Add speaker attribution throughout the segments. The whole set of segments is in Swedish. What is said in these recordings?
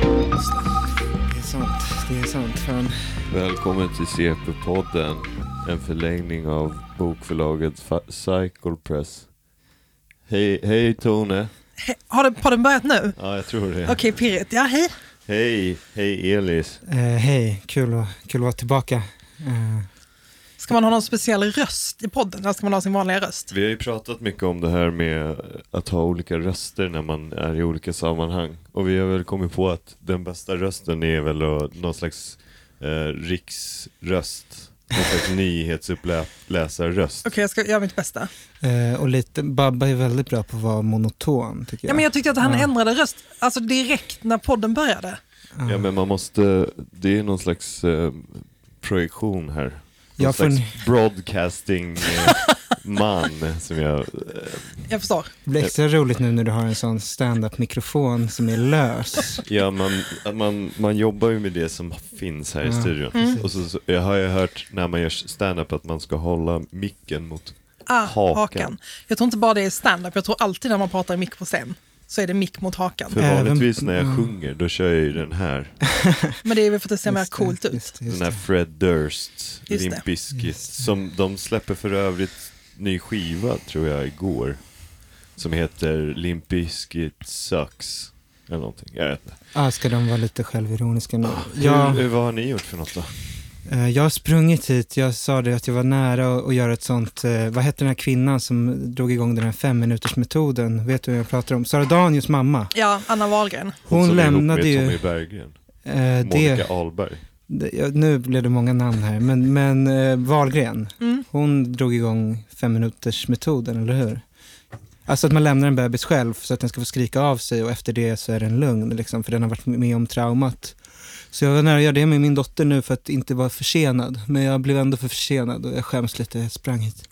Speaker 1: Det är sant. Det är sant. Fan.
Speaker 2: Välkommen till CP-podden. En förlängning av bokförlaget Fa- Cycle Press. Hej, hej Tone.
Speaker 3: He- Har den podden börjat nu?
Speaker 2: Ja, jag tror det.
Speaker 3: Okej, pirrigt. Ja, hej.
Speaker 2: Hej, hej Elis.
Speaker 4: Eh, Hej, kul, att- kul att vara tillbaka. Eh,
Speaker 3: Ska man ha någon speciell röst i podden? Eller ska man ha sin vanliga röst?
Speaker 2: Vi har ju pratat mycket om det här med att ha olika röster när man är i olika sammanhang. Och vi har väl kommit på att den bästa rösten är väl att- någon slags eh, riksröst. Någon slags nyhetsuppläsarröst.
Speaker 3: Okej, jag ska göra mitt bästa.
Speaker 4: eh, och lite, Babba är väldigt bra på att vara monoton tycker
Speaker 3: Ja.
Speaker 4: jag.
Speaker 3: men jag tyckte att han
Speaker 4: Ja.
Speaker 3: ändrade röst alltså direkt när podden började.
Speaker 4: Ja.
Speaker 2: Ja men man måste, det är någon slags eh, projektion här. Någon
Speaker 4: Jag får
Speaker 2: slags
Speaker 4: en-
Speaker 2: broadcasting eh, man som jag, eh,
Speaker 3: Jag förstår.
Speaker 4: Det blir extra roligt nu när du har en sån stand-up-mikrofon som är lös.
Speaker 2: ja man, att man, man jobbar ju med det som finns här i
Speaker 4: Ja,
Speaker 2: studion. Och så, så, jag har ju hört när man gör stand-up att man ska hålla micken mot,
Speaker 3: Ah,
Speaker 2: Hakan.
Speaker 3: hakan. Jag tror inte bara det är stand-up, jag tror alltid när man pratar i mick på scen så är det mick mot hakan.
Speaker 2: för
Speaker 4: Även-
Speaker 2: vanligtvis när jag
Speaker 4: mm.
Speaker 2: sjunger då kör jag ju den här,
Speaker 3: Men det är väl för att det ser mer
Speaker 4: Just det,
Speaker 3: coolt ut.
Speaker 4: just det, just
Speaker 2: den här
Speaker 4: det.
Speaker 2: Fred Durst,
Speaker 3: Just det.
Speaker 2: Limp Bizkit, som de släpper för övrigt ny skiva tror jag igår. Som heter Limp Bizkit Sucks. Eller någonting, jag vet inte.
Speaker 4: Ah, ska de vara lite självironiska nu?
Speaker 2: Ja.
Speaker 4: Jag,
Speaker 2: Hur, vad har ni gjort för något då?
Speaker 4: eh, jag har sprungit hit, jag sa det att jag var nära att att göra ett sånt, eh, vad hette den här kvinnan som drog igång den här femminutersmetoden? Vet du vad jag pratar om? Sara Danius mamma.
Speaker 3: Ja, Anna Wahlgren.
Speaker 4: Hon
Speaker 2: som är ihop
Speaker 4: lämnade
Speaker 2: med
Speaker 4: ju-
Speaker 2: Tommy Berggren.
Speaker 4: Eh,
Speaker 2: Monica Ahlberg.
Speaker 4: Det- ja, Nu blev det många namn här, men, men eh, Wahlgren,
Speaker 3: Mm.
Speaker 4: hon drog igång femminutersmetoden eller hur? Alltså att man lämnar en bebis själv så att den ska få skrika av sig och efter det så är den lugn, liksom, för den har varit med om traumat. Så jag var nära att göra det med min dotter nu för att inte vara försenad, men jag blev ändå för försenad och jag skäms lite, jag sprang hit.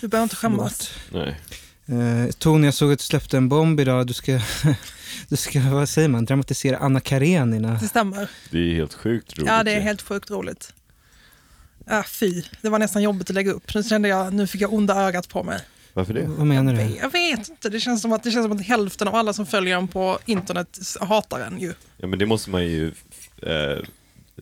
Speaker 3: Du behöver inte skämmas.
Speaker 2: Nej.
Speaker 4: Eh, Tony, jag såg att du släppte en bomb idag, du ska, du ska vad säger man, dramatisera Anna Karenina.
Speaker 3: Det stämmer.
Speaker 2: Det är helt sjukt roligt.
Speaker 3: Ja, det är
Speaker 2: ju.
Speaker 3: helt sjukt roligt. Ah, fy, det var nästan jobbigt att lägga upp. Nu kände jag, nu fick jag onda ögat på mig.
Speaker 2: Varför det?
Speaker 4: Vad menar du?
Speaker 3: Jag vet inte, det känns som att, det känns som att hälften av alla som följer en på internet hatar en ju.
Speaker 2: Ja men det måste man ju, eh,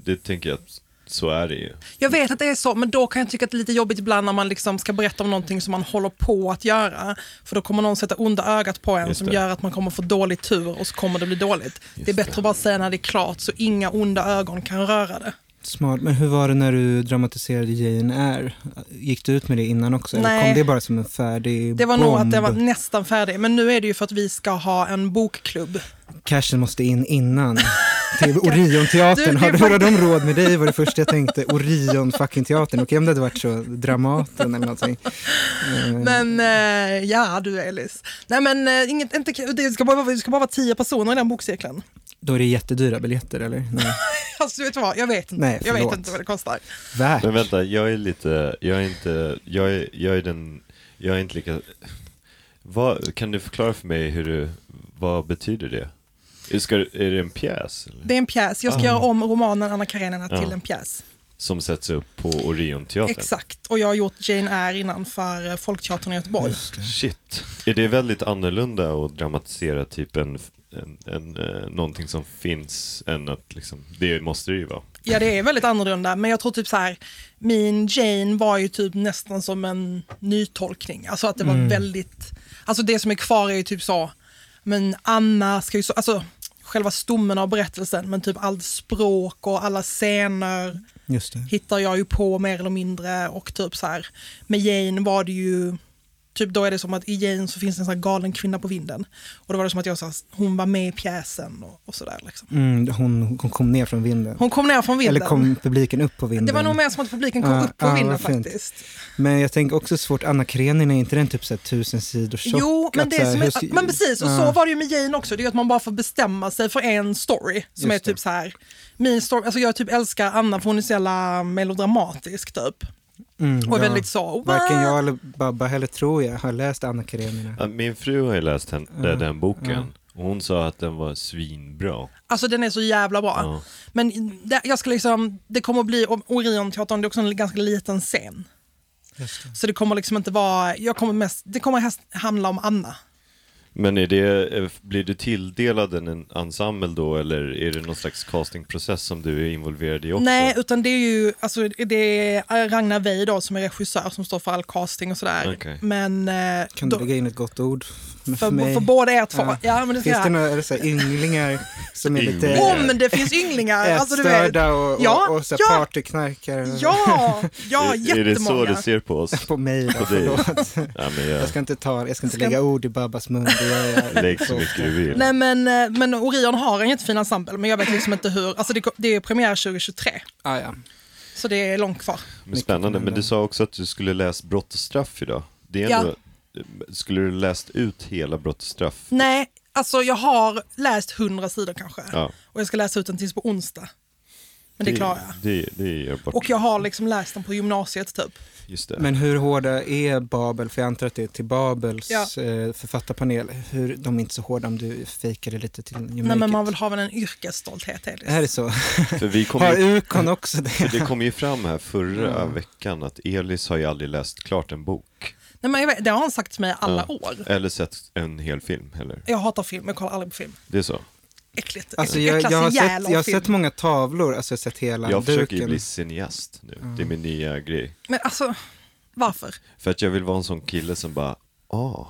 Speaker 2: det tänker jag att så är det ju.
Speaker 3: Jag vet att det är så, men då kan jag tycka att det är lite jobbigt ibland när man liksom ska berätta om någonting som man håller på att göra. För då kommer någon sätta onda ögat på en
Speaker 2: Just
Speaker 3: som
Speaker 2: det.
Speaker 3: gör att man kommer få dålig tur och så kommer det bli dåligt. det är bättre att bara säga när det är klart så inga onda ögon kan röra det.
Speaker 4: Smart, men hur var det när du dramatiserade Jane Eyre? Gick du ut med det innan också? Eller
Speaker 3: Nej.
Speaker 4: kom det bara som en färdig
Speaker 3: Det var
Speaker 4: bomb?
Speaker 3: nog att det var nästan färdigt, men nu är det ju för att vi ska ha en bokklubb.
Speaker 4: Cashen måste in innan. Till Orionteatern,
Speaker 3: Du,
Speaker 4: har,
Speaker 3: det
Speaker 4: du-
Speaker 3: var-
Speaker 4: har de råd med dig? var det första jag tänkte. Orion fucking teatern. Okej om det hade varit så Dramaten eller någonting. Eh,
Speaker 3: Men eh, ja, du Elis. Nej men eh, inget, inte, det, ska bara, vara- det ska bara vara tio personer i den bokcirkeln.
Speaker 4: Då är det jättedyra biljetter eller? Nej.
Speaker 3: Alltså vet du vad, jag vet inte,
Speaker 4: Nej,
Speaker 3: jag vet
Speaker 4: förlåt.
Speaker 3: inte vad det kostar.
Speaker 4: Värt.
Speaker 2: Men vänta, jag är lite, jag är inte, jag är, jag är den, jag är inte lika, vad, kan du förklara för mig hur du, vad betyder det? Ska, är det en pjäs? eller?
Speaker 3: Det är en pjäs, jag ska göra om romanen Anna Karenina till
Speaker 2: Ja.
Speaker 3: en pjäs.
Speaker 2: Som sätts upp på Orionteatern?
Speaker 3: Exakt, och jag har gjort Jane Eyre innan för eh, Folkteatern i Göteborg.
Speaker 2: Shit. Är det väldigt annorlunda att dramatisera typ en, en, en, eh, någonting som finns än att liksom, det måste det ju vara.
Speaker 3: Ja, det är väldigt annorlunda, men jag tror typ så här, min Jane var ju typ nästan som en nytolkning. Alltså att det var väldigt, alltså det som är kvar är ju typ så, men Anna ska ju så, alltså själva stommen av berättelsen, men typ allt språk och alla scener
Speaker 4: Just det.
Speaker 3: hittar jag ju på mer eller mindre och typ så här, med Jane var det ju typ då är det som att i Jane så finns det en sån här galen kvinna på vinden. Och då var det som att jag sa, hon var med i pjäsen och, och sådär. Liksom.
Speaker 4: Mm, hon, hon kom ner från vinden.
Speaker 3: Hon kom ner från vinden.
Speaker 4: Eller kom publiken upp på vinden.
Speaker 3: Det var nog mer som att publiken kom
Speaker 4: Ja,
Speaker 3: upp på
Speaker 4: ja,
Speaker 3: vinden
Speaker 4: vad fint.
Speaker 3: faktiskt.
Speaker 4: Men jag tänker också svårt, Anna Karenina, är inte den typ så här tusen sidor tjock?
Speaker 3: Jo, men,
Speaker 4: Att
Speaker 3: det
Speaker 4: så här,
Speaker 3: som
Speaker 4: hur
Speaker 3: är,
Speaker 4: ska-
Speaker 3: men precis, och så
Speaker 4: Ja.
Speaker 3: var det ju med Jane också. Det är ju att man bara får bestämma sig för en story som
Speaker 4: Just
Speaker 3: är typ
Speaker 4: det.
Speaker 3: så här. Min story, alltså jag typ älskar Anna för hon är så jävla melodramatisk typ.
Speaker 4: Mm,
Speaker 3: Och
Speaker 4: ja.
Speaker 3: väldigt så.
Speaker 4: Varken jag eller Babba heller tror jag har läst Anna Karenina.
Speaker 2: Ja, Min fru har ju läst den, den boken. Och hon sa att den var svinbra.
Speaker 3: Alltså den är så jävla bra.
Speaker 2: Ja.
Speaker 3: Men det, jag ska liksom, det kommer att bli, om Orionteatern det är också en ganska liten scen. Så det kommer liksom inte vara, jag kommer mest, det kommer helst handla om Anna.
Speaker 2: Men är det, eh, blir du tilldelad en ensemble då eller är det någon slags castingprocess som du är involverad i också?
Speaker 3: Nej, utan det är ju alltså, det är Ragnar Wey då som är regissör som står för all casting och sådär.
Speaker 2: Okej.
Speaker 3: Men eh,
Speaker 4: Kan du
Speaker 3: då,
Speaker 4: lägga in ett gott ord för,
Speaker 3: för,
Speaker 4: mig?
Speaker 3: för båda er två.
Speaker 4: Ja.
Speaker 3: Ja. men det ska
Speaker 4: Finns det
Speaker 3: jag.
Speaker 4: några är det så här, ynglingar som är lite
Speaker 2: Ynglingar?
Speaker 3: Om det finns ynglingar! Oh alltså, du vet.
Speaker 4: ätstörda och,
Speaker 3: Ja,
Speaker 4: och, och så här
Speaker 3: ja.
Speaker 4: partyknarkare?
Speaker 3: Ja, ja
Speaker 2: är, är det så
Speaker 3: jättemånga.
Speaker 2: du ser på oss?
Speaker 4: På mig då,
Speaker 2: På dig.
Speaker 4: förlåt.
Speaker 2: Ja, men jag,
Speaker 4: Jag ska inte, ta, jag ska inte
Speaker 3: Ska-
Speaker 4: lägga ord i Babbas mun. Det gör jag.
Speaker 2: lägg så mycket du vill.
Speaker 3: Nej, men, eh, men Orion har en jättefin ensemble, men jag vet liksom inte hur. Alltså, det, det är premiär 2023,
Speaker 4: Ah, ja.
Speaker 3: så det är långt kvar.
Speaker 2: Men spännande, men du sa också att du skulle läst Brott och straff idag. Det är ändå, Skulle du läst ut hela Brott och straff?
Speaker 3: Nej, alltså jag har läst 100 sidor kanske.
Speaker 2: Ja.
Speaker 3: Och jag ska läsa ut den tills på onsdag. Men det klarar jag.
Speaker 2: Det, det är görbart.
Speaker 3: Och jag har liksom läst den på gymnasiet typ.
Speaker 2: Just det.
Speaker 4: Men hur hårda är Babel? För jag antar att det är till Babels
Speaker 3: Ja.
Speaker 4: eh, författarpanel. Hur, de är inte så hårda om du fejkar det lite till you make
Speaker 3: Nej, men man
Speaker 4: it.
Speaker 3: vill ha väl en yrkesstolthet Elis.
Speaker 4: Är det så?
Speaker 2: För vi kom
Speaker 4: Har
Speaker 2: ju,
Speaker 4: Ukon också det?
Speaker 2: det kom ju fram här förra
Speaker 3: Mm.
Speaker 2: veckan att Elis har ju aldrig läst klart en bok.
Speaker 3: Nej, men jag vet, det har han sagt till mig alla
Speaker 2: Ja.
Speaker 3: år.
Speaker 2: Eller sett en hel film heller.
Speaker 3: Jag hatar film, jag kollar aldrig på film.
Speaker 2: Det är så.
Speaker 3: Äckligt.
Speaker 4: Alltså
Speaker 3: jag,
Speaker 4: jag, jag, har
Speaker 3: ihjäl
Speaker 4: sett,
Speaker 3: av
Speaker 4: jag har
Speaker 3: film.
Speaker 4: sett många tavlor, alltså jag har sett hela
Speaker 2: Jag försöker ju
Speaker 4: duken.
Speaker 2: bli cineast nu. Det är min nya grej.
Speaker 3: Men alltså, varför?
Speaker 2: För att jag vill vara en sån kille som bara, ah,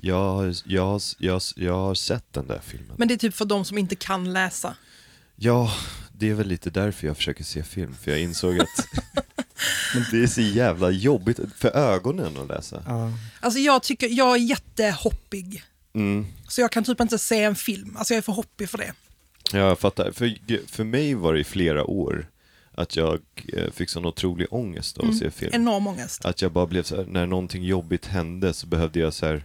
Speaker 2: jag, har- jag, har- jag, har- jag har sett den där filmen.
Speaker 3: Men det är typ för de som inte kan läsa.
Speaker 2: Ja, det är väl lite därför jag försöker se film, för jag insåg att det är så jävla jobbigt för ögonen att läsa.
Speaker 4: Ja.
Speaker 3: Alltså jag tycker, jag är jättehoppig.
Speaker 2: Mm.
Speaker 3: Så jag kan typ inte se en film. Alltså jag är för hoppig för det.
Speaker 2: Ja, jag fattar. För, för mig var det i flera år att jag eh, fick sån otrolig ångest av att se film.
Speaker 3: Enorm ångest.
Speaker 2: Att jag bara blev så här, när någonting jobbigt hände så behövde jag så här,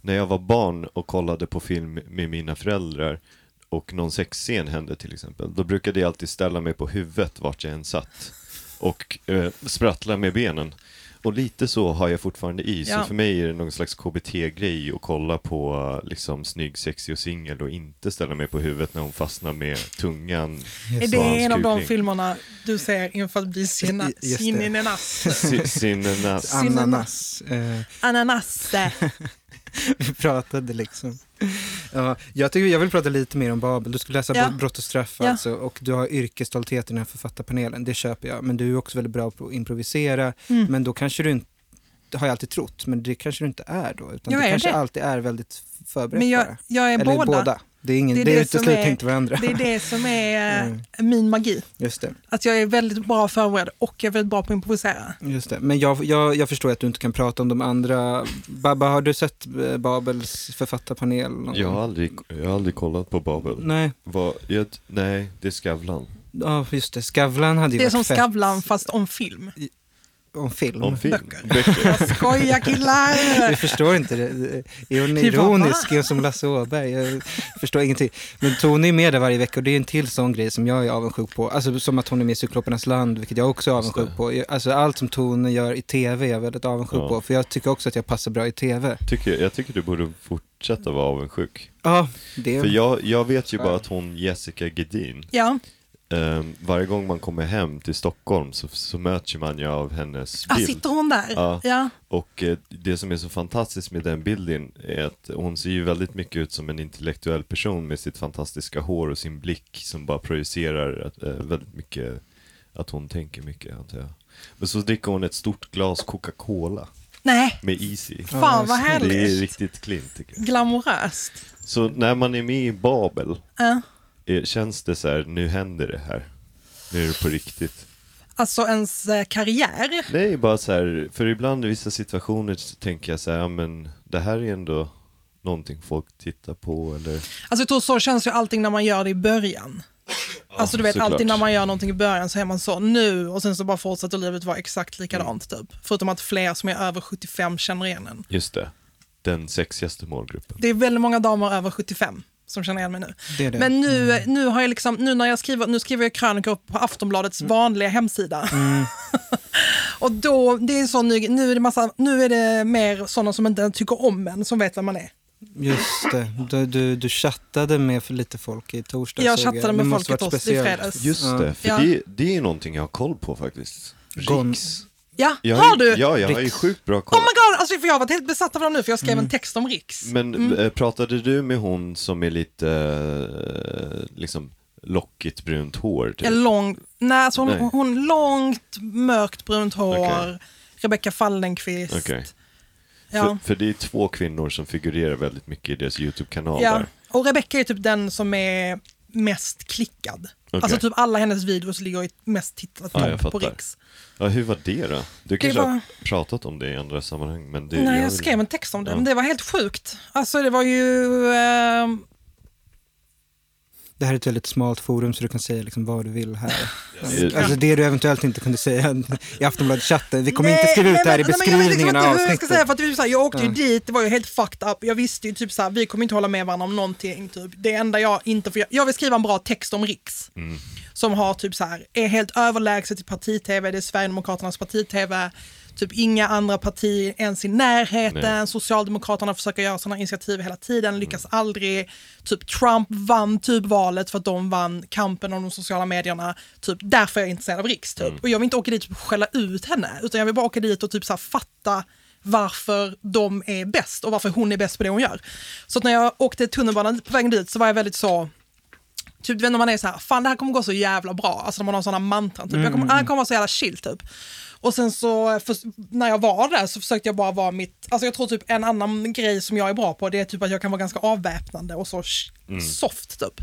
Speaker 2: när jag var barn och kollade på film med mina föräldrar och någon sexscen hände till exempel, då brukade jag alltid ställa mig på huvudet vart jag än satt och eh, sprattla med benen. Och lite så har jag fortfarande i,
Speaker 3: Ja.
Speaker 2: så för mig är det någon slags KBT-grej att kolla på eh, liksom snygg, sexig och singel och inte ställa mig på huvudet när hon fastnar med tungan.
Speaker 3: Är
Speaker 2: på
Speaker 3: det
Speaker 2: hans
Speaker 3: en av de
Speaker 2: kukning.
Speaker 3: filmerna du ser inför att bli sina-
Speaker 4: Just det.
Speaker 3: sininenas?
Speaker 2: Si- Sinnenas.
Speaker 4: Ananas. Eh,
Speaker 3: Ananas.
Speaker 4: vi pratade liksom. Ja, jag, tycker, jag vill prata lite mer om Babel. Du skulle läsa
Speaker 3: Ja.
Speaker 4: Br- Brott och straff
Speaker 3: Ja.
Speaker 4: alltså, och du har yrkesstolthet i den här författarpanelen, det köper jag. Men du är också väldigt bra på att improvisera,
Speaker 3: Mm.
Speaker 4: men då kanske du inte det har jag alltid trott, men det kanske du inte är då. Utan
Speaker 3: Jag
Speaker 4: du
Speaker 3: är
Speaker 4: kanske
Speaker 3: det.
Speaker 4: alltid är väldigt förberedd
Speaker 3: Men
Speaker 4: bara.
Speaker 3: jag, jag är
Speaker 4: Eller
Speaker 3: båda.
Speaker 4: Det är, ingen,
Speaker 3: Det
Speaker 4: det
Speaker 3: är
Speaker 4: är
Speaker 3: det
Speaker 4: inte
Speaker 3: som
Speaker 4: slut
Speaker 3: är-
Speaker 4: inte varandra.
Speaker 3: Det är det som är eh,
Speaker 4: Mm.
Speaker 3: min magi.
Speaker 4: Just det.
Speaker 3: Att jag är väldigt bra förberedd och jag är väldigt bra på att improvisera.
Speaker 4: Just det. Men jag, jag, jag förstår att du inte kan prata om de andra. Babba, har du sett eh, Babels författarpanel? någon
Speaker 2: Jag har
Speaker 4: gång?
Speaker 2: aldrig, jag har aldrig kollat på Babel.
Speaker 4: Nej,
Speaker 2: Vad, jag, nej, det är Skavlan.
Speaker 4: ja just det. Skavlan hade ju
Speaker 3: Det är
Speaker 4: varit
Speaker 3: som
Speaker 4: fett
Speaker 3: Skavlan fast om film.
Speaker 4: om film.
Speaker 2: Om film.
Speaker 3: Böcker.
Speaker 2: Böcker.
Speaker 3: Skoja killar!
Speaker 4: Du förstår inte det. det. Är hon
Speaker 3: Det är bara,
Speaker 4: ironisk? Är hon som Lasse Åberg? Jag förstår ingenting. Men Tony är med där varje vecka och det är en till sån grej som jag är avundsjuk på. Alltså som att hon är med i Cyklopernas land, vilket jag också är
Speaker 2: Just det.
Speaker 4: avundsjuk på. Jag- Alltså allt som Tony gör i tv är jag väldigt avundsjuk
Speaker 2: Ja.
Speaker 4: på. För jag tycker också att jag passar bra i tv.
Speaker 2: Tycker, jag tycker du borde fortsätta vara avundsjuk.
Speaker 4: Ja, det
Speaker 2: För jag, jag vet ju bara att hon, Jessica Gedin,
Speaker 3: Ja,
Speaker 2: ehm, varje gång man kommer hem till Stockholm så, så möts ju man ju av hennes
Speaker 3: ah,
Speaker 2: bild.
Speaker 3: sitter hon där?
Speaker 2: Ja.
Speaker 3: Ja.
Speaker 2: Och eh, det som är så fantastiskt med den bilden är att hon ser ju väldigt mycket ut som en intellektuell person med sitt fantastiska hår och sin blick som bara projicerar att, eh, väldigt mycket, att hon tänker mycket antar jag. Men så dricker hon ett stort glas Coca-Cola
Speaker 3: Nej,
Speaker 2: med is i.
Speaker 3: fan vad
Speaker 2: Det är
Speaker 3: härligt.
Speaker 2: riktigt klint tycker jag.
Speaker 3: Glamoröst.
Speaker 2: Så när man är med i Babel,
Speaker 3: Ja.
Speaker 2: eh, känns det så här, nu händer det här. Nu är det på riktigt.
Speaker 3: alltså ens eh, karriär.
Speaker 2: Nej, bara så här, för ibland i vissa situationer så tänker jag så här, ja, men det här är ändå någonting folk tittar på eller...
Speaker 3: Alltså jag tror så känns ju allting när man gör det i början. Alltså du vet
Speaker 2: såklart.
Speaker 3: alltid när man gör någonting i början så är man så nu och sen så bara fortsätter livet vara exakt likadant typ. Förutom att fler som är över 75 känner igen en.
Speaker 2: Just det, den sexigaste målgruppen.
Speaker 3: Det är väldigt många damer över 75 som känner igen mig nu.
Speaker 4: Det är det.
Speaker 3: Men nu, nu har jag liksom, nu när jag skriver, nu skriver jag krönikor på Aftonbladets vanliga hemsida. och då, det är en sån ny, nu är det massa, nu är det mer sådana som inte tycker om en som vet vem man är.
Speaker 4: Just det. Du, du, du chattade med för lite folk i torsdags.
Speaker 3: Jag
Speaker 4: såg
Speaker 3: chattade med
Speaker 4: Det
Speaker 3: folk
Speaker 4: måste
Speaker 3: i
Speaker 4: varit
Speaker 3: torsdags, i
Speaker 4: speciellt.
Speaker 3: fredags.
Speaker 2: Just
Speaker 4: Ja.
Speaker 2: det, för
Speaker 3: Ja.
Speaker 2: det, det är någonting jag har koll på faktiskt.
Speaker 4: Gon-
Speaker 2: Riks.
Speaker 3: Ja,
Speaker 2: Jag
Speaker 3: har du?
Speaker 2: Ja, jag har ju
Speaker 4: Riks.
Speaker 2: sjukt bra koll.
Speaker 3: Oh my god, alltså, för jag har varit helt besatt av dem nu för jag skrev en text om Riks.
Speaker 2: Mm. Men eh, pratade du med hon som är lite, eh, liksom, lockigt brunt hår? Typ?
Speaker 3: En lång, nej, alltså hon,
Speaker 2: Nej.
Speaker 3: hon långt mörkt brunt hår,
Speaker 2: Okej.
Speaker 3: Rebecka Fallenkvist.
Speaker 2: Okej.
Speaker 3: Ja.
Speaker 2: För, för det är två kvinnor som figurerar väldigt mycket i deras YouTube-kanal
Speaker 3: Ja.
Speaker 2: där.
Speaker 3: Och Rebecca är typ den som är mest klickad.
Speaker 2: Okej.
Speaker 3: Alltså typ alla hennes videos ligger i mest tittat
Speaker 2: Ja, jag
Speaker 3: topp på
Speaker 2: fattar.
Speaker 3: Riks.
Speaker 2: Ja, hur var det då? Du kanske
Speaker 3: var-
Speaker 2: har pratat om det i andra sammanhang, men det
Speaker 3: Nej,
Speaker 2: gör
Speaker 3: jag
Speaker 2: väl-
Speaker 3: skrev en text om det,
Speaker 2: Ja.
Speaker 3: men det var helt sjukt. Alltså det var ju... Eh,
Speaker 4: Det här är ett väldigt smalt forum så du kan säga liksom vad du vill här.
Speaker 2: Yes.
Speaker 4: Alltså det du eventuellt inte kunde säga i Aftonbladet-chatten. Vi kommer
Speaker 3: nej,
Speaker 4: inte skriva ut
Speaker 3: nej,
Speaker 4: det här i
Speaker 3: men- nej, men jag vet liksom
Speaker 4: beskrivningen av
Speaker 3: inte hur jag ska
Speaker 4: avsnittet. Mm.
Speaker 3: säga, för att det var ju så här, Jag åkte ju
Speaker 4: Ja.
Speaker 3: dit, det var ju helt fucked up. Jag visste ju typ så här, vi kommer inte hålla med varandra om någonting. Typ. Det enda jag inte får göra, jag vill skriva en bra text om Riks. Som har typ så här, är helt överlägset i parti-tv, det är Sverigedemokraternas parti-tv. Typ inga andra partier ens i närheten.
Speaker 2: Nej.
Speaker 3: Socialdemokraterna försöker göra sådana initiativ hela tiden, lyckas aldrig. Typ Trump vann typ valet för att de vann kampen om de sociala medierna. Typ därför är jag intresserad av Riks. Typ. Och jag vill inte åka dit och skälla ut henne, utan jag vill bara åka dit och typ så här fatta varför de är bäst och varför hon är bäst på det hon gör. Så att när jag åkte tunnelbanan på vägen dit så var jag väldigt så, Typ du vet när man är så här, fan det här kommer gå så jävla bra. Alltså när man har sådana mantran, typ. jag kommer,
Speaker 4: Mm.
Speaker 3: det här kommer vara så jävla chill typ. Och sen så, eh, förs- när jag var där så försökte jag bara vara mitt, alltså jag tror typ en annan grej som jag är bra på det är typ att jag kan vara ganska avväpnande och så sh-
Speaker 4: Mm.
Speaker 3: soft typ.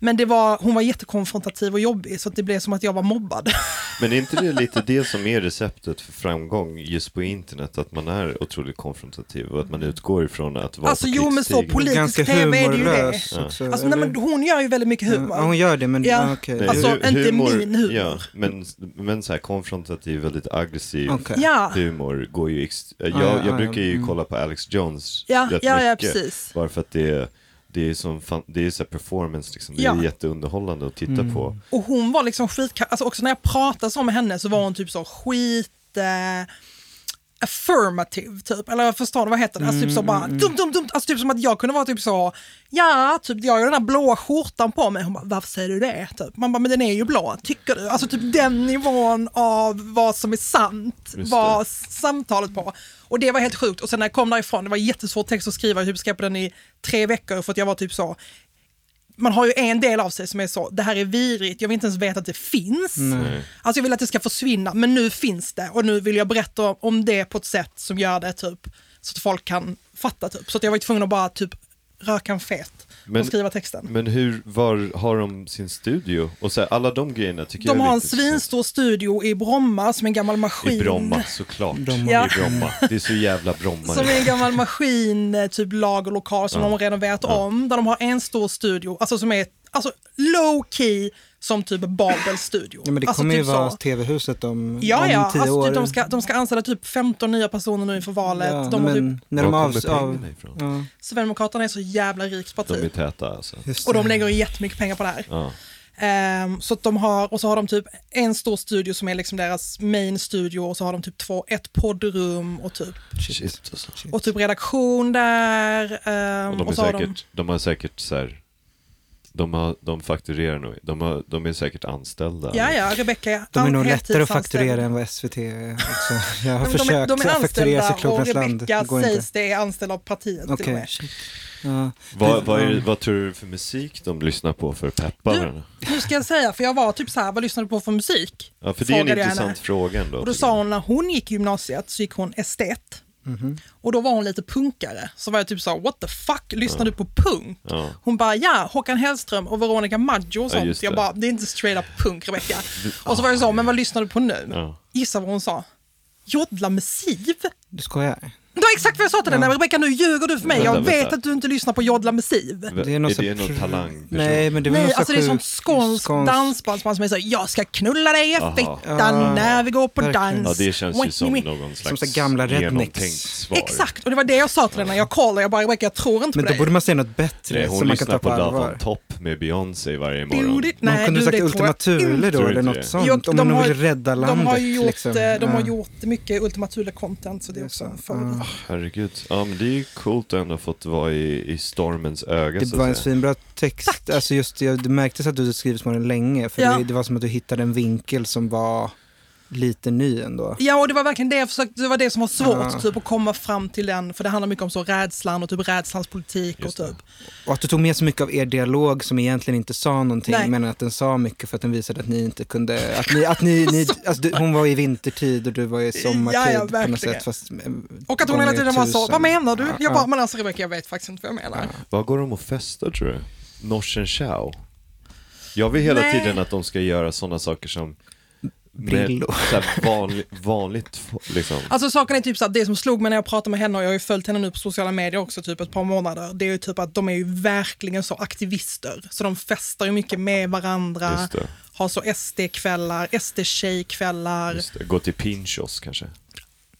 Speaker 3: Men det var, hon var jättekonfrontativ och jobbig så att det blev som att jag var mobbad.
Speaker 4: Eh,
Speaker 2: Men är inte det lite det som är receptet för framgång just på internet? Att man är otroligt konfrontativ och att man utgår ifrån att vara
Speaker 3: Alltså,
Speaker 2: på
Speaker 3: jo, men så
Speaker 2: krigsstigen.
Speaker 3: poli-
Speaker 4: Ganska
Speaker 3: politisk TV är det ju det.
Speaker 4: humorlös också.
Speaker 3: Alltså nej, men
Speaker 4: eller?
Speaker 3: hon gör ju väldigt mycket humor.
Speaker 4: Ja, hon gör det, men
Speaker 3: Ja.
Speaker 4: ja. okej.
Speaker 2: Nej,
Speaker 3: Alltså,
Speaker 2: hu-
Speaker 3: inte min humor.
Speaker 2: Ja, men, men så här konfrontativ, väldigt aggressiv
Speaker 4: Okej.
Speaker 3: Ja.
Speaker 2: humor går ju... Ex- jag,
Speaker 4: ja,
Speaker 2: jag
Speaker 4: ja,
Speaker 2: brukar ju
Speaker 4: mm.
Speaker 2: kolla på Alex Jones
Speaker 3: Ja,
Speaker 2: rätt
Speaker 3: ja, ja,
Speaker 2: mycket.
Speaker 3: precis.
Speaker 2: Bara för att det är, det är, som fan, det är så här performance, liksom. det
Speaker 3: Ja.
Speaker 2: är jätteunderhållande att titta
Speaker 4: Mm.
Speaker 2: på.
Speaker 3: Och hon var liksom skit, alltså också när jag pratade så med henne så var hon typ så skit... Eh, affirmative typ, eller jag förstår du vad heter det? Alltså
Speaker 2: Mm,
Speaker 3: typ så bara dum dum dum, alltså typ som att jag kunde vara typ så, ja typ jag har ju den här blåa skjortan på mig, hon bara varför säger du det? Typ. Man bara men den är ju blå, tycker du? Alltså typ den nivån av vad som är sant
Speaker 2: Just
Speaker 3: var
Speaker 2: det.
Speaker 3: samtalet på. Och det var helt sjukt och sen när jag kom därifrån, det var jättesvår text att skriva, jag typ skrev på den i tre veckor för att jag var typ så, man har ju en del av sig som är så, det här är vidrigt, jag vill inte ens veta att det finns. Alltså jag vill att det ska försvinna, men nu finns det och nu vill jag berätta om det på ett sätt som gör det typ så att folk kan fatta typ. Så att jag var ju tvungen att bara typ röka en fet
Speaker 2: Men-
Speaker 3: och skriva texten.
Speaker 2: Men hur, var har de sin studio? Och så här, alla de grejerna tycker jag
Speaker 3: De
Speaker 2: är
Speaker 3: har en
Speaker 2: lite intressant.
Speaker 3: svinstor studio i Bromma som är en gammal maskin.
Speaker 2: I Bromma såklart.
Speaker 3: Ja.
Speaker 2: I Bromma. Det är så jävla Bromma.
Speaker 3: Som är en gammal maskin, eh, typ lagerlokal som de har renoverat om. Där de har en stor studio, alltså som är alltså, low key som typ Babels studio.
Speaker 4: Ja, men det
Speaker 3: alltså,
Speaker 4: kommer
Speaker 3: typ
Speaker 4: ju vara
Speaker 3: så.
Speaker 4: TV-huset om,
Speaker 3: Ja,
Speaker 4: om
Speaker 3: ja.
Speaker 4: tio
Speaker 3: Alltså,
Speaker 4: år.
Speaker 3: typ, de, ska, de ska anställa typ 15 nya personer nu inför valet.
Speaker 4: ja,
Speaker 3: de har
Speaker 4: men
Speaker 3: typ,
Speaker 4: när de
Speaker 2: Var
Speaker 4: avs,
Speaker 2: kommer
Speaker 4: av,
Speaker 2: pengarna ifrån?
Speaker 4: ja,
Speaker 3: Sverigedemokraterna är så jävla rikt
Speaker 2: De är
Speaker 3: parti.
Speaker 2: täta alltså.
Speaker 4: just
Speaker 3: Och de
Speaker 4: det.
Speaker 3: lägger ju jättemycket pengar på det här.
Speaker 2: Ja.
Speaker 3: Ehm, så att de har, och så har de typ en stor studio som är liksom deras main studio och så har de typ två, ett poddrum och typ,
Speaker 2: Shit alltså.
Speaker 3: och typ redaktion där. ehm,
Speaker 2: Och de, är
Speaker 3: och så har de,
Speaker 2: säkert, de... har säkert så här, de, har, de fakturerar nog, de, har, de är säkert anställda.
Speaker 3: ja, ja, Rebecka är
Speaker 4: De är
Speaker 3: an-
Speaker 4: nog lättare att
Speaker 3: heltidsanställd.
Speaker 4: fakturera än vad SVT är också. Jag har
Speaker 3: Men de, är-
Speaker 4: försökt
Speaker 3: de är
Speaker 4: att fakturera
Speaker 3: anställda och
Speaker 4: Cyklopens land.
Speaker 3: Rebecka
Speaker 4: Det går inte.
Speaker 3: sägs det är anställd av partiet till och
Speaker 4: Okej.
Speaker 3: med.
Speaker 4: Ja.
Speaker 2: Vad, vad, är,
Speaker 4: Mm.
Speaker 2: det- vad tror du för musik de lyssnar på för att peppa
Speaker 3: Du-
Speaker 2: varandra?
Speaker 3: Nu ska jag säga, för jag var typ så här, vad lyssnar du på för musik?
Speaker 2: Ja, för det är en
Speaker 3: Frågade jag
Speaker 2: intressant
Speaker 3: henne.
Speaker 2: fråga ändå.
Speaker 3: Och då
Speaker 2: tycker jag.
Speaker 3: sa hon när hon gick i gymnasiet så gick hon estet.
Speaker 4: Mhm.
Speaker 3: Och då var hon lite punkare. Så var jag typ så här, what the fuck, lyssnar du på punk?
Speaker 2: Ja.
Speaker 3: Hon bara, ja, Håkan Hellström och Veronica Maggio och sånt.
Speaker 2: just
Speaker 3: Jag
Speaker 2: det.
Speaker 3: bara, det är inte straight up punk, Rebecca. Och så var jag så, men vad lyssnar du på nu?
Speaker 2: Ja.
Speaker 3: Gissa vad hon sa? Jodla med Siv?
Speaker 4: Du skojar?
Speaker 3: Det var exakt vad jag sa till henne. Rebecca, nu ljuger du för mig.
Speaker 2: Vänta,
Speaker 3: jag vet
Speaker 2: vänta.
Speaker 3: att du inte lyssnar på Jodla med Siv.
Speaker 2: Det är,
Speaker 4: någon
Speaker 2: någon
Speaker 4: sån
Speaker 2: är det någon
Speaker 4: pr-
Speaker 2: talang?
Speaker 4: Nej, men det är väl
Speaker 3: Nej,
Speaker 4: någon
Speaker 3: alltså det är som
Speaker 4: sjuk-
Speaker 3: skånsk dansbandsband som är så här, jag ska knulla dig i
Speaker 2: Aha.
Speaker 3: fittan
Speaker 4: Ah,
Speaker 3: när vi går på
Speaker 4: verkligen.
Speaker 3: dans.
Speaker 2: Ja, det känns ju
Speaker 3: Wait,
Speaker 2: som
Speaker 3: me-
Speaker 2: någon slags
Speaker 4: Som så gamla rednecks.
Speaker 2: genomtänkt svar.
Speaker 3: Exakt, och det var det jag sa till henne. Jag kollade, jag bara Rebecca, jag tror inte
Speaker 4: Men
Speaker 3: på
Speaker 4: då
Speaker 3: dig.
Speaker 4: borde man säga något bättre
Speaker 2: Nej, hon
Speaker 4: som man kan
Speaker 2: lyssnar
Speaker 4: ta
Speaker 2: på
Speaker 4: på
Speaker 2: Davan
Speaker 4: allvar.
Speaker 2: Topp med Beyoncé varje
Speaker 3: Jo,
Speaker 2: morgon.
Speaker 3: det-
Speaker 4: Man
Speaker 3: Nej,
Speaker 4: kunde
Speaker 3: du,
Speaker 4: sagt
Speaker 3: det tror
Speaker 4: Ultima
Speaker 3: jag
Speaker 4: Thule
Speaker 2: Tror
Speaker 4: då
Speaker 2: inte
Speaker 4: eller
Speaker 2: det.
Speaker 4: något sånt.
Speaker 3: Jo,
Speaker 4: om
Speaker 3: de
Speaker 4: man nu
Speaker 3: har-
Speaker 4: vill rädda landet.
Speaker 3: de har ju gjort,
Speaker 4: liksom.
Speaker 3: eh, de har
Speaker 4: Ja. Ah.
Speaker 3: gjort mycket Ultima Thule-content, så det är också en favorit.
Speaker 2: Herregud. Ja, men det är ju coolt att ändå fått vara i, i stormens öga
Speaker 4: Det
Speaker 2: så
Speaker 4: var en
Speaker 2: att säga.
Speaker 4: svinbra text. Alltså just, det, det märktes att du hade skrivit på den länge. För
Speaker 3: Ja.
Speaker 4: det, det var som att du hittade en vinkel som var lite ny ändå.
Speaker 3: Ja, och det var verkligen det jag försökte, det var det som var svårt,
Speaker 4: Ja.
Speaker 3: typ att komma fram till den, för det handlar mycket om så rädslan och typ rädslans politik och
Speaker 2: Just det.
Speaker 3: typ.
Speaker 4: Och att du tog med så mycket av er dialog som egentligen inte sa någonting
Speaker 3: Nej.
Speaker 4: men att den sa mycket för att den visade att ni inte kunde, att ni, att ni, ni alltså du, hon var i vintertid och du var i sommartid
Speaker 3: Ja, ja,
Speaker 4: på
Speaker 3: verkligen.
Speaker 4: något sätt. Fast,
Speaker 3: Och att hon hela tiden var så, vad menar du? Jag bara,
Speaker 4: ja.
Speaker 3: men alltså Rebecca, jag vet faktiskt inte vad jag menar.
Speaker 2: Vad går de och festar tror du? Norsen Chow? Jag vill hela
Speaker 3: Nej.
Speaker 2: tiden att de ska göra sådana saker som
Speaker 4: Brillo.
Speaker 2: Med, så här, vanlig, vanligt fo- liksom.
Speaker 3: Alltså saken är typ så att det som slog mig när jag pratade med henne och jag har ju följt henne nu på sociala medier också typ ett par månader, det är ju typ att de är ju verkligen så aktivister. Så de festar ju mycket med varandra,
Speaker 2: Just det.
Speaker 3: har så SD-kvällar, SD-tjejkvällar.
Speaker 2: Just det. Gå till Pinchos kanske.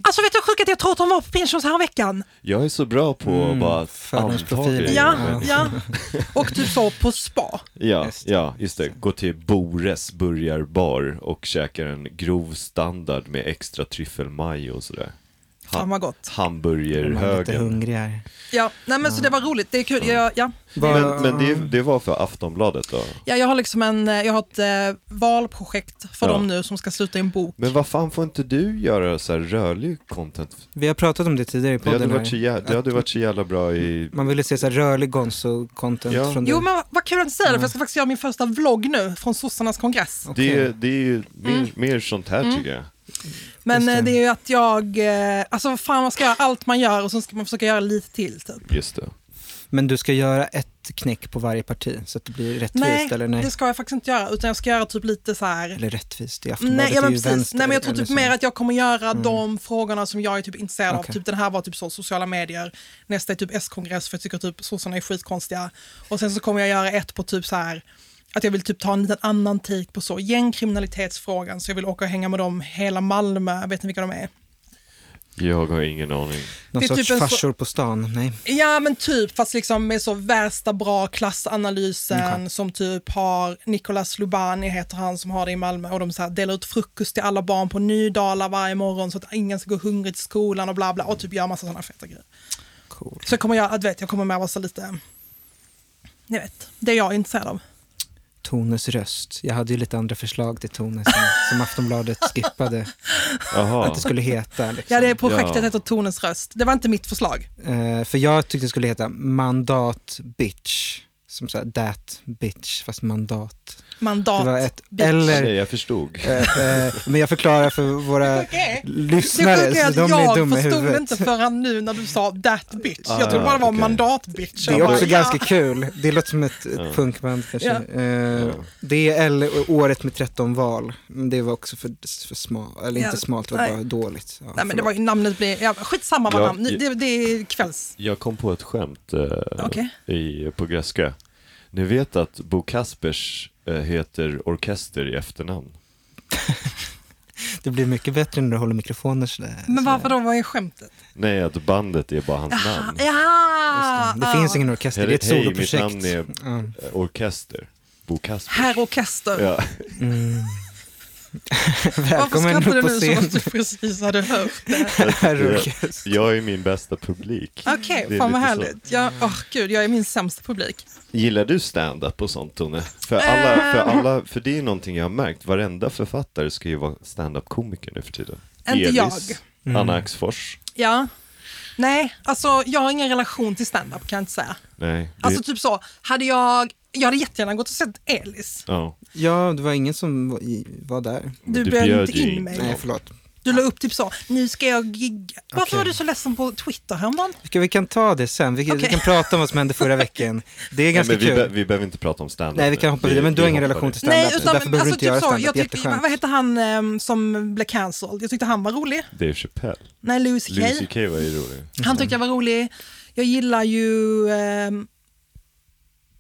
Speaker 3: Alltså vet du hur sjukt att jag tror att de var på Pinchos här veckan?
Speaker 2: Jag är så bra på att bara anta
Speaker 4: förhandsprofiler.
Speaker 2: grejer.
Speaker 3: Ja,
Speaker 4: Ja.
Speaker 3: ja. Och typ så på spa.
Speaker 2: Ja,
Speaker 4: Just.
Speaker 2: ja, just det. Gå till Bores burgarbar och käka en grov standard med extra tryffelmajo och sådär.
Speaker 3: Fan vad gott.
Speaker 4: Man är lite
Speaker 2: Hamburgerhögen.
Speaker 4: hungrig här.
Speaker 3: Ja, nej men så det var roligt. Det är kul. Jag, ja.
Speaker 2: Men,
Speaker 4: Vad-
Speaker 2: men det, det var för Aftonbladet då?
Speaker 3: Ja, jag har liksom en, eh, jag har ett eh, valprojekt för
Speaker 2: Ja.
Speaker 3: dem nu som ska sluta i en bok.
Speaker 2: Men vad fan får inte du göra så här rörlig content?
Speaker 4: Vi har pratat om det tidigare i
Speaker 2: Det hade
Speaker 4: podden Mm,
Speaker 2: varit så
Speaker 4: här.
Speaker 2: jävla, det hade varit så jävla bra i...
Speaker 4: Man ville se så här rörlig Gonzo-content
Speaker 2: Ja.
Speaker 4: från
Speaker 3: Jo
Speaker 4: dig.
Speaker 3: men vad- vad kul att du säger det, för jag ska
Speaker 2: Mm.
Speaker 3: faktiskt göra min första vlogg nu från sossarnas kongress.
Speaker 4: Okej.
Speaker 2: Det, är- det är ju mer, mer sånt här tycker jag.
Speaker 3: Men
Speaker 4: Just det.
Speaker 3: eh, det är ju att jag, eh, alltså vad fan man ska göra allt man gör och sen ska man försöka göra lite till typ.
Speaker 2: Just det.
Speaker 4: Men du ska göra ett knäck på varje parti så att det blir rättvist
Speaker 3: Nej,
Speaker 4: eller nej?
Speaker 3: det ska jag faktiskt inte göra utan jag ska göra typ lite så här.
Speaker 4: Eller rättvist, i Aftonbladet
Speaker 3: Nej, ja,
Speaker 4: är
Speaker 3: men
Speaker 4: ju
Speaker 3: precis.
Speaker 4: vänster.
Speaker 3: Nej, men jag tror
Speaker 4: eller
Speaker 3: typ
Speaker 4: så.
Speaker 3: mer att jag kommer göra de frågorna som jag är typ intresserad av.
Speaker 4: Okej.
Speaker 3: Typ den här var typ så, sociala medier. Nästa är typ S-kongress för jag tycker typ sossarna är skitkonstiga. Och sen så kommer jag göra ett på typ så här att jag vill typ ta en liten annan take på så gängkriminalitetsfrågan. Så jag vill åka och hänga med dem hela Malmö. Vet ni vilka de är?
Speaker 2: Jag har ingen aning.
Speaker 4: Någon
Speaker 3: det är
Speaker 4: sorts
Speaker 3: typ en så-
Speaker 4: farsor på stan, nej.
Speaker 3: Ja men typ, fast liksom med så värsta bra
Speaker 4: Mm,
Speaker 3: klassanalysen som typ har Nicolas Lubani heter han som har det i Malmö och de så här delar ut frukost till alla barn på Nydala varje morgon så att ingen ska gå hungrig till skolan och bla bla och typ gör massa sådana feta grejer.
Speaker 4: Cool.
Speaker 3: Så jag kommer jag, vet, jag kommer med vara så lite, ni vet, det jag är intresserad av.
Speaker 4: Tones röst. Jag hade ju lite andra förslag till Tone som, som Aftonbladet skippade att
Speaker 2: Jaha.
Speaker 4: det skulle heta. Liksom.
Speaker 3: Ja det projektet
Speaker 2: Ja.
Speaker 3: heter Tonens röst, det var inte mitt förslag.
Speaker 4: Eh, för jag tyckte det skulle heta Mandat Bitch. Som såhär that bitch, fast mandat.
Speaker 3: Mandat.
Speaker 4: Det var ett,
Speaker 3: bitch.
Speaker 4: eller,
Speaker 2: Nej, jag förstod.
Speaker 4: eh, eh, men jag förklarar för våra
Speaker 3: Okej. Det
Speaker 4: lyssnare,
Speaker 3: sjuka är att
Speaker 4: så eh, alltså, de är
Speaker 3: jag
Speaker 4: dumma i
Speaker 3: förstod
Speaker 4: huvudet.
Speaker 3: inte förrän nu när du sa that bitch.
Speaker 2: Ah,
Speaker 3: jag trodde bara det var
Speaker 2: okej.
Speaker 3: mandat-bitch.
Speaker 4: Det
Speaker 3: Jag
Speaker 4: är
Speaker 3: bara,
Speaker 4: också
Speaker 3: ja.
Speaker 4: ganska kul. Det låter som ett, ett punkband kanske. Eh, Det är L- året med 13 val. Men Det var också för, för smalt, eller
Speaker 3: Ja,
Speaker 4: inte smalt, det var
Speaker 3: nej.
Speaker 4: bara dåligt. Ja,
Speaker 3: Nej men det
Speaker 4: förlåt.
Speaker 3: var ju namnet blir, ja, skitsamma vad
Speaker 2: Ja,
Speaker 3: namn,
Speaker 2: i-
Speaker 3: det, det är kvälls...
Speaker 2: Jag kom på ett skämt eh,
Speaker 3: Okej.
Speaker 2: i, på Gräskö. Ni vet att Bo Kaspers eh, heter Orkester i efternamn.
Speaker 4: det blir mycket bättre när du håller mikrofoner sådär. Alltså,
Speaker 3: Men varför då, vad är skämtet?
Speaker 2: Nej, att bandet är bara hans namn.
Speaker 3: Jaha!
Speaker 4: mm, Det finns ingen orkester, det är ett
Speaker 2: Hej,
Speaker 4: soloprojekt.
Speaker 2: mitt namn är-
Speaker 4: Ja.
Speaker 2: Eh, Orkester. Bo Kaspers.
Speaker 3: Herr Orkester.
Speaker 2: Ja.
Speaker 3: Varför
Speaker 4: Välkommen
Speaker 3: skrattar
Speaker 4: upp
Speaker 3: du
Speaker 4: på
Speaker 3: nu som
Speaker 4: scen,
Speaker 3: att du precis hade hört det?
Speaker 4: herr
Speaker 2: Jag,
Speaker 4: orkester.
Speaker 2: jag är min bästa publik.
Speaker 3: Okej,
Speaker 2: Det är
Speaker 3: fan vad
Speaker 2: lite
Speaker 3: härligt. Jag, åh gud, jag är min sämsta publik.
Speaker 2: Gillar du stand-up och sånt Tone? För, alla, för, alla, för det är någonting jag har märkt, varenda författare ska ju vara stand-up-komiker nu för tiden.
Speaker 3: Inte
Speaker 2: jag. Anna Axfors.
Speaker 3: Ja. Nej, alltså jag har ingen relation till stand-up kan jag inte säga.
Speaker 2: Nej. det-
Speaker 3: Alltså typ så, hade jag, jag hade jättegärna gått och sett Elis.
Speaker 2: ja.
Speaker 4: Ja, det var ingen som var, i- var där.
Speaker 2: Men
Speaker 3: Du
Speaker 2: du
Speaker 3: bjöd
Speaker 2: bjöd
Speaker 3: inte
Speaker 2: ju
Speaker 3: in
Speaker 2: in
Speaker 3: mig.
Speaker 2: någon.
Speaker 4: Nej, förlåt.
Speaker 3: Du la upp typ så, nu ska jag gigga. Varför
Speaker 4: Okej.
Speaker 3: var du så ledsen på Twitter häromdagen?
Speaker 4: Vi kan, vi kan ta det sen, vi, kan- vi
Speaker 3: Okej.
Speaker 4: kan prata om vad som hände förra veckan. Det är
Speaker 2: Nej,
Speaker 4: ganska
Speaker 2: men vi,
Speaker 4: kul.
Speaker 2: be, vi behöver inte prata om standup
Speaker 4: Nej, vi kan
Speaker 2: nu.
Speaker 4: hoppa vidare, men du har
Speaker 2: vi
Speaker 4: ingen
Speaker 2: hoppar
Speaker 4: relation
Speaker 2: det.
Speaker 4: till standup,
Speaker 3: Nej, utan, alltså typ
Speaker 4: därför behöver du inte göra
Speaker 3: så,
Speaker 4: standup.
Speaker 3: jag tyckte,
Speaker 4: Jätteskönt.
Speaker 3: vad hette han ehm, som blev cancelled? Jag tyckte han var rolig.
Speaker 2: Dave Chappelle.
Speaker 3: Nej, Louis
Speaker 2: Louis
Speaker 3: CK.
Speaker 2: CK var ju rolig.
Speaker 3: Han tyckte jag var rolig. Jag gillar ju... ehm,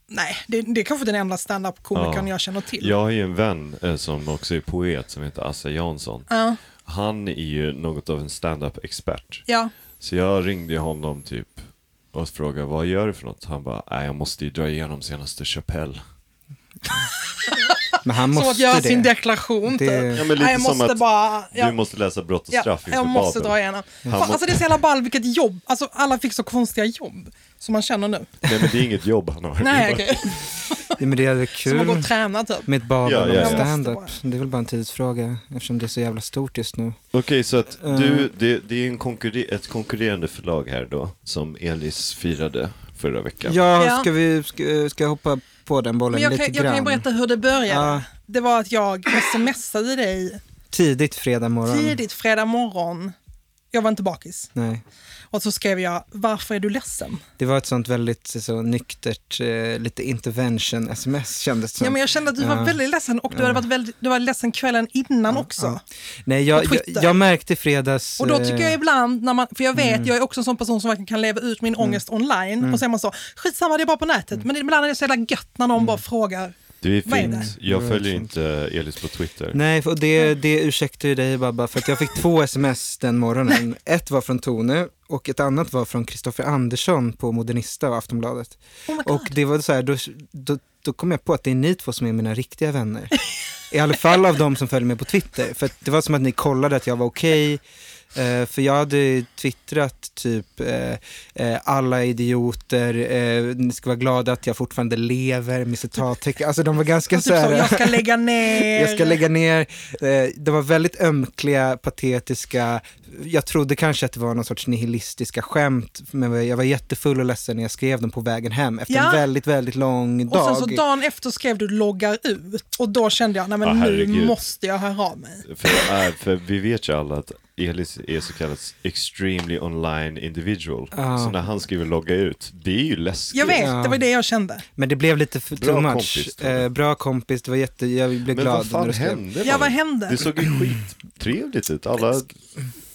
Speaker 3: nej, det, det är kanske den enda standup-komikern
Speaker 2: Ja.
Speaker 3: jag känner till.
Speaker 2: Jag har ju en vän eh, som också är poet som heter Assa Jansson.
Speaker 3: Ja,
Speaker 2: Han är ju något av en standup-expert.
Speaker 3: ja.
Speaker 2: Så jag ringde honom typ och frågade vad gör du för något? Han bara, nej jag måste ju dra igenom senaste Chappelle.
Speaker 4: Men han
Speaker 3: Som
Speaker 4: måste
Speaker 3: att göra
Speaker 4: det.
Speaker 3: sin deklaration.
Speaker 4: Det-
Speaker 3: typ.
Speaker 4: Ja,
Speaker 2: men lite
Speaker 3: Nej, jag
Speaker 2: som
Speaker 3: måste
Speaker 2: att
Speaker 3: bara... ja.
Speaker 2: Du måste läsa brott och straff
Speaker 3: ja,
Speaker 2: inför
Speaker 3: jag måste
Speaker 2: Babel.
Speaker 3: dra igenom. Fan,
Speaker 2: må-
Speaker 3: alltså det är så jävla ball vilket jobb. Alltså alla fick så konstiga jobb som man känner
Speaker 4: Mm,
Speaker 3: nu.
Speaker 2: Nej men det är inget jobb han har.
Speaker 3: Nej, okej.
Speaker 4: Ja, men det är
Speaker 3: Som att gå
Speaker 4: kul
Speaker 3: och träna typ.
Speaker 4: med ett Babel
Speaker 2: Ja, ja,
Speaker 4: om
Speaker 2: ja.
Speaker 4: standup.
Speaker 3: Jag måste
Speaker 4: Det är väl bara en tidsfråga eftersom det är så jävla stort just nu.
Speaker 2: Okej, så att
Speaker 4: Eh.
Speaker 2: du, det, det är en konkurre- ett konkurrerande förlag här då, som Elis firade förra veckan.
Speaker 4: Ja,
Speaker 3: Ja.
Speaker 4: ska, vi, ska, ska jag hoppa på den bollen
Speaker 3: Men jag
Speaker 4: lite
Speaker 3: kan, jag
Speaker 4: grann?
Speaker 3: kan ju berätta hur det började.
Speaker 4: Ja.
Speaker 3: Det var att jag smsade dig
Speaker 4: Tidigt fredag morgon.
Speaker 3: tidigt fredag morgon. Jag var inte bakis.
Speaker 4: Nej.
Speaker 3: Och så skrev jag, varför är du ledsen?
Speaker 4: Det var ett sånt väldigt så, nyktert, eh, lite intervention-sms kändes det som.
Speaker 3: Ja, men jag kände att du var
Speaker 4: Ja.
Speaker 3: väldigt ledsen och du hade varit väldigt, du var ledsen kvällen innan också.
Speaker 4: Nej, jag,
Speaker 3: på
Speaker 4: jag,
Speaker 3: Twitter.
Speaker 4: jag märkte i fredags...
Speaker 3: Och då
Speaker 4: eh,
Speaker 3: tycker jag ibland, när man, för jag
Speaker 4: Mm.
Speaker 3: vet, jag är också en sån person som verkligen kan leva ut min ångest online och så är man så, skitsamma det är bara på nätet.
Speaker 4: Mm.
Speaker 3: Men ibland är det så jävla gött när någon bara frågar.
Speaker 2: Det är
Speaker 3: Vad är
Speaker 2: fint.
Speaker 4: det?
Speaker 2: Jag
Speaker 4: Det var
Speaker 2: följer
Speaker 4: fint.
Speaker 2: inte Elis på Twitter.
Speaker 4: Nej, och det, det ursäktar ju dig Babba, för att jag fick två sms den morgonen. Ett var från Tone och ett annat var från Kristoffer Andersson på Modernista och Aftonbladet.
Speaker 3: Oh my God.
Speaker 4: Och det var så här, då, då, då kom jag på att det är ni två som är mina riktiga vänner. I alla fall av de som följer mig på Twitter. För att det var som att ni kollade att jag var okej. Eh, för jag hade twittrat typ eh, eh, alla idioter, eh, ni ska vara glada att jag fortfarande lever med citattecken. Alltså de var ganska
Speaker 3: Och typ så,
Speaker 4: så här...
Speaker 3: jag ska lägga ner.
Speaker 4: Jag ska lägga ner. Eh, De var väldigt ömkliga, patetiska. Jag trodde kanske att det var någon sorts nihilistiska skämt, men jag var jättefull och ledsen när jag skrev dem på vägen hem efter
Speaker 3: Ja.
Speaker 4: en väldigt, väldigt lång
Speaker 3: och sen
Speaker 4: dag.
Speaker 3: så dagen efter skrev du loggar ut och då kände jag, nej men
Speaker 2: Ja,
Speaker 3: nu
Speaker 2: herregud.
Speaker 3: måste jag höra av mig.
Speaker 2: För, äh, för vi vet ju alla att Elis är så kallad extremely online individual.
Speaker 4: Ja.
Speaker 2: Så när han skriver logga ut, det är ju läskigt.
Speaker 3: Ah. Jag vet,
Speaker 4: Ja.
Speaker 3: det var det jag kände.
Speaker 4: Men det blev lite för
Speaker 2: Bra
Speaker 4: too much.
Speaker 2: kompis, tror jag.
Speaker 4: eh, bra kompis, det var jätte, jag blev
Speaker 2: Men
Speaker 4: glad
Speaker 2: vad
Speaker 4: när
Speaker 2: fan
Speaker 4: du skrev.
Speaker 2: hände?
Speaker 3: Ja,
Speaker 2: man?
Speaker 3: vad hände?
Speaker 2: Det såg ju skittrevligt ut. Alla...
Speaker 4: Typ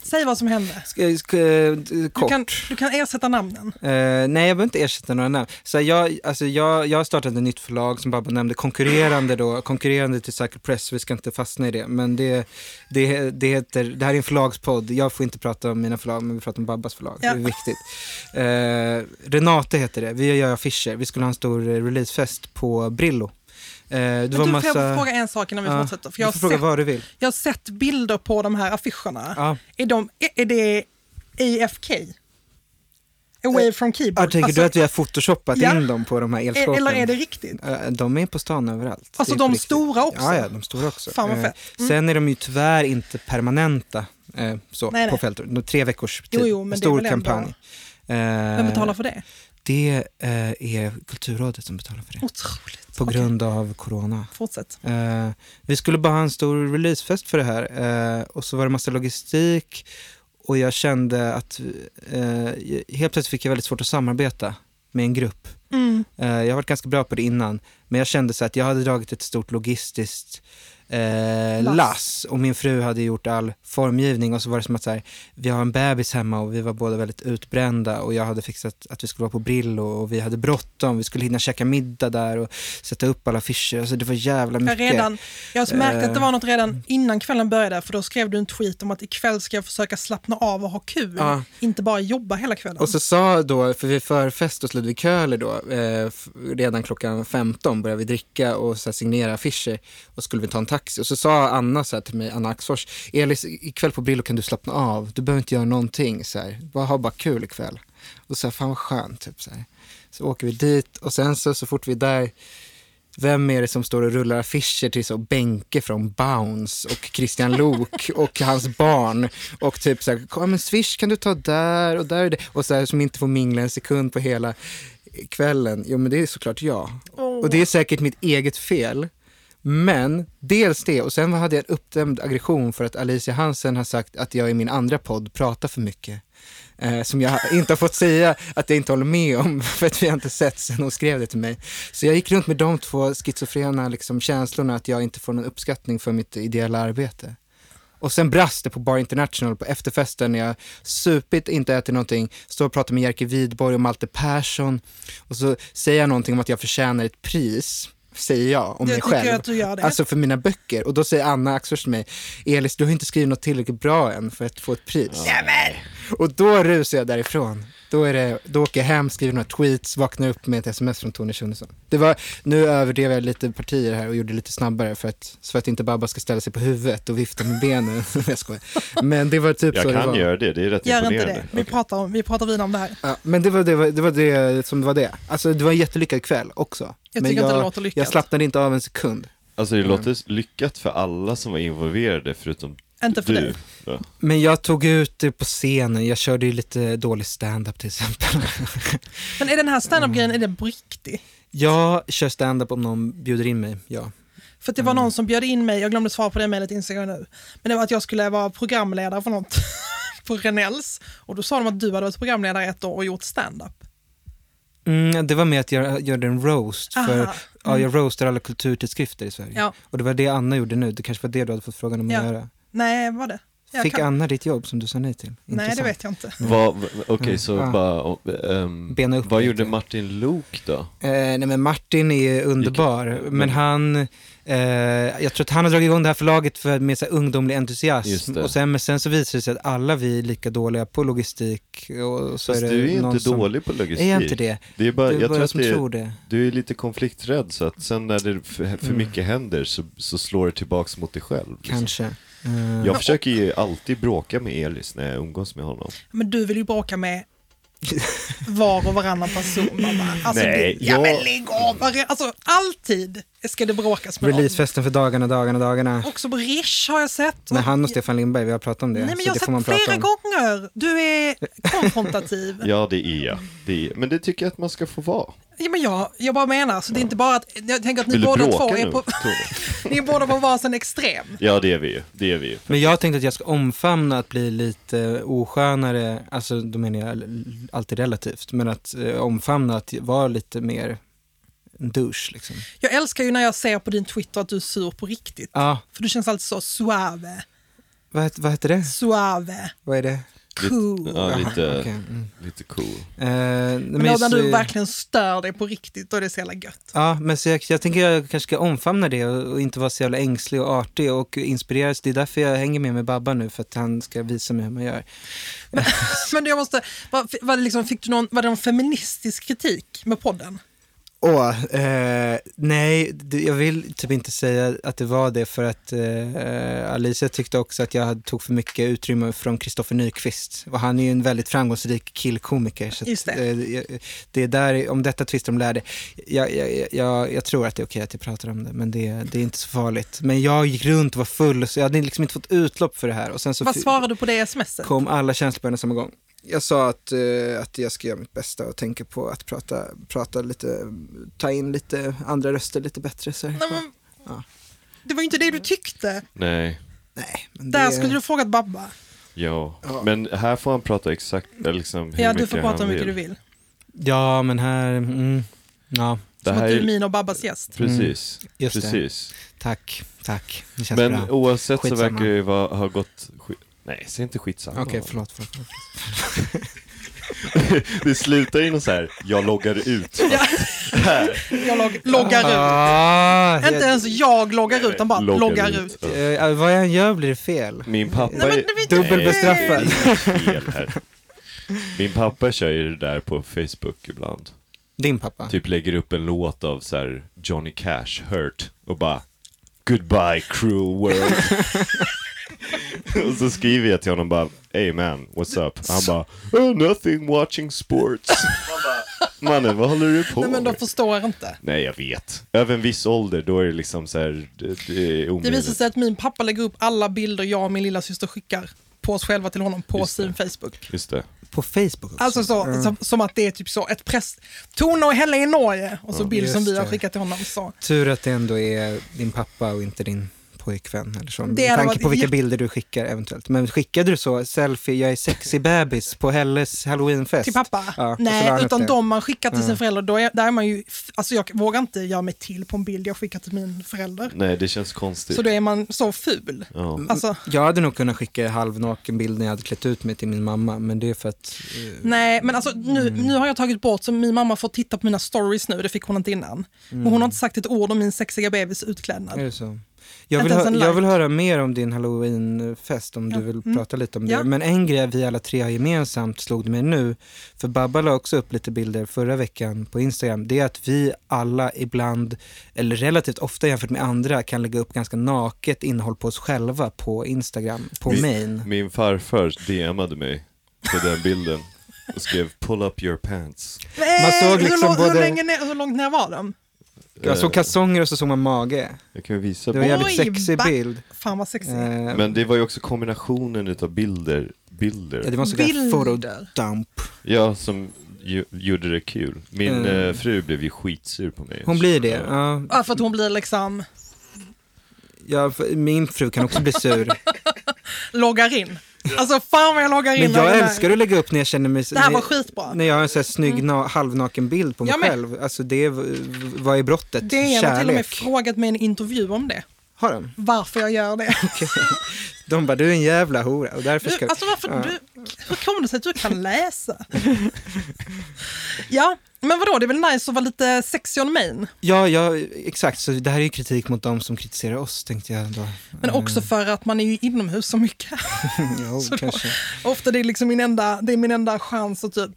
Speaker 3: Säg vad som hände.
Speaker 4: Ska- ska- eh,
Speaker 3: Du
Speaker 4: Kort.
Speaker 3: kan, du kan ersätta namnen.
Speaker 4: Eh, nej, jag behöver inte ersätta några namn. Så jag, alltså jag, jag startade ett nytt förlag som Babbo nämnde, konkurrerande då, konkurrerande till Cycle Press, vi ska inte fastna i det. Men det, det, det, heter, det här är en förlagspodd, jag får inte prata om mina förlag, men vi pratar om Babbas förlag,
Speaker 3: Ja.
Speaker 4: det är viktigt. Eh, Renate heter det, vi gör affischer, vi skulle ha en stor eh, releasefest på Brillo. Eh, det
Speaker 3: Men du, får jag fråga en sak innan vi
Speaker 4: Ja,
Speaker 3: fortsätter? För jag,
Speaker 4: du
Speaker 3: har
Speaker 4: får fråga
Speaker 3: sett,
Speaker 4: vad du vill.
Speaker 3: jag har sett bilder på de här affischerna.
Speaker 4: Ja.
Speaker 3: Är, de, är, är det AFK? Away from keyboard?
Speaker 4: Ah, tänker
Speaker 3: Alltså,
Speaker 4: du att vi har photoshoppat
Speaker 3: Ja.
Speaker 4: in dem på de här
Speaker 3: är,
Speaker 4: elskåpen?
Speaker 3: eller är det riktigt?
Speaker 4: Eh, De är på stan överallt.
Speaker 3: Alltså
Speaker 4: Det är
Speaker 3: de
Speaker 4: på riktigt.
Speaker 3: stora också?
Speaker 4: Ja, ja, de stora också.
Speaker 3: Fan vad
Speaker 4: Eh,
Speaker 3: fett. Mm.
Speaker 4: Sen är de ju tyvärr inte permanenta eh, så,
Speaker 3: Nej, nej.
Speaker 4: på fältet. De- Tre veckors tid,
Speaker 3: Jo, jo, men det är
Speaker 4: en stor
Speaker 3: väl ändå-
Speaker 4: kampanj.
Speaker 3: Vem
Speaker 4: Eh.
Speaker 3: betalar för det?
Speaker 4: Det eh, är Kulturrådet som betalar för det,
Speaker 3: Otroligt.
Speaker 4: på
Speaker 3: Okej,
Speaker 4: grund av corona.
Speaker 3: Fortsätt.
Speaker 4: Eh, vi skulle bara ha en stor releasefest för det här eh, och så var det massa logistik och jag kände att eh, helt plötsligt fick jag väldigt svårt att samarbeta med en grupp.
Speaker 3: Mm.
Speaker 4: Eh, Jag har varit ganska bra på det innan, men jag kände så att jag hade dragit ett stort logistiskt eh,
Speaker 3: Lass.
Speaker 4: lass och min fru hade gjort all formgivning och så var det som att så här, vi har en bebis hemma och vi var båda väldigt utbrända och jag hade fixat att vi skulle vara på Brillo och vi hade bråttom, vi skulle hinna käka middag där och sätta upp alla affischer, alltså det var jävla mycket. Eh.
Speaker 3: Jag, redan, jag märkte att det var något redan innan kvällen började för då skrev du en tweet om att ikväll ska jag försöka slappna av och ha kul,
Speaker 4: Ja.
Speaker 3: inte bara jobba hela kvällen.
Speaker 4: Och så sa då, för vi förfest hos Ludvig Köhler då, eh, f- redan klockan 15 började vi dricka och så här, signera affischer och skulle vi ta en taxi. Och så sa Anna så här till mig, Anna Axfors, Elis ikväll på Brillo kan du slappna av, du behöver inte göra någonting, så här. Bara, ha bara kul ikväll. Och så här, fan vad skönt, typ så här. Så åker vi dit och sen så, så fort vi är där, vem är det som står och rullar affischer till så Benke från Bounce och Christian Lok och hans barn och typ så här, "Kom, men Swish kan du ta där och där och där och så här som inte får mingla en sekund på hela kvällen. Jo men det är såklart jag.
Speaker 3: Åh.
Speaker 4: Och det är säkert mitt eget fel. Men dels det, och sen hade jag en uppdämd aggression för att Alicia Hansen har sagt att jag i min andra podd pratar för mycket. Eh, som jag inte har fått säga att jag inte håller med om, för att vi har inte sett sen hon skrev det till mig. Så jag gick runt med de två schizofrena liksom, känslorna att jag inte får någon uppskattning för mitt ideella arbete. Och sen brast det på Bar International på efterfesten när jag supit, inte ätit någonting, står och pratar med Jerker Widborg och Malte Persson och så säger jag någonting om att jag förtjänar ett pris, säger jag om
Speaker 3: Jag
Speaker 4: mig
Speaker 3: tycker
Speaker 4: själv.
Speaker 3: att du gör det.
Speaker 4: Alltså för mina böcker. Och då säger Anna Axfors till mig, Elis du har inte skrivit något tillräckligt bra än för att få ett pris. Och då rusar jag därifrån. Då, är det, då åker jag hem, skriver några tweets, vaknar upp med ett sms från Tony Schunnesson. Det var, nu överdrev jag lite partier här och gjorde det lite snabbare för att, för att inte Babba ska ställa sig på huvudet och vifta med benen. jag skojar. Men det var typ så
Speaker 2: Jag
Speaker 4: det
Speaker 2: kan
Speaker 4: var.
Speaker 2: göra det, det är rätt
Speaker 3: Gör inte
Speaker 2: imponerande.
Speaker 3: det. Vi
Speaker 2: Okej.
Speaker 3: pratar, om, vi pratar vidare om det här.
Speaker 4: Ja, men det var det, var, det var det som var det. Alltså det var en jättelyckad kväll också.
Speaker 3: Jag
Speaker 4: men
Speaker 3: tycker inte det låter lyckat.
Speaker 4: Jag slappnade inte av en sekund.
Speaker 2: Alltså det låter lyckat för alla som var involverade förutom
Speaker 3: Inte för
Speaker 2: du.
Speaker 3: dig.
Speaker 2: Ja.
Speaker 4: Men jag tog ut det på scenen, jag körde ju lite dålig stand-up till exempel.
Speaker 3: Men är den här standup-grejen,
Speaker 2: Mm.
Speaker 3: är det på riktigt?
Speaker 4: jag kör stand-up om någon bjuder in mig, ja.
Speaker 3: För att det var
Speaker 2: Mm.
Speaker 3: någon som bjöd in mig, jag glömde svara på det mejlet Instagram nu, men det var att jag skulle vara programledare för något på Renells och då sa de att du hade varit programledare ett år och gjort standup.
Speaker 4: Mm, det var med att jag gjorde en roast,
Speaker 3: Aha, mm.
Speaker 4: för ja, jag roastar alla kulturtidskrifter i Sverige.
Speaker 3: Ja.
Speaker 4: Och det var det Anna gjorde nu, det kanske var det du hade fått frågan om att
Speaker 3: Ja.
Speaker 4: göra.
Speaker 3: Nej, var det? Jag
Speaker 4: Fick
Speaker 3: kan-
Speaker 4: Anna ditt jobb som du sa nej till?
Speaker 3: Nej, det vet jag inte.
Speaker 2: Vad- v- Okej, så
Speaker 4: Mm. Ja.
Speaker 2: bara, ehm,
Speaker 4: Bena upp
Speaker 2: vad
Speaker 4: lite.
Speaker 2: gjorde Martin Luuk då?
Speaker 4: Eh, nej men Martin är underbar, men han, eh, jag tror att han har dragit igång det här förlaget för, med så här ungdomlig
Speaker 2: Just
Speaker 4: entusiasm.
Speaker 2: det.
Speaker 4: Och sen, men sen så visar det sig att alla vi är lika dåliga på logistik. Och, och så
Speaker 2: Fast
Speaker 4: är det
Speaker 2: du är
Speaker 4: någon
Speaker 2: inte
Speaker 4: som,
Speaker 2: dålig på logistik.
Speaker 4: Är jag inte det?
Speaker 2: Det är bara,
Speaker 4: det är
Speaker 2: jag
Speaker 4: bara
Speaker 2: tror
Speaker 4: jag
Speaker 2: att
Speaker 4: som
Speaker 2: det,
Speaker 4: tror
Speaker 2: är-
Speaker 4: det.
Speaker 2: du är lite konflikträdd så att sen när det för,
Speaker 3: Mm.
Speaker 2: för mycket händer så, så slår det tillbaks mot dig själv. liksom.
Speaker 4: Kanske. Eh,
Speaker 2: Jag försöker ju alltid bråka med Elis när jag umgås med honom.
Speaker 3: Men du vill ju bråka med var och varannan person. Mamma. Alltså,
Speaker 2: Nej,
Speaker 3: det, ja,
Speaker 2: jag-
Speaker 3: men lägg av! Var- Alltså, alltid ska det bråkas med någon.
Speaker 4: Releasefesten för dagarna, dagarna, dagarna.
Speaker 3: Också på Rish har jag sett.
Speaker 4: Med han och Stefan Lindberg, vi har pratat om det.
Speaker 3: Nej, men
Speaker 4: så
Speaker 3: jag har
Speaker 4: det får man
Speaker 3: sett
Speaker 4: prata
Speaker 3: flera
Speaker 4: om.
Speaker 3: gånger. Du är konfrontativ.
Speaker 2: Ja, det är jag. Det är, men det tycker jag att man ska få vara.
Speaker 3: Ja, men jag, jag bara menar, så det är inte bara att, jag tänker att ni
Speaker 2: Vill du
Speaker 3: båda två
Speaker 2: bråka
Speaker 3: är
Speaker 2: nu?
Speaker 3: på,
Speaker 2: Tove?
Speaker 3: ni är båda på varsin extrem.
Speaker 2: Ja, det är vi ju. Det är vi ju.
Speaker 4: Men jag tänkte att jag ska omfamna att bli lite oskönare, alltså då menar jag l- alltid relativt, men att eh, omfamna att vara lite mer en douche liksom.
Speaker 3: Jag älskar ju när jag ser på din Twitter att du är sur på riktigt.
Speaker 4: Ja,
Speaker 3: För du känns alltid så suave,
Speaker 4: vad, het- vad heter det?
Speaker 3: suave,
Speaker 4: Vad är det?
Speaker 3: cool.
Speaker 2: Ja, lite,
Speaker 4: Okej, mm.
Speaker 2: lite cool.
Speaker 4: Eh, nej,
Speaker 3: Men då när
Speaker 4: så-
Speaker 3: du verkligen stör dig på riktigt, då är det så jävla gött.
Speaker 4: Ja, men så jag, jag tänker jag kanske ska omfamna det och, och inte vara så jävla ängslig och artig och inspireras. Det är därför jag hänger med med Babba nu, för att han ska visa mig hur man gör.
Speaker 3: Men jag måste, var, var, det liksom, fick du någon, var det någon feministisk kritik med podden?
Speaker 4: Åh, eh, nej, det- jag vill typ inte säga att det var det för att eh, Alicia tyckte också att jag hade- tog för mycket utrymme från Kristoffer Nyqvist. Och han är ju en väldigt framgångsrik killkomiker. Så att,
Speaker 3: Just det.
Speaker 4: eh, jag- det är där, om detta tvistar de lärde. Jag, jag, jag, jag tror att det är okej att jag pratar om det, men det, det är inte så farligt. Men jag gick runt och var full, så jag hade liksom inte fått utlopp för det här. Och sen så
Speaker 3: Vad
Speaker 4: fi-
Speaker 3: svarade du på det smset?
Speaker 4: kom alla känslor på en och samma gång. Jag sa att, eh, att jag ska göra mitt bästa och tänka på att prata, prata lite, ta in lite andra röster lite bättre. Så här.
Speaker 3: Nej, men,
Speaker 4: Ja.
Speaker 3: Det var ju inte det du tyckte.
Speaker 2: Nej,
Speaker 4: Nej, men
Speaker 3: Där
Speaker 4: det-
Speaker 3: skulle du frågat Babba.
Speaker 2: ja.
Speaker 4: Ja.
Speaker 2: Men här får han prata exakt eller liksom, hur
Speaker 3: Ja, du
Speaker 2: mycket
Speaker 3: får prata
Speaker 2: han
Speaker 3: hur mycket du vill.
Speaker 4: Ja, men här, mm, ja,
Speaker 2: Det
Speaker 3: Som
Speaker 2: här
Speaker 3: att du är
Speaker 2: är,
Speaker 3: min och Babbas gäst.
Speaker 2: precis,
Speaker 4: Mm. just det.
Speaker 2: precis.
Speaker 4: Tack, tack. Det känns
Speaker 2: Men
Speaker 4: bra.
Speaker 2: oavsett så
Speaker 4: Skitsamma.
Speaker 2: verkar det ju vara, ha gått... sk- Nej, säg inte skitsamma.
Speaker 4: Okej, förlåt, förlåt, förlåt.
Speaker 2: Det slutar ju något så här, jag loggar ut.
Speaker 3: Ja. Jag log- loggar ut.
Speaker 4: Ah,
Speaker 3: Inte ens jag loggar ut, utan bara loggar, ut.
Speaker 2: Ja.
Speaker 4: jag, eh, vad jag än gör blir det fel.
Speaker 2: Min pappa...
Speaker 3: Nej, men
Speaker 2: är-
Speaker 3: det vet
Speaker 4: Dubbel
Speaker 2: Nej,
Speaker 4: bestraffad.
Speaker 2: det är fel här. Min pappa kör ju det där på Facebook ibland.
Speaker 4: Din pappa.
Speaker 2: Typ lägger upp en låt av så här Johnny Cash, Hurt, och bara Goodbye cruel world. och så skriver jag till honom bara Hey man, what's up? Han bara oh, Nothing watching sports. Man bara, Mannen, vad håller du på
Speaker 3: Nej, men de
Speaker 2: med?
Speaker 3: förstår inte.
Speaker 2: Nej, jag vet. Över en viss ålder, då är det liksom så här, det, det är
Speaker 3: Det visar
Speaker 2: omöjligt.
Speaker 3: sig att min pappa lägger upp alla bilder jag och min lilla syster skickar på oss själva till honom på
Speaker 2: Just
Speaker 3: sin Facebook.
Speaker 2: Just det.
Speaker 4: På Facebook också? Mm.
Speaker 3: Alltså så,
Speaker 4: Ja.
Speaker 3: som, som att det är typ så, ett press... Tone och Helle i Norge och så bild som
Speaker 4: just
Speaker 3: vi har
Speaker 4: det.
Speaker 3: skickat till honom. Så.
Speaker 4: Tur att det ändå är din pappa och inte din pojkvän eller så.
Speaker 3: Det
Speaker 4: Med
Speaker 3: hade
Speaker 4: tanke
Speaker 3: varit
Speaker 4: på vilka
Speaker 3: jätte-
Speaker 4: bilder du skickar eventuellt. Men skickade du så, selfie, jag är sexy bebis på Helles halloweenfest?
Speaker 3: Till pappa?
Speaker 4: Ja, och så la han
Speaker 3: Nej,
Speaker 4: upp
Speaker 3: utan
Speaker 4: det. Mm.
Speaker 3: de man skickar till sin förälder, då är, där är man ju... Alltså jag vågar inte göra mig till på en bild jag skickar till min förälder.
Speaker 2: Nej, det känns konstigt.
Speaker 3: Så då är man så ful.
Speaker 2: ja.
Speaker 3: Alltså,
Speaker 4: Jag hade nog kunnat skicka halvnaken bild när jag hade klätt ut mig till min mamma, men det är för att... eh,
Speaker 3: nej, men alltså nu,
Speaker 4: Mm.
Speaker 3: nu har jag tagit bort, så min mamma får titta på mina stories nu, det fick hon inte innan. Och
Speaker 4: Mm.
Speaker 3: hon har inte sagt ett ord om min sexiga bebis
Speaker 4: Är
Speaker 3: utklädnad.
Speaker 4: det så? Jag
Speaker 3: Inte
Speaker 4: vill,
Speaker 3: ens
Speaker 4: hö-
Speaker 3: en
Speaker 4: jag
Speaker 3: like.
Speaker 4: vill höra mer om din halloweenfest om du vill prata lite om det.
Speaker 3: Mm. Ja.
Speaker 4: Men en grej vi alla tre har gemensamt slog det mig nu, för Babba la också upp lite bilder förra veckan på Instagram, det är att vi alla ibland, eller relativt ofta jämfört med andra, kan lägga upp ganska naket innehåll på oss själva på Instagram, på
Speaker 2: Vi-
Speaker 4: main.
Speaker 2: Min farfar DMade mig på den bilden och skrev “pull up your pants”.
Speaker 3: Nej,
Speaker 4: Man såg liksom
Speaker 3: Eh, hur, lång-
Speaker 4: både-
Speaker 3: hur, länge ner, hur långt ner var de?
Speaker 4: Jag såg
Speaker 2: Eh,
Speaker 4: Alltså kalsonger och så såg man mage.
Speaker 2: jag kan ju visa
Speaker 4: Det var en jävligt
Speaker 3: Oj,
Speaker 4: sexig
Speaker 3: va?
Speaker 4: bild.
Speaker 3: Fan vad sexigt.
Speaker 4: Eh,
Speaker 2: Men det var ju också kombinationen utav bilder,
Speaker 4: ja,
Speaker 2: bilder,
Speaker 4: det var en sån där photo
Speaker 3: Bilder.
Speaker 4: dump.
Speaker 2: ja som ju, gjorde det kul. Min
Speaker 4: Mm.
Speaker 2: eh, fru blev ju skitsur på mig.
Speaker 4: Hon blir det.
Speaker 2: Ja.
Speaker 4: Ja,
Speaker 3: Ja, för att hon blir liksom,
Speaker 4: ja, för- min fru kan också bli sur.
Speaker 3: loggar in. Alltså fan vad jag loggar in.
Speaker 4: Men
Speaker 3: när
Speaker 4: jag
Speaker 3: är där.
Speaker 4: älskar att lägga upp när jag känner mig...
Speaker 3: Det här var
Speaker 4: när-
Speaker 3: skitbra. Mm.
Speaker 4: När jag har en sån här snygg na- halvnaken bild på mig
Speaker 3: Jag med.
Speaker 4: själv. Alltså det, är, vad är brottet?
Speaker 3: Det är har till och med
Speaker 4: Kärlek.
Speaker 3: frågat mig i en intervju om det.
Speaker 4: Har de?
Speaker 3: Varför jag gör det.
Speaker 4: De bara, du är en jävla hora och därför ska...
Speaker 3: Du, alltså varför,
Speaker 4: Ja.
Speaker 3: du, hur kommer det sig att du kan läsa? ja, men vadå, det är väl nice att vara lite sexy on main.
Speaker 4: Ja, ja, exakt. Så det här är ju kritik mot de som kritiserar oss, tänkte jag då.
Speaker 3: Men också för att man är ju inomhus så mycket.
Speaker 4: jo,
Speaker 3: Så då-
Speaker 4: kanske.
Speaker 3: Ofta det är liksom min enda, det är min enda chans att typ,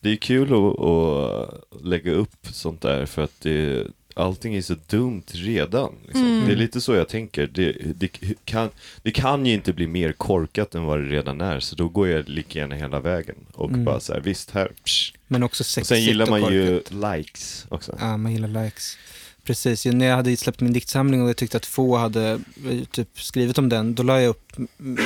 Speaker 2: Det är kul att, att lägga upp sånt där för att det, allting är så dumt redan. Liksom. Det är lite så jag tänker. Det, det, kan, det kan ju inte bli mer korkat än vad det redan är, så då går jag lika gärna hela vägen och bara så här, visst här. Psh.
Speaker 4: Men också
Speaker 2: Och
Speaker 4: Mm. sexigt
Speaker 2: sen gillar
Speaker 4: och
Speaker 2: man ju
Speaker 4: korkat.
Speaker 2: likes också.
Speaker 4: Ja, man gillar likes. Precis, ju när jag hade släppt min diktsamling och jag tyckte att få hade eh, typ skrivit om den, då la jag upp, mm,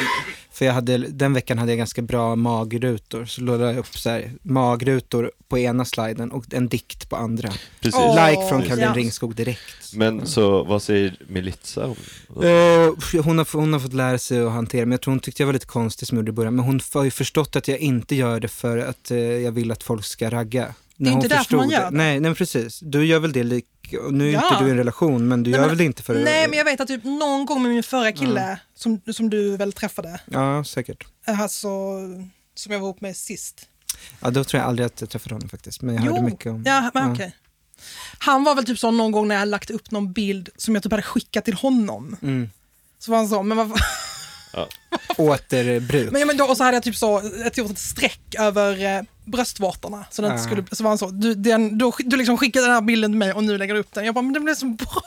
Speaker 4: för jag hade, den veckan hade jag ganska bra magrutor, så då la jag upp så här, magrutor på ena sliden och en dikt på andra.
Speaker 2: Precis.
Speaker 3: Åh.
Speaker 4: Like från Caroline
Speaker 3: Ja.
Speaker 4: Ringskog direkt.
Speaker 2: Men så vad säger Melitza om?
Speaker 4: Eh, hon, har, hon har fått lära sig att hantera, men jag tror hon tyckte jag var lite konstig som jag gjorde i början, men hon har ju förstått att jag inte gör det för att eh, jag vill att folk ska ragga.
Speaker 3: Det är
Speaker 4: När
Speaker 3: inte
Speaker 4: hon
Speaker 3: därför
Speaker 4: förstod
Speaker 3: man gör det.
Speaker 4: Nej, nej men precis. Du gör väl det lik, nu är
Speaker 3: Ja.
Speaker 4: inte du i en relation, men du
Speaker 3: Nej,
Speaker 4: gör
Speaker 3: men-
Speaker 4: väl det inte för
Speaker 3: nej men jag vet att typ någon gång med min förra kille, som, som du väl träffade,
Speaker 4: Ja, säkert.
Speaker 3: alltså, som jag var ihop med sist.
Speaker 4: Ja, då tror jag aldrig att jag träffade honom faktiskt, men jag hörde mycket om
Speaker 3: Ja, men okej. Han var väl typ så någon gång när jag lagt upp någon bild som jag typ hade skickat till honom.
Speaker 4: Mm.
Speaker 3: Så var han så, men vad
Speaker 4: återbruk.
Speaker 3: men, men då, och så hade jag typ så, ett, gjort ett streck över eh, bröstvårtorna. Så, den inte
Speaker 4: Ah.
Speaker 3: skulle, så var han så, du, den, du, har skick- du liksom skickade den här bilden till mig och nu lägger du upp den. Jag bara, men den blev så bra.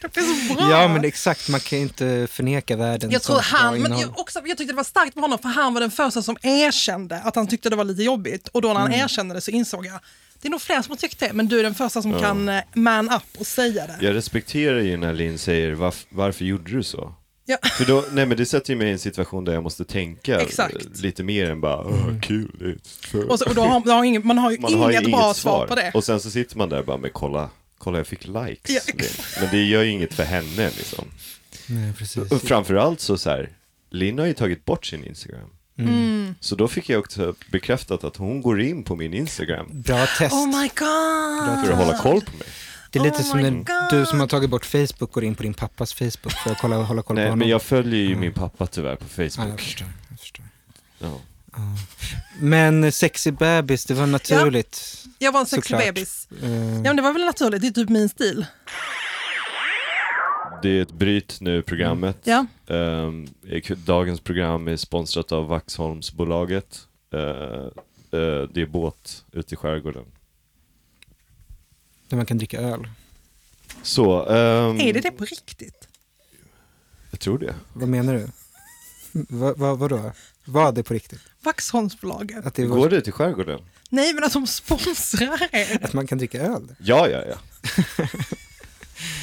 Speaker 3: den blev så bra.
Speaker 4: Ja, men exakt, man kan ju inte förneka världen.
Speaker 3: jag tror
Speaker 4: som bra
Speaker 3: han, men
Speaker 4: innehåll.
Speaker 3: jag, också, jag tyckte det var starkt med honom för han var den första som erkände att han tyckte det var lite jobbigt. Och då när
Speaker 2: Mm.
Speaker 3: han erkände det så insåg jag, det är nog fler som har tyckt det, men du är den första som kan eh, man up och säga det.
Speaker 2: Jag respekterar ju när Linn säger varf, varför gjorde du så?
Speaker 3: Ja.
Speaker 2: För då, nej men det sätter ju mig i en situation där jag måste tänka eh,
Speaker 3: Exakt.
Speaker 2: lite mer än bara,
Speaker 4: Mm.
Speaker 2: "Åh, kul. det är så."
Speaker 3: Och, så, och då har, då har ingen, man har ju
Speaker 2: man
Speaker 3: inget
Speaker 2: har ju inget
Speaker 3: bra
Speaker 2: svar.
Speaker 3: svar. på det.
Speaker 2: Och sen så sitter man där och bara, men kolla, kolla jag fick likes.
Speaker 3: Ja,
Speaker 2: Det- Men det gör ju inget för henne liksom.
Speaker 4: Nej, precis.
Speaker 2: Och framförallt så så här, Linn har ju tagit bort sin Instagram.
Speaker 4: Mm.
Speaker 3: Mm.
Speaker 2: Så då fick jag också bekräftat att hon går in på min Instagram
Speaker 4: Bra test.
Speaker 3: Oh my god!
Speaker 2: för att hålla koll på mig.
Speaker 4: Det är lite
Speaker 3: Oh
Speaker 4: som
Speaker 3: my
Speaker 4: när du som har tagit bort Facebook går in på din pappas Facebook för att kolla, hålla koll på
Speaker 2: Nej,
Speaker 4: honom. Mm.
Speaker 2: men jag följer ju min pappa tyvärr på
Speaker 4: ja, jag
Speaker 2: Facebook.
Speaker 4: förstår. Jag förstår.
Speaker 2: Ja.
Speaker 4: Men eh, sexy bebis, det var naturligt.
Speaker 3: Jag var en sexig
Speaker 4: Såklart.
Speaker 3: bebis.
Speaker 4: Eh,
Speaker 3: Ja, men det var väl naturligt, det är typ min stil.
Speaker 2: Det är ett bryt nu, i programmet.
Speaker 3: Mm. Ja.
Speaker 2: Ehm, dagens program är sponsrat av Vaxholmsbolaget. Eh, eh, det är båt ute i skärgården.
Speaker 4: Där man kan dricka öl.
Speaker 2: Så, ehm,
Speaker 3: Mm. Är det det på riktigt?
Speaker 2: jag tror det.
Speaker 4: Vad menar du? Va, va, vadå? Var det på riktigt?
Speaker 3: Vaxholmsbolaget?
Speaker 4: Att, det var,
Speaker 2: Går det till skärgården?
Speaker 3: Nej, men att de sponsrar er.
Speaker 4: att man kan dricka öl? där?
Speaker 2: Ja, ja, ja.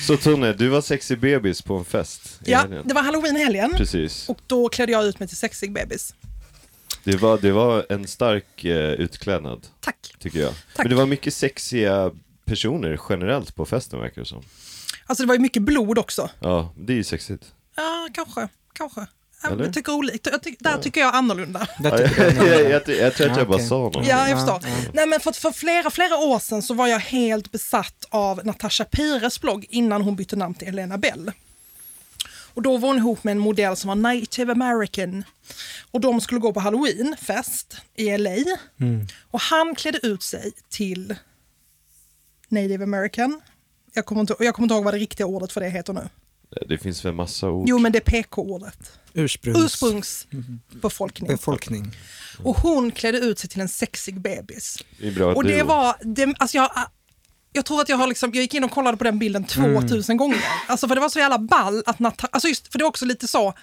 Speaker 2: Så Tone, du var sexig bebis på en fest i
Speaker 3: Ja,
Speaker 2: helgen.
Speaker 3: det var halloween i helgen
Speaker 2: Precis.
Speaker 3: och då klädde jag ut mig till sexig bebis.
Speaker 2: Det var, det var en stark eh, utklädnad,
Speaker 3: Tack.
Speaker 2: tycker jag.
Speaker 3: Tack.
Speaker 2: Men det var mycket sexiga personer generellt på festen, verkar det som.
Speaker 3: Alltså det var ju mycket blod också.
Speaker 2: Ja, det är ju sexigt.
Speaker 3: Ja, kanske. Kanske. Ja,
Speaker 2: Eller?
Speaker 3: Jag tycker olika. Jag ty- där tycker jag annorlunda.
Speaker 4: Där
Speaker 2: jag,
Speaker 4: tycker jag
Speaker 2: jag,
Speaker 4: nog-
Speaker 2: jag, jag, tror att
Speaker 4: Ja,
Speaker 2: jag bara
Speaker 4: okej.
Speaker 2: sa något.
Speaker 3: Ja, jag
Speaker 4: Ja,
Speaker 3: förstår. Nej, men för, för flera, flera år sedan så var jag helt besatt av Natasha Pires blogg innan hon bytte namn till Elena Bell. Och då var hon ihop med en modell som var native american. Och de skulle gå på halloweenfest i LA.
Speaker 4: Mm.
Speaker 3: Och han klädde ut sig till native american. Jag kommer, inte, och jag kommer inte ihåg vad det riktiga ordet för det heter nu.
Speaker 2: Det finns väl massa ord.
Speaker 3: Jo, men det är PK-ordet.
Speaker 4: Ursprungs... Mm-hmm.
Speaker 3: Ursprungsbefolkning.
Speaker 4: Befolkning.
Speaker 3: Och hon klädde ut sig till en sexig bebis.
Speaker 2: Det är bra att
Speaker 3: Och
Speaker 2: du-
Speaker 3: det var, det, alltså jag, jag tror att jag har liksom, jag gick in och kollade på den bilden
Speaker 4: Mm.
Speaker 3: 2000 gånger. Alltså för det var så jävla ball att Nata, alltså just, för det är också lite så,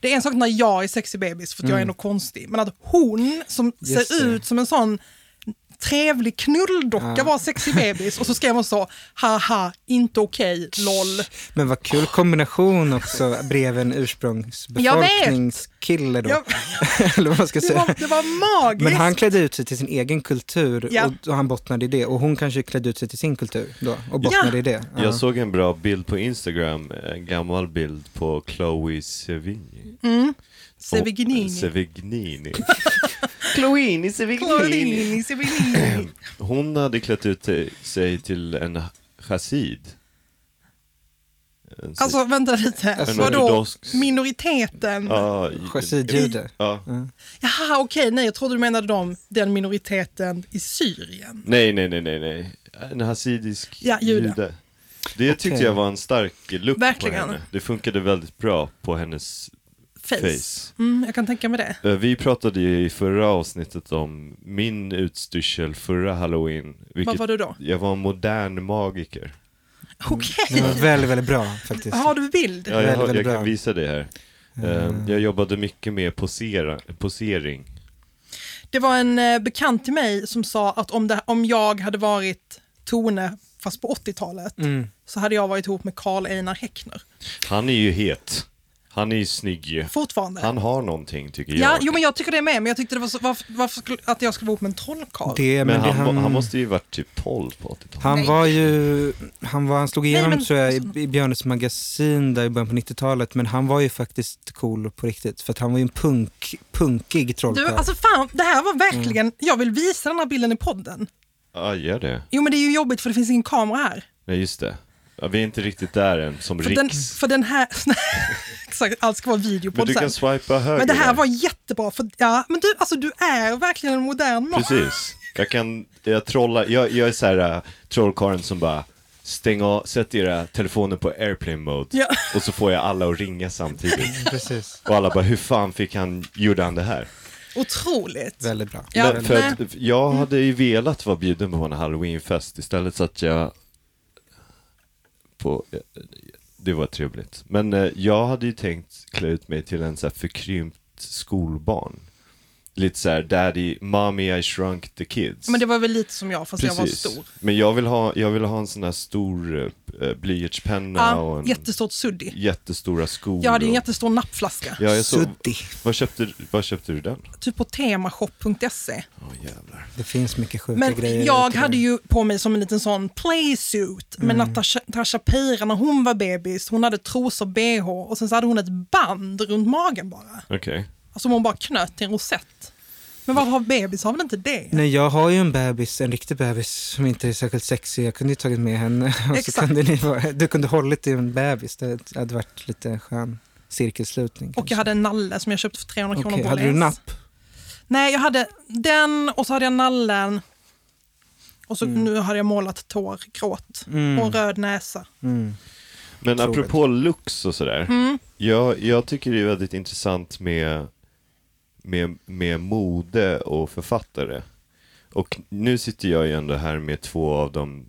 Speaker 3: det är en sak när jag är sexig bebis för att jag är nog konstig, men att hon som
Speaker 4: Mm. Just
Speaker 3: ser
Speaker 4: det.
Speaker 3: ut som en sån trevlig knulldocka
Speaker 4: Ja.
Speaker 3: var sexig bebis och så skrev hon så, haha, inte okej, LOL.
Speaker 4: Men vad kul kombination också, bredvid en ursprungsbefolkningskille då.
Speaker 3: Jag,
Speaker 4: Eller vad man ska
Speaker 3: det,
Speaker 4: säga.
Speaker 3: var, det var magiskt.
Speaker 4: Men han klädde ut sig till sin egen kultur
Speaker 3: Ja.
Speaker 4: och, och han bottnade i det. Och hon kanske klädde ut sig till sin kultur då och bottnade
Speaker 3: Ja.
Speaker 4: i det. Ja.
Speaker 2: Jag såg en bra bild på Instagram, en gammal bild på Chloe
Speaker 3: Mm.
Speaker 2: Sevigny.
Speaker 3: Sevignini.
Speaker 2: Sevignini.
Speaker 1: Chloini
Speaker 3: Clonini, Sevignini.
Speaker 2: Hon hade klätt ut te- sig till en chassid. En si-
Speaker 3: Alltså vänta lite,
Speaker 4: Alltså,
Speaker 3: vadå
Speaker 2: ortodox-
Speaker 3: minoriteten?
Speaker 2: ja,
Speaker 4: Chassidjude.
Speaker 2: Ja.
Speaker 3: Jaha, okej, nej, jag trodde du menade dem, den minoriteten i Syrien.
Speaker 2: Nej, nej, nej, nej, nej. En hasidisk
Speaker 3: Ja, jude.
Speaker 2: jude. Det tyckte
Speaker 4: Okej.
Speaker 2: jag var en stark look
Speaker 3: Verkligen.
Speaker 2: på henne. Det funkade väldigt bra på hennes
Speaker 3: Face.
Speaker 2: face.
Speaker 3: Mm, jag kan tänka mig det.
Speaker 2: Eh, Vi pratade ju i förra avsnittet om min utstyrsel förra halloween. Vilket Mm.
Speaker 3: Vad var du då?
Speaker 2: Jag var en modern magiker.
Speaker 4: Det
Speaker 3: Okej,
Speaker 4: var väldigt, väldigt bra faktiskt.
Speaker 3: har du bild?
Speaker 2: Mm. Ja,
Speaker 4: Väldigt,
Speaker 2: jag, har- jag
Speaker 4: väldigt
Speaker 2: kan
Speaker 4: bra.
Speaker 2: visa det här. Eh, Jag jobbade mycket med posera, posering.
Speaker 3: Det var en eh, bekant till mig som sa att om, det, om jag hade varit Tone, fast på 80-talet,
Speaker 4: Mm.
Speaker 3: så hade jag varit ihop med Karl Einar Häckner.
Speaker 2: Han är ju het. Han är ju snygg ju.
Speaker 3: Fortfarande.
Speaker 2: Han har någonting tycker
Speaker 3: ja,
Speaker 2: jag.
Speaker 3: jo, men jag tycker det med, men jag tyckte det var så, varför, varför skulle, att jag skulle vara ihop med en trollkarl?
Speaker 4: Det, men
Speaker 2: men
Speaker 4: det,
Speaker 2: han,
Speaker 4: han,
Speaker 2: må- han måste ju varit typ 12 på 80-talet.
Speaker 4: han
Speaker 3: Nej.
Speaker 4: var ju, han, var, han slog igenom
Speaker 3: men-
Speaker 4: tror jag i, i Björnes magasin där i början på 90-talet. Men han var ju faktiskt cool på riktigt. För att han var ju en punk, punkig trollkarl.
Speaker 3: Du, alltså fan, det här var
Speaker 2: Mm.
Speaker 3: verkligen, jag vill visa den här bilden i podden.
Speaker 2: Ja, gör det.
Speaker 3: Jo men det är ju jobbigt för det finns ingen kamera här.
Speaker 2: Nej, just det. Ja, vi är inte riktigt där än, som
Speaker 3: För
Speaker 2: Riks.
Speaker 3: den, för den här, exakt, allt ska vara
Speaker 2: Men
Speaker 3: videopodd
Speaker 2: du
Speaker 3: sen.
Speaker 2: kan swipa höger.
Speaker 3: Men det här
Speaker 2: där.
Speaker 3: var jättebra, för ja, men du, alltså, du är verkligen en modern man.
Speaker 2: Precis. Jag kan, jag trollar, jag, jag är så här äh, trollkarlen som bara stäng av, sätt era telefoner på airplane mode
Speaker 3: Ja.
Speaker 2: och så får jag alla att ringa samtidigt.
Speaker 4: Precis.
Speaker 2: Och alla bara, hur fan fick han, gjorde han det här?
Speaker 3: Otroligt.
Speaker 4: Väldigt bra.
Speaker 3: Ja,
Speaker 2: Men för att,
Speaker 3: nej.
Speaker 2: jag hade ju velat vara bjuden på en halloweenfest istället så att jag på, det var trevligt. Men eh, jag hade ju tänkt klä ut mig till en så här förkrympt skolbarn. Lite så här, daddy, mommy I shrunk the kids.
Speaker 3: Men det var väl lite som Alltså, jag, fast jag var
Speaker 2: Precis.
Speaker 3: stor.
Speaker 2: Men jag vill ha, jag vill ha en sån här stor eh, blyertspenna och
Speaker 3: Ja,
Speaker 2: en
Speaker 3: jättestort suddig.
Speaker 2: jättestora skor.
Speaker 3: Jag hade ju en
Speaker 2: och-
Speaker 3: jättestor nappflaska,
Speaker 2: ja, jag såg,
Speaker 4: Suddig.
Speaker 2: vad, köpte, vad köpte du den?
Speaker 3: typ på temashop.se.
Speaker 2: Åh jävlar.
Speaker 4: Det finns mycket sjuka grejer.
Speaker 3: Men jag
Speaker 4: ute
Speaker 3: hade
Speaker 4: där.
Speaker 3: ju på mig som en liten sån playsuit
Speaker 2: Mm.
Speaker 3: med Natasha, Natasha Peira när hon var bebis. Hon hade trosor, bh och sen så hade hon ett band runt magen bara.
Speaker 2: Okej.
Speaker 3: Alltså hon bara knöt till en rosett. Men varför har bebisar väl inte det?
Speaker 4: Nej, jag har ju en bebis, en riktig bebis som inte är särskilt sexig. Jag kunde ju tagit med henne. Och så
Speaker 3: Exakt.
Speaker 4: kunde ni vara, du kunde hållit i en bebis. Det hade varit lite skön cirkelslutning.
Speaker 3: Och jag hade en nalle som jag köpte för 300
Speaker 4: kanske.
Speaker 3: kronor på
Speaker 4: hade du
Speaker 3: Åhléns.
Speaker 4: napp?
Speaker 3: Nej, jag hade den och så hade jag nallen. Och så nu hade jag målat tår, gråt
Speaker 4: Mm.
Speaker 3: och röd näsa.
Speaker 4: Mm.
Speaker 2: Men
Speaker 4: Otroligt.
Speaker 2: apropå looks och sådär.
Speaker 3: Mm.
Speaker 2: Jag, jag tycker det är väldigt intressant med, med, med mode och författare. Och nu sitter jag ju ändå här med två av de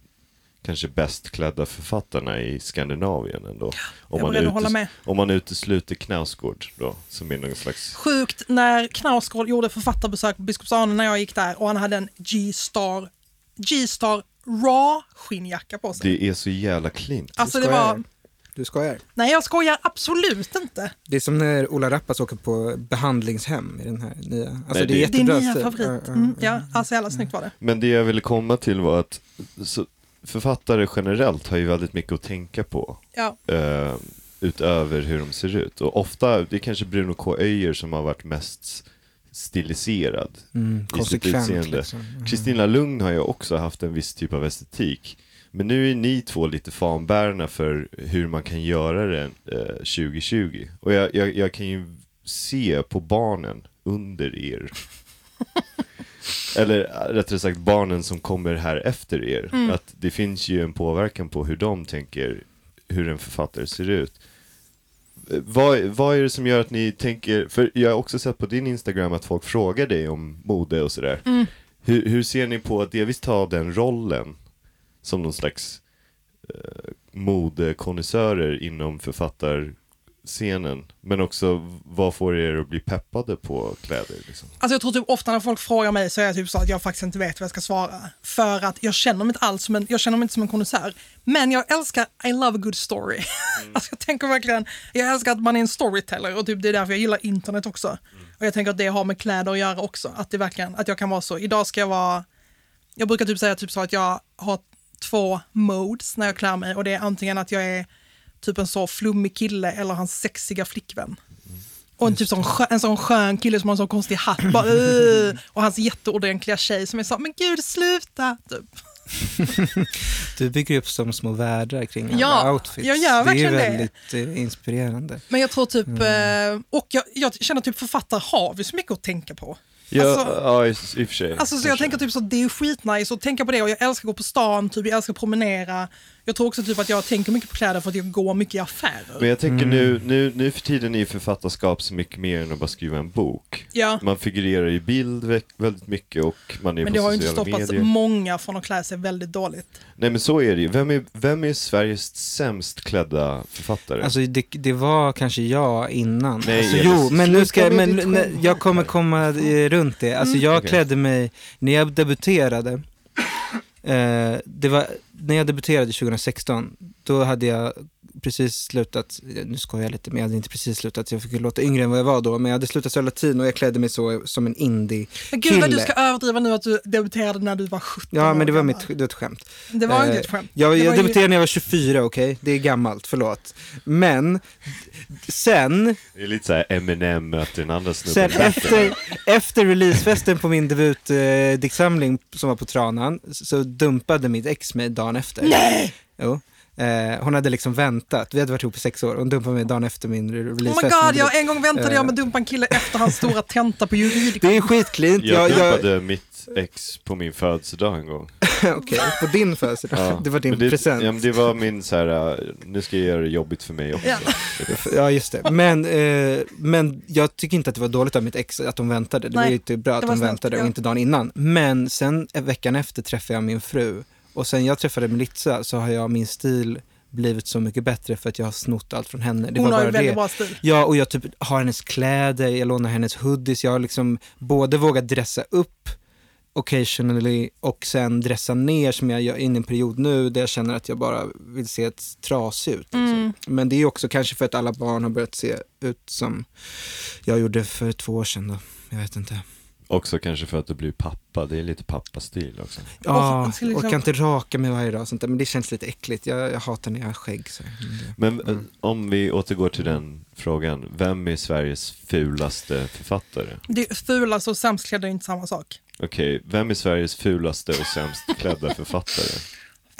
Speaker 2: kanske bäst klädda författarna i Skandinavien ändå. Om
Speaker 3: jag är beredd att
Speaker 2: utes-
Speaker 3: hålla med.
Speaker 2: Om man utesluter Knausgård då, som är någon slags...
Speaker 3: Sjukt när Knausgård gjorde författarbesök på Biskopsarna när jag gick där och han hade en G-star, G-star raw skinnjacka på sig.
Speaker 2: Det är så jävla clean.
Speaker 3: alltså det
Speaker 4: skojar.
Speaker 3: var,
Speaker 4: Du skojar.
Speaker 3: Nej, jag skojar absolut inte.
Speaker 4: Det är som när Ola Rappas åker på behandlingshem i den här nya. Alltså
Speaker 2: Nej,
Speaker 4: det är
Speaker 2: det-
Speaker 3: Din
Speaker 4: jättebra
Speaker 3: nya
Speaker 4: stil.
Speaker 3: favorit.
Speaker 4: Ja,
Speaker 3: Mm,
Speaker 4: ja,
Speaker 3: ja, alltså jävla snyggt var det.
Speaker 2: Men det jag ville komma till var att så, författare generellt har ju väldigt mycket att tänka på.
Speaker 3: Ja,
Speaker 2: eh, utöver hur de ser ut. Och ofta, det är kanske Bruno K. Öijer som har varit mest stiliserad.
Speaker 4: Mm, konsekvent.
Speaker 2: utseende.
Speaker 4: Liksom. Mm.
Speaker 2: Kristina Lugn har ju också haft en viss typ av estetik. Men nu är ni två lite fanbärarna för hur man kan göra det eh, 2020. Och jag, jag, jag kan ju se på barnen under er. Eller eh, rättare sagt barnen som kommer här efter er. Att det finns ju en påverkan på hur de tänker hur en författare ser ut. Eh, Vad, vad är det som gör att ni tänker, för jag har också sett på din Instagram att folk frågar dig om mode och sådär. Hur, hur ser ni på att delvis ta den rollen som någon slags eh, modekonnässörer inom författarscenen? Men också, vad får er att bli peppade på kläder? Liksom?
Speaker 3: Alltså jag tror typ ofta när folk frågar mig så är jag typ så att jag faktiskt inte vet vad jag ska svara. För att jag känner mig inte alls som en, jag känner mig inte som en konnässör. Men jag älskar I love a good story. alltså jag tänker verkligen, jag älskar att man är en storyteller och typ det är därför jag gillar internet också. Och jag tänker att det har med kläder att göra också. Att det verkligen, att jag kan vara så. Idag ska jag vara, jag brukar typ säga typ så att jag har två modes när jag klär mig och det är antingen att jag är typ en så flummig kille eller hans sexiga flickvän. Och en, typ sån, skö- en sån skön kille som har en sån konstig hatt. Bara, "Ugh." och hans jätteordentliga tjej som är så men gud sluta. Typ.
Speaker 4: Du bygger ju upp som små världar kring
Speaker 3: Ja,
Speaker 4: alla outfits.
Speaker 3: jag gör verkligen
Speaker 4: det.
Speaker 3: det.
Speaker 4: är ju väldigt eh, inspirerande.
Speaker 3: Men jag tror typ, eh, och jag, jag känner typ författare har vi så mycket att tänka på.
Speaker 2: Ja,
Speaker 3: Alltså-
Speaker 2: ja, i, i och för sig.
Speaker 3: Alltså, så jag
Speaker 2: Kanske.
Speaker 3: tänker typ så det är skitnice att tänka på det och jag älskar att gå på stan, typ, jag älskar att promenera. Jag tror också typ att jag tänker mycket på kläder för att jag går mycket i
Speaker 2: Men
Speaker 3: affärer.
Speaker 2: jag tänker nu, nu, nu för tiden är ju författarskap så mycket mer än att bara skriva en bok.
Speaker 3: Ja.
Speaker 2: Man figurerar i bild vä- väldigt mycket och man är
Speaker 3: Men
Speaker 2: på
Speaker 3: det har ju inte
Speaker 2: sociala
Speaker 3: stoppat
Speaker 2: medier.
Speaker 3: många från att klä sig väldigt dåligt.
Speaker 2: Nej men så är det ju. Vem är, vem är Sveriges sämst klädda författare?
Speaker 4: Alltså det, det var kanske jag innan.
Speaker 2: Typ. Nej,
Speaker 4: alltså,
Speaker 2: Elis.
Speaker 4: jo, men nu ska jag,
Speaker 3: Sluta med
Speaker 4: men,
Speaker 3: ditt
Speaker 4: nej,
Speaker 3: skämt. Mm.
Speaker 4: jag kommer komma eh, runt det. Alltså jag
Speaker 2: Okej.
Speaker 4: klädde mig, när jag debuterade, eh, det var, när jag debuterade 2016, då hade jag precis slutat, eh, nu skojar jag lite, men jag hade inte precis slutat, så jag fick ju låta yngre än vad jag var då, men jag hade slutat söla latin och jag klädde mig så som en indie.
Speaker 3: Men gud vad du
Speaker 4: Kille.
Speaker 3: ska överdriva nu att du debuterade när du var 17
Speaker 4: Ja, men det var,
Speaker 3: år
Speaker 4: mitt,
Speaker 3: gammal.
Speaker 4: det var ett skämt.
Speaker 3: Det var ju
Speaker 4: Eh,
Speaker 3: inte ett skämt.
Speaker 4: Jag,
Speaker 3: Det
Speaker 4: jag
Speaker 3: var ju-
Speaker 4: debuterade när jag var 24, okej? Det är gammalt, förlåt. Men sen,
Speaker 2: Det är lite såhär Eminem möter den andra
Speaker 4: sen
Speaker 2: snubben.
Speaker 4: efter, efter releasefesten på min debutdiktsamling eh, diktsamling som var på Tranan så dumpade mitt ex mig dagen efter. Nej! Jo. Eh, hon hade liksom väntat, vi hade varit ihop i sex år, hon dumpade mig dagen efter min re-
Speaker 3: Oh
Speaker 4: releasefest.
Speaker 3: my god, jag, en gång väntade jag
Speaker 4: Eh.
Speaker 3: med dumpa en kille efter hans stora tenta på juridik.
Speaker 4: Det är skitklint.
Speaker 2: Jag
Speaker 4: Jag, jag,
Speaker 2: dumpade mitt ex på min födelsedag en gång.
Speaker 4: Okej, på din födelsedag.
Speaker 2: Ja.
Speaker 4: Det var din
Speaker 2: Men det,
Speaker 4: present.
Speaker 2: Ja, men det var min så här. äh, nu ska jag göra det jobbigt för mig också.
Speaker 3: Ja.
Speaker 4: Ja, just det. Men, eh, men jag tycker inte att det var dåligt av mitt ex att de väntade. Det var
Speaker 3: Nej,
Speaker 4: ju typ bra att
Speaker 3: det
Speaker 4: de
Speaker 3: var snällt,
Speaker 4: väntade och
Speaker 3: ja.
Speaker 4: inte dagen innan. Men sen eh, veckan efter träffade jag min fru och sen jag träffade Melissa så har jag min stil blivit så mycket bättre för att jag har snott allt från henne. Det
Speaker 3: Hon
Speaker 4: var bara
Speaker 3: har ju väldigt
Speaker 4: det.
Speaker 3: bra stil.
Speaker 4: Ja, och jag typ har hennes kläder, jag lånar hennes hoodies, jag har liksom både vågat dressa upp occasionally och sen dressa ner som jag gör in i en period nu där jag känner att jag bara vill se ett trasig ut. Liksom.
Speaker 3: Mm.
Speaker 4: Men det är också kanske för att alla barn har börjat se ut som jag gjorde för två år sedan då. Jag vet inte.
Speaker 2: Också kanske för att du blir pappa, det är lite pappastil också.
Speaker 4: Ja,
Speaker 3: man ska liksom-
Speaker 4: orkar inte raka mig varje dag och sånt där, men det känns lite äckligt. Jag, jag hatar när jag har skägg. Så. Mm, det-
Speaker 2: Men äh, om vi återgår till den frågan, vem är Sveriges fulaste författare?
Speaker 3: Det fulaste och sämst klädda är inte samma sak.
Speaker 2: Okej, vem är Sveriges fulaste och sämst klädda författare?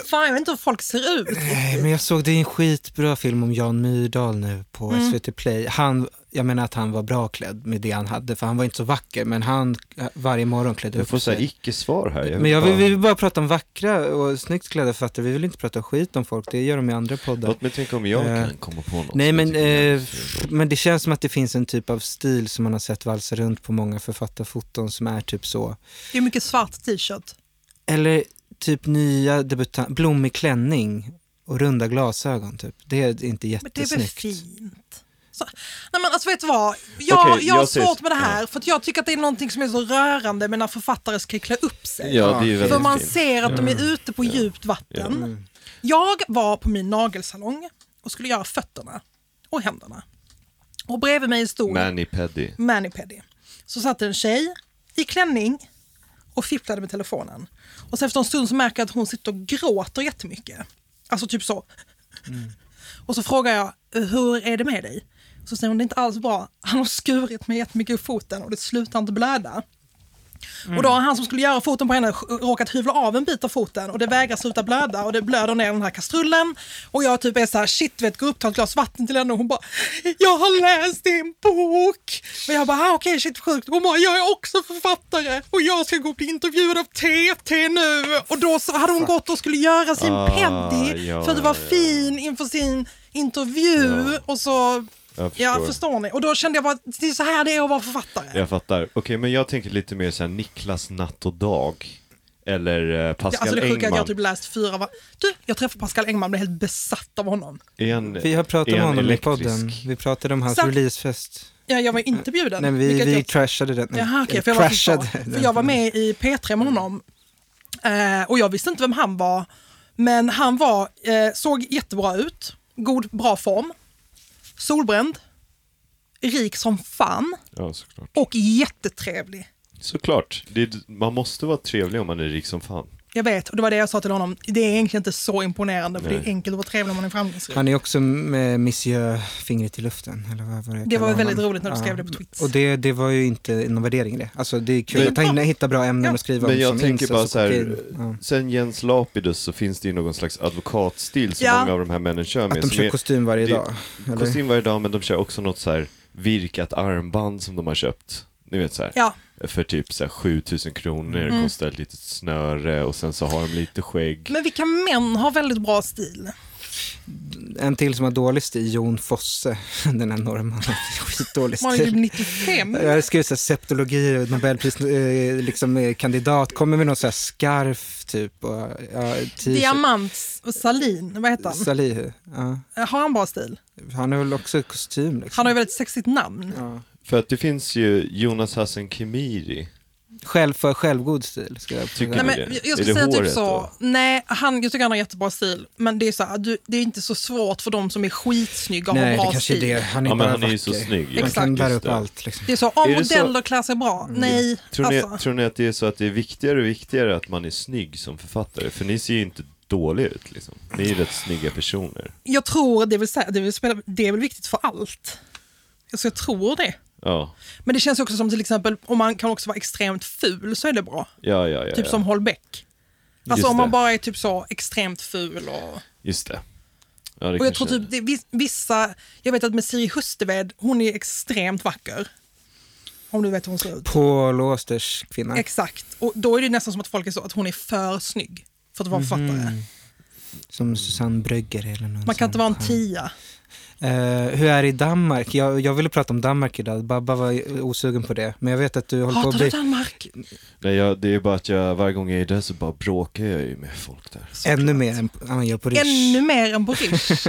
Speaker 3: Fan, jag vet inte hur folk ser ut.
Speaker 4: Nej, men jag såg det är en skitbra film om Jan Myrdal nu på SVT Play. Han, jag menar att han var bra klädd med det han hade, för han var inte så vacker, men han eh, varje morgon klädde
Speaker 2: Jag
Speaker 4: upp
Speaker 2: får säga
Speaker 4: sig.
Speaker 2: icke-svar här.
Speaker 4: Men jag vill,
Speaker 2: bara-
Speaker 4: vi vill bara prata om vackra och snyggt klädda författare, vi vill inte prata skit om folk, det gör de i andra poddar.
Speaker 2: Låt mig tänka om jag
Speaker 4: Eh,
Speaker 2: kan komma på något.
Speaker 4: Nej
Speaker 2: som
Speaker 4: men,
Speaker 2: jag tycker är
Speaker 4: eh,
Speaker 2: fult.
Speaker 4: men det känns som att det finns en typ av stil som man har sett valsa runt på många författarfoton som är typ så.
Speaker 3: Det är mycket svart t-shirt.
Speaker 4: Eller typ nya debutanter, blommig klänning och runda glasögon typ. Det är inte
Speaker 3: Men det är väl
Speaker 4: jättesnyggt.
Speaker 3: fint? Så, nej men alltså vet du vad? Jag,
Speaker 2: Okej,
Speaker 3: jag har
Speaker 2: jag ser-
Speaker 3: svårt med det här för att jag tycker att det är någonting som är så rörande med när författare ska klä upp sig.
Speaker 2: Ja, det är ju
Speaker 3: För
Speaker 2: väldigt
Speaker 3: man
Speaker 2: fint.
Speaker 3: ser att de är ute på djupt vatten. Jag var på min nagelsalong och och skulle göra fötterna och händerna. Och bredvid mig stod
Speaker 2: Manny Peddy.
Speaker 3: Manipedi. Så satt en tjej i klänning och fipplade med telefonen. Och sen efter en stund så märker jag att hon sitter och gråter jättemycket. Alltså typ så. Och så frågar jag, hur är det med dig? Så säger hon, det är inte alls bra. Han har skurit mig jättemycket i foten och det slutar inte blöda. Och då har han som skulle göra foten på henne råkat hyvla av en bit av foten och det vägrar sluta blöda och det blöder ner i den här kastrullen. Och jag typ är så här, shit vet, går upp, tar ett glas vatten till henne och hon bara, jag har läst din bok. Och jag bara, ah, okej shit sjukt. Hon bara, jag är också författare och jag ska gå och bli intervjuad av TT nu. Och då så hade hon gått och skulle göra sin
Speaker 2: Ah,
Speaker 3: peddi
Speaker 2: ja,
Speaker 3: för att det var
Speaker 2: ja, ja.
Speaker 3: fin inför sin intervju
Speaker 2: Ja.
Speaker 3: och så
Speaker 2: Jag förstår.
Speaker 3: Ja, förstår ni? Och då kände jag bara, det är så här det är att vara författare.
Speaker 2: Jag fattar. Okej, men jag tänker lite mer såhär Niklas natt och dag. Eller eh,
Speaker 3: Ja,
Speaker 2: Pascal
Speaker 3: alltså det sjuka är att
Speaker 2: Engman.
Speaker 3: jag typ läst fyra var... Du, jag träffade Pascal Engman blev helt besatt av honom.
Speaker 2: Är en,
Speaker 4: Vi har pratat
Speaker 2: är
Speaker 4: om
Speaker 2: en
Speaker 4: honom
Speaker 2: elektrisk?
Speaker 4: i podden. Vi pratade om hans
Speaker 3: Så-
Speaker 4: releasefest.
Speaker 3: Ja, jag var inte bjuden.
Speaker 4: Nej, vi,
Speaker 3: vilket
Speaker 4: vi
Speaker 3: jag...
Speaker 4: trashade den.
Speaker 3: Jaha, okej,
Speaker 4: Eller
Speaker 3: för, jag var så,
Speaker 4: crashade
Speaker 3: för jag var med i P3 med honom eh, och jag visste inte vem han var. Men han var, eh, såg jättebra ut, god, bra form, solbränd, rik som fan
Speaker 2: Ja, såklart.
Speaker 3: och jättetrevlig.
Speaker 2: Såklart. Det är, man måste vara trevlig om man är rik som fan.
Speaker 3: Jag vet, och det var det jag sa till honom, det är egentligen inte så imponerande för det är
Speaker 2: Nej.
Speaker 3: enkelt att vara trevlig om man är framgångsrik.
Speaker 4: Han är också med Monsieur Fingret i luften. Eller vad, vad jag
Speaker 3: Det var
Speaker 4: kallar
Speaker 3: väldigt
Speaker 4: honom.
Speaker 3: roligt när du skrev det på Twitch.
Speaker 4: Och det, det var ju inte någon värdering i det. Alltså det är kul
Speaker 2: Men-
Speaker 4: att han hittar bra ämnen
Speaker 3: Ja.
Speaker 4: att skriva
Speaker 2: Men
Speaker 4: om.
Speaker 2: jag
Speaker 4: som
Speaker 2: tänker
Speaker 4: incest
Speaker 2: bara
Speaker 4: och
Speaker 2: så här, eh,
Speaker 4: kokain. ja.
Speaker 2: sen Jens Lapidus så finns det ju någon slags advokatstil som
Speaker 3: Ja.
Speaker 2: många av de här männen kör med.
Speaker 4: Att de
Speaker 2: som
Speaker 4: kör
Speaker 2: är-
Speaker 4: kostym varje
Speaker 2: det-
Speaker 4: dag. eller?
Speaker 2: Kostym varje dag, men de kör också något så här virkat armband som de har köpt. Ni vet så här,
Speaker 3: Ja, Mm.
Speaker 2: för typ så här 7000 kronor, kostar ett litet snöre och sen så har de lite skägg.
Speaker 3: men vilka män har väldigt bra stil?
Speaker 4: En till som har dålig stil, Jon Fosse. Den här norrmannen, har skitdålig
Speaker 3: Man är ju
Speaker 4: stil.
Speaker 3: typ 95.
Speaker 4: Jag skrev så här septologi, nobelpriskandidat, eh, liksom, eh, kandidat. kommer med någon så här skarf typ och ja, t-shirt.
Speaker 3: Diamant och Salin, vad heter han?
Speaker 4: Salihu. Ja.
Speaker 3: Har han bra stil?
Speaker 4: Han har väl också kostym liksom.
Speaker 3: Han har ju väldigt sexigt namn.
Speaker 4: ja.
Speaker 2: För att det finns ju Jonas Hassan Khemiri.
Speaker 4: Själv för självgod stil. Ska jag
Speaker 2: Tycker
Speaker 4: säga.
Speaker 3: Nej,
Speaker 2: Är
Speaker 3: men
Speaker 2: det-
Speaker 3: jag-
Speaker 2: är
Speaker 3: jag skulle
Speaker 2: det
Speaker 3: säga typ
Speaker 2: håret
Speaker 3: så,
Speaker 2: då?
Speaker 3: nej, han, jag tycker han har jättebra stil, men det är, så här, du, det är inte så svårt för de som är skitsnygga och
Speaker 4: Nej,
Speaker 3: har
Speaker 4: det
Speaker 3: bra
Speaker 4: kanske är
Speaker 3: stil.
Speaker 4: det. Han är
Speaker 2: Ja, men
Speaker 4: bara
Speaker 2: han är ju
Speaker 4: vacker.
Speaker 2: så snygg. ju.
Speaker 4: Han kan
Speaker 3: Exakt.
Speaker 4: bära
Speaker 2: Just
Speaker 4: upp
Speaker 2: det.
Speaker 4: allt liksom.
Speaker 3: Det är så, om
Speaker 2: Är det så- Mm.
Speaker 3: modeller klär sig bra, nej.
Speaker 2: Tror ni,
Speaker 3: alltså.
Speaker 2: tror ni att det är så att det är viktigare och viktigare att man är snygg som författare? För ni ser ju inte dåliga ut liksom. Ni är ju rätt snygga personer.
Speaker 3: Jag tror, det vill säga, det, vill spela, det är väl viktigt för allt. Alltså, jag tror det.
Speaker 2: Ja,
Speaker 3: Men det känns ju också som till exempel, om man kan också vara extremt ful så är det bra.
Speaker 2: ja, ja. ja,
Speaker 3: Typ
Speaker 2: ja.
Speaker 3: som Holbeck. Alltså
Speaker 2: Just
Speaker 3: om man
Speaker 2: det.
Speaker 3: bara är typ så extremt ful och...
Speaker 2: Just det. Ja, det
Speaker 3: Och jag
Speaker 2: kanske-
Speaker 3: tror typ det, vis- vissa, jag vet att med Siri Husteved, hon är extremt vacker. Om du vet hur hon ser ut.
Speaker 4: Paul Austers kvinna.
Speaker 3: Exakt, och då är det nästan som att folk är så att hon är för snygg för
Speaker 2: Mhm.
Speaker 3: att vara författare.
Speaker 4: Som Susanne Brögger eller någon
Speaker 3: Man kan
Speaker 4: sån.
Speaker 3: inte vara en
Speaker 4: Ja.
Speaker 3: tia.
Speaker 4: Eh, hur är det i Danmark? Jag, jag ville prata om Danmark idag. Babba var osugen på det. Men jag vet att du håller på att
Speaker 3: Hatar du
Speaker 4: bli
Speaker 3: Danmark?
Speaker 2: Nej, jag, det är bara att jag, varje gång jag är där så bara bråkar jag ju med folk där.
Speaker 4: ännu mer än än man gör på Rish.
Speaker 3: Ännu mer än på Rish.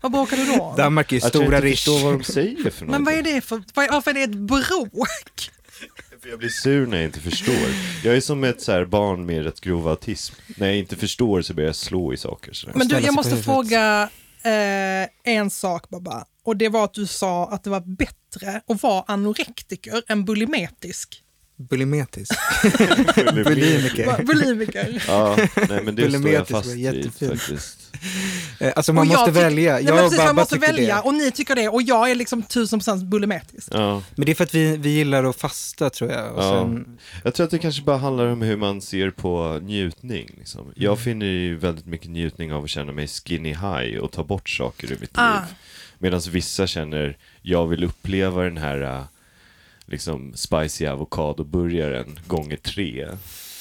Speaker 3: vad bråkar du då om?
Speaker 4: Danmark är ju
Speaker 2: Att jag
Speaker 4: stora
Speaker 2: inte
Speaker 4: Rish.
Speaker 2: förstår vad de säger för
Speaker 3: Men vad är
Speaker 2: någonting.
Speaker 3: det för, vad är- varför är det ett bråk?
Speaker 2: För jag blir sur när jag inte förstår. Jag är som ett så här barn med rätt grov autism. När jag inte förstår så börjar jag slå i saker. Så där.
Speaker 3: Men du,
Speaker 4: ställa sig
Speaker 3: jag
Speaker 4: på
Speaker 3: måste
Speaker 4: huvudet.
Speaker 3: fråga eh, en sak Baba. Och det var att du sa att det var bättre att vara anorektiker än bulimetisk.
Speaker 4: Bulimetisk.
Speaker 2: Skulle bli-
Speaker 4: Bulimiker.
Speaker 3: Va- Bulimiker.
Speaker 2: Ja, nej men det står jag
Speaker 4: Bulimetisk var
Speaker 2: fast vid
Speaker 4: jättefin.
Speaker 2: faktiskt.
Speaker 4: Eh, Alltså man
Speaker 3: Och jag
Speaker 4: måste
Speaker 3: tyck-
Speaker 4: välja.
Speaker 3: Nej,
Speaker 4: Jag
Speaker 3: men
Speaker 4: och
Speaker 3: precis, man
Speaker 4: Babba
Speaker 3: måste
Speaker 4: tycker
Speaker 3: välja
Speaker 4: det.
Speaker 3: och ni tycker det och jag är liksom 1000% bulimetisk.
Speaker 2: Ja,
Speaker 4: Men det är för att vi, vi gillar att fasta tror jag. Och
Speaker 2: Ja.
Speaker 4: sen,
Speaker 2: jag tror att det kanske bara handlar om hur man ser på njutning.
Speaker 4: Mm.
Speaker 2: Liksom. Jag finner ju väldigt mycket njutning av att känna mig skinny high och ta bort saker ur mitt
Speaker 3: Ah.
Speaker 2: liv. Medan vissa känner, jag vill uppleva den här äh, liksom spicy avokadoburgaren gånger tre.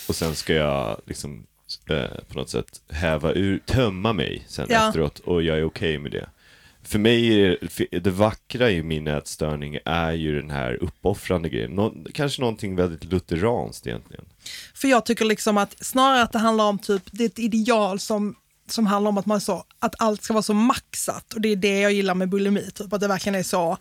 Speaker 2: Och sen ska jag liksom eh, på något sätt häva ur, tömma mig sen
Speaker 3: Ja.
Speaker 2: efteråt och jag är okej med det. För mig är för det vackra i min nätstörning är ju den här uppoffrande grejen. Nå, kanske någonting väldigt lutheranskt egentligen.
Speaker 3: För jag tycker liksom att snarare att det handlar om typ, det är ett ideal som, som handlar om att man så, att allt ska vara så maxat och det är det
Speaker 4: Mm.
Speaker 3: jag gillar med bulimi, typ att det verkligen är så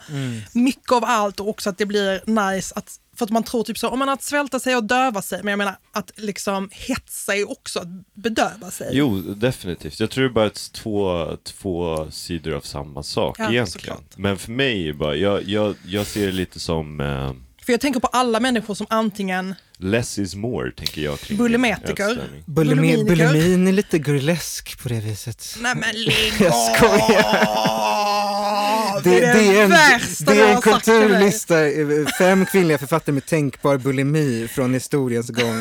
Speaker 3: mycket av allt och också att det blir nice att För att man tror typ så, om man att svälta sig och döva sig, men jag menar att liksom hetsa är också att bedöva sig.
Speaker 2: Jo, definitivt. Jag tror det är bara ett två, två sidor av samma sak
Speaker 3: Ja,
Speaker 2: egentligen.
Speaker 3: såklart.
Speaker 2: Men för mig är det bara, jag, jag, jag ser det lite som eh,
Speaker 3: För jag tänker på alla människor som antingen,
Speaker 2: less is more, tänker jag kring
Speaker 3: Bulimetiker.
Speaker 2: ätstörning.
Speaker 4: Bulimi,
Speaker 3: Bulimiker.
Speaker 4: bulimin är lite burlesk på det viset.
Speaker 3: nej men lägg
Speaker 4: Jag skojar.
Speaker 3: av! Det, är det,
Speaker 4: det är en,
Speaker 3: värsta
Speaker 4: det
Speaker 3: jag
Speaker 4: är en
Speaker 3: har sagt till dig.
Speaker 4: kulturlista, eh, fem kvinnliga författare med tänkbar bulimi från historiens gång.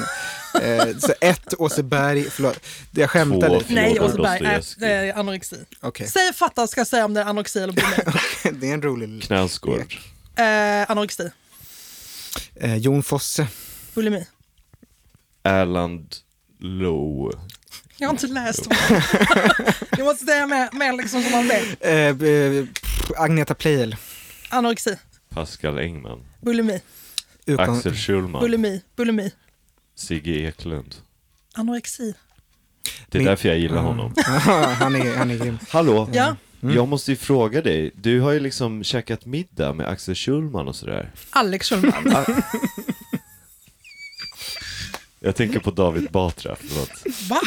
Speaker 4: Eh, så ett, Åseberg, förlåt, jag skämtade.
Speaker 2: Två, fyra.
Speaker 3: Nej,
Speaker 2: Fjodor
Speaker 3: Åseberg, nej,
Speaker 2: Dostojevskij.
Speaker 3: äh, det är anorexi.
Speaker 4: Okej,
Speaker 3: Säg fatta ska jag säga om det är anorexi eller bulimi.
Speaker 4: det är en rolig...
Speaker 2: Knäskård.
Speaker 3: eh, anorexi,
Speaker 4: Eh, Jon Fosse,
Speaker 3: bulimi.
Speaker 2: Erland Low.
Speaker 3: Jag har inte läst dem. jag måste säga mer, mer liksom som man vet.
Speaker 4: eh, eh, pff, Agneta Pleijel,
Speaker 3: Anorexi,
Speaker 2: Pascal Engman.
Speaker 3: bulimi,
Speaker 4: Ukon-
Speaker 2: Axel Schulman.
Speaker 3: bulimi, bulimi.
Speaker 2: Sigge Eklund.
Speaker 3: Anorexi.
Speaker 2: Det är
Speaker 4: Min-
Speaker 2: därför jag gillar honom.
Speaker 4: Ja, Mm. han, är, han är grym.
Speaker 2: Hallå,
Speaker 3: Ja.
Speaker 2: jag måste ju fråga dig. Du har ju liksom käkat middag med Axel Schulman och sådär.
Speaker 3: Alex Schulman.
Speaker 2: Jag tänker på David Batra, förlåt.
Speaker 3: Va?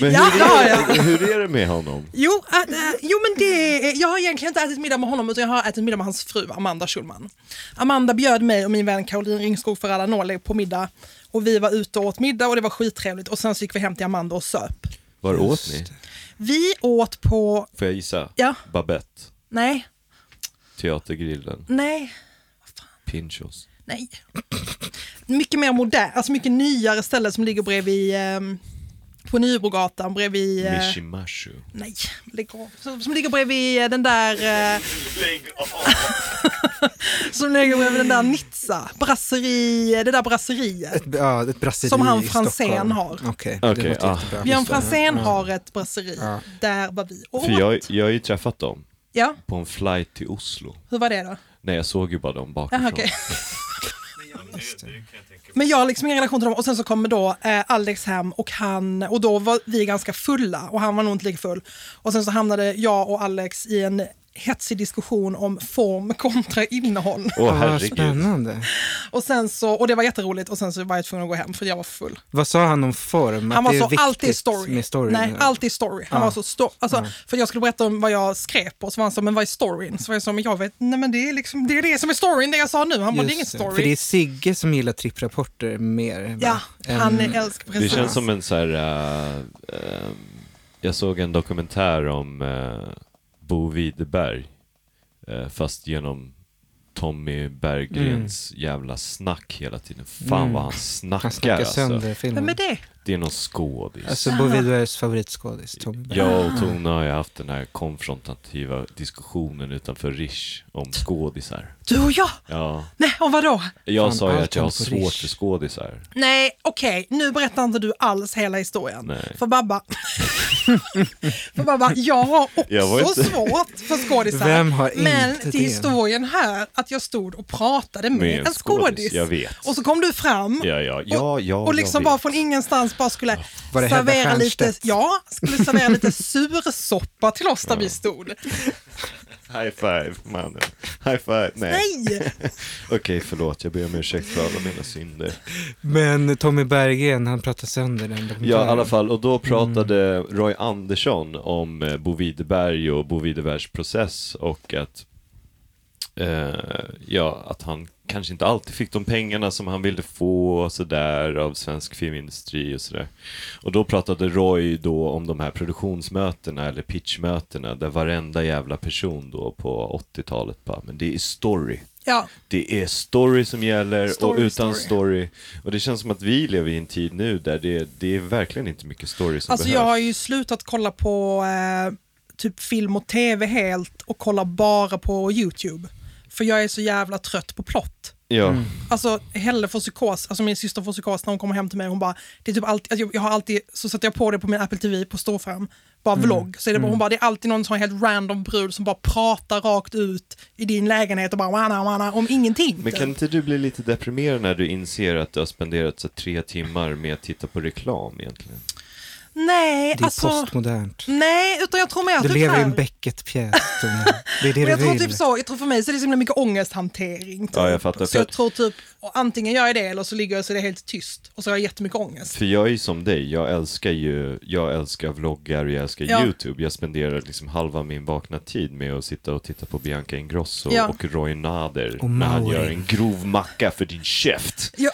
Speaker 2: Men
Speaker 3: Ja,
Speaker 2: hur,
Speaker 3: det har
Speaker 2: är,
Speaker 3: jag.
Speaker 2: hur är det med honom?
Speaker 3: Jo, äh, äh, jo men det, jag har egentligen inte ätit middag med honom utan jag har ätit middag med hans fru Amanda Schulman. Amanda bjöd mig och min vän Caroline Ringskog för Adanoli på middag och vi var ute och åt middag och det var skittrevligt och sen så gick vi hem till Amanda och söp.
Speaker 2: Var åt ni?
Speaker 3: Vi åt på,
Speaker 2: Får jag gissa?
Speaker 3: Ja.
Speaker 2: Babette,
Speaker 3: nej,
Speaker 2: Teatergrillen,
Speaker 3: nej,
Speaker 2: Pinchos.
Speaker 3: nej. Mycket mer modern, alltså mycket nyare ställe som ligger bredvid ehm, på Nybrogatan bredvid... eh,
Speaker 2: Mishimashu.
Speaker 3: Nej, lägg av. Som, som ligger bredvid eh, den där... Eh, som ligger bredvid den där Nizza. Brasseri, eh, det där brasseriet.
Speaker 4: Ett, ja, ett brasseri
Speaker 3: Som han
Speaker 4: i Stockholm.
Speaker 3: Franzén har.
Speaker 4: Okej,
Speaker 2: Okej,
Speaker 4: det låter
Speaker 2: ah.
Speaker 4: jättebra.
Speaker 3: Björn Franzén har ett brasseri.
Speaker 4: Ja.
Speaker 3: Där var vi och
Speaker 2: För jag,
Speaker 3: åt.
Speaker 2: jag har ju träffat dem
Speaker 3: Ja,
Speaker 2: på en flight till Oslo.
Speaker 3: hur var det då?
Speaker 2: Nej, jag såg ju bara dem bakifrån.
Speaker 4: Liksom.
Speaker 3: Jaha, okej. Men jag har liksom ingen relation till dem och sen så kommer då eh, Alex hem och han, och då var vi ganska fulla och han var nog inte lika full. Och sen så hamnade jag och Alex i en hetsig diskussion om form kontra innehåll.
Speaker 2: Åh,
Speaker 4: Ah, vad
Speaker 2: herregud.
Speaker 4: spännande.
Speaker 3: Och, sen så, och det var jätteroligt och sen så var jag tvungen att gå hem för jag var full.
Speaker 4: Vad sa han om form?
Speaker 3: Han
Speaker 4: Att
Speaker 3: var
Speaker 4: det är
Speaker 3: så alltid
Speaker 4: viktigt
Speaker 3: story.
Speaker 4: Med story
Speaker 3: Nej, alltid story. Han
Speaker 4: Ja.
Speaker 3: var så sto- alltså, För jag skulle berätta om vad jag skrev på, så var han så, men vad är storyn? Så var jag så, men jag vet, nej men det är liksom, det är det som är storyn, det jag sa nu. Han bara, det är ingen
Speaker 4: Just det, För
Speaker 3: story.
Speaker 4: det är Sigge som gillar tripprapporter mer. va?
Speaker 3: Ja, han
Speaker 4: Än-
Speaker 3: älskar
Speaker 2: Det
Speaker 3: precis.
Speaker 2: känns som en så här... eh, eh, jag såg en dokumentär om eh, Bo Widerberg. eh, fast genom Tommy Berggrens jävla snack hela tiden. Fan
Speaker 4: Mm.
Speaker 2: vad han snackar,
Speaker 4: Han snackar
Speaker 2: alltså.
Speaker 4: sönder
Speaker 3: Vem är
Speaker 4: filmen.
Speaker 3: det?
Speaker 2: Det är någon skådis.
Speaker 4: Alltså ah. Bo Widerbergs favoritskådis, Tommy Berg.
Speaker 2: Jag och Tone har ju haft den här konfrontativa diskussionen utanför Rish om skådisar.
Speaker 3: Du och jag?
Speaker 2: Ja,
Speaker 3: Nej, och vadå?
Speaker 2: jag
Speaker 4: Fan,
Speaker 2: sa ju
Speaker 4: allt
Speaker 2: att jag har
Speaker 4: händer på
Speaker 2: svårt
Speaker 4: Rish.
Speaker 2: för skådisar.
Speaker 3: Nej, okej, nu berättar inte du alls hela historien.
Speaker 2: Nej.
Speaker 3: För Babba, för babba jag har också
Speaker 2: Jag var inte-
Speaker 3: svårt för skådisar.
Speaker 4: Vem har
Speaker 3: men
Speaker 4: inte
Speaker 3: till
Speaker 4: det?
Speaker 3: historien här att jag stod och pratade med, en skådis.
Speaker 2: Jag vet.
Speaker 3: Och så kom du fram
Speaker 2: Ja, ja, ja, ja,
Speaker 3: och liksom
Speaker 2: jag
Speaker 3: bara
Speaker 2: vet.
Speaker 3: från ingenstans bara skulle
Speaker 4: Var det Hedda
Speaker 3: servera lite,
Speaker 4: Stiernstedt?
Speaker 3: ja, skulle servera lite sursoppa till oss där vi stod.
Speaker 2: High five, mannen. High five. Nej.
Speaker 3: Nej!
Speaker 2: Okej, förlåt. Jag ber om ursäkt för alla mina synder.
Speaker 4: Men Tommy Berggren, han pratar sönder den
Speaker 2: Ja,
Speaker 4: dokumentären.
Speaker 2: i alla fall. Och då pratade Roy Andersson om eh, Bo Widerberg och Bo Widerbergs process och att, eh, ja, att han kanske inte alltid fick de pengarna som han ville få och sådär av svensk filmindustri och sådär. Och då pratade Roy då om de här produktionsmötena eller pitchmötena där varenda jävla person då på 80-talet bara, men det är story.
Speaker 3: Ja,
Speaker 2: Det är story som gäller
Speaker 3: Story,
Speaker 2: och utan
Speaker 3: story.
Speaker 2: story. Och det känns som att vi lever i en tid nu där det, det är verkligen inte mycket story som
Speaker 3: alltså jag har
Speaker 2: behövs.
Speaker 3: ju slutat kolla på eh, typ film och tv helt och kollar bara på YouTube. För jag är så jävla trött på plott.
Speaker 2: Ja,
Speaker 3: Alltså Helle får psykos, alltså min syster får psykos när hon kommer hem till mig. Hon bara, det är typ alltid, alltså, jag, jag har alltid, så sätter jag på det på min Apple TV på storskärm, bara vlogg. Så är det, bara, hon bara, det är alltid någon som är helt random brud som bara pratar rakt ut i din lägenhet och bara wana, wana, om ingenting.
Speaker 2: Men kan
Speaker 3: typ.
Speaker 2: inte du bli lite deprimerad när du inser att du har spenderat så tre timmar med att titta på reklam egentligen?
Speaker 3: Nej,
Speaker 4: Det är
Speaker 3: alltså...
Speaker 4: postmodernt.
Speaker 3: Nej, utan jag tror mer
Speaker 4: Du
Speaker 3: typ
Speaker 4: lever i
Speaker 3: såhär-
Speaker 4: en Beckett-pjäs. Tone. Det är det
Speaker 3: Men
Speaker 4: du
Speaker 3: jag tror
Speaker 4: vill.
Speaker 3: typ så, jag tror för mig så är det så himla mycket ångesthantering. Typ.
Speaker 2: Ja, jag fattar.
Speaker 3: Så jag tror typ, och antingen gör jag det eller så ligger jag så är det helt tyst och så har jag jättemycket ångest.
Speaker 2: För jag är ju som dig, jag älskar ju, jag älskar vloggar och jag älskar
Speaker 3: Ja.
Speaker 2: YouTube. Jag spenderar liksom halva min vakna tid med att sitta och titta på Bianca Ingrosso
Speaker 3: Ja.
Speaker 2: och Roy Nader
Speaker 4: Och
Speaker 2: när han
Speaker 4: Mauri.
Speaker 2: gör en grov macka för din käft.
Speaker 3: Jag,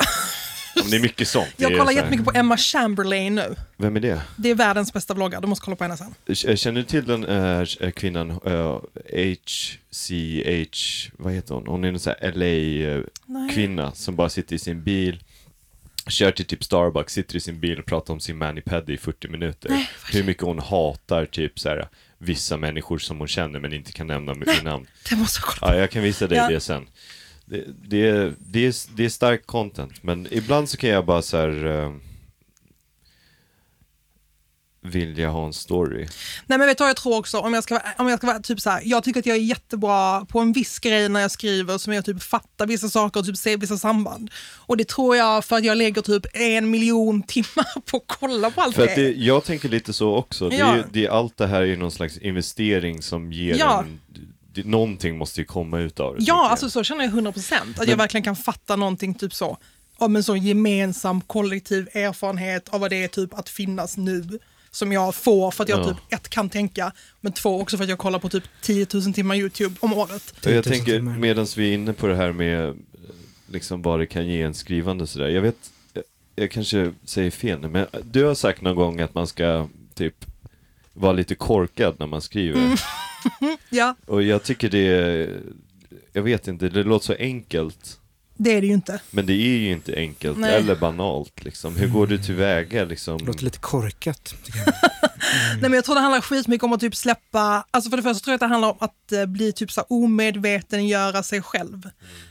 Speaker 2: Ja, men Det är mycket sånt.
Speaker 3: jag
Speaker 2: Det är
Speaker 3: kollar
Speaker 2: så här,
Speaker 3: jättemycket på Emma Chamberlain nu.
Speaker 2: Vem är det?
Speaker 3: Det är världens bästa vloggare, du måste kolla på henne sen.
Speaker 2: K- Känner du till den eh, kvinnan, eh, HCH, vad heter hon? Hon är en sån här
Speaker 3: Nej.
Speaker 2: LA-kvinna som bara sitter i sin bil, kör till typ Starbucks, sitter i sin bil och pratar om sin mani-pedi i 40 minuter. Hur mycket hon hatar typ så här, vissa människor som hon känner men inte kan nämna med namn.
Speaker 3: Det måste jag kolla på.
Speaker 2: Ja, jag kan visa dig
Speaker 3: Ja.
Speaker 2: det sen. Det, det, är- det, är, det är stark content, men ibland så kan jag bara så här... eh, vilja ha en story.
Speaker 3: Nej men vet du vad jag tror också? Om jag ska, vara- om jag ska vara typ så här, jag tycker att jag är jättebra på en viss grej när jag skriver som jag typ fattar vissa saker och typ ser vissa samband. Och det tror jag för att jag lägger typ en miljon timmar på att kolla på allt
Speaker 2: För att det, jag tänker lite så också. Det är,
Speaker 3: Ja.
Speaker 2: det är allt det här är ju någon slags investering som ger
Speaker 3: Ja.
Speaker 2: en... Det, någonting måste ju komma ut av det. tänker
Speaker 3: Ja,
Speaker 2: jag.
Speaker 3: alltså så känner jag 100 procent. Att
Speaker 2: Men-
Speaker 3: jag verkligen kan fatta någonting typ så. Om en sån gemensam kollektiv erfarenhet av vad det är typ att finnas nu. Som jag får för att jag
Speaker 2: Ja.
Speaker 3: typ ett kan tänka, men två också för att jag kollar på typ 10 000 timmar YouTube om året.
Speaker 2: Och jag
Speaker 4: 10 000
Speaker 2: tänker,
Speaker 4: timmar.
Speaker 2: medan vi är inne på det här med eh, liksom vad det kan ge en skrivande sådär. Jag vet, jag, jag kanske säger fel nu, men du har sagt någon gång att man ska typ vara lite korkad när man skriver.
Speaker 3: Mm. Ja,
Speaker 2: Och jag tycker det, är- jag vet inte, det låter så enkelt.
Speaker 3: det är det ju inte.
Speaker 2: Men det är ju inte enkelt
Speaker 3: Nej.
Speaker 2: eller banalt liksom. Hur går du tillväga liksom?
Speaker 4: Det låter lite korkat. tycker jag.
Speaker 3: Nej, men jag tror det handlar skitmycket om att typ släppa, alltså för det första tror jag att det handlar om att eh, bli typ så här omedveten, göra sig själv.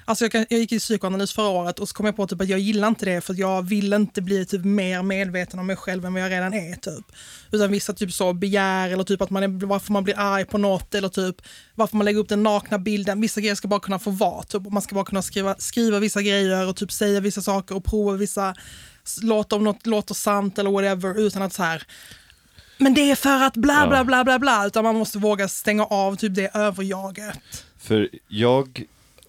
Speaker 3: Alltså jag, kan, jag gick i psykoanalys förra året och så kom jag på typ att jag gillar inte det för att jag vill inte bli typ mer medveten om mig själv än vad jag redan är typ. Utan vissa typ så begär eller typ att man är, varför man blir arg på något eller typ varför man lägger upp den nakna bilden. Vissa grejer ska bara kunna få vara typ. Och Man ska bara kunna skriva, skriva vissa grejer och typ säga vissa saker och prova vissa s- låta om något låter sant eller whatever utan att så här men det är för att bla bla bla bla bla, utan man måste våga stänga av typ det överjaget.
Speaker 2: För jag,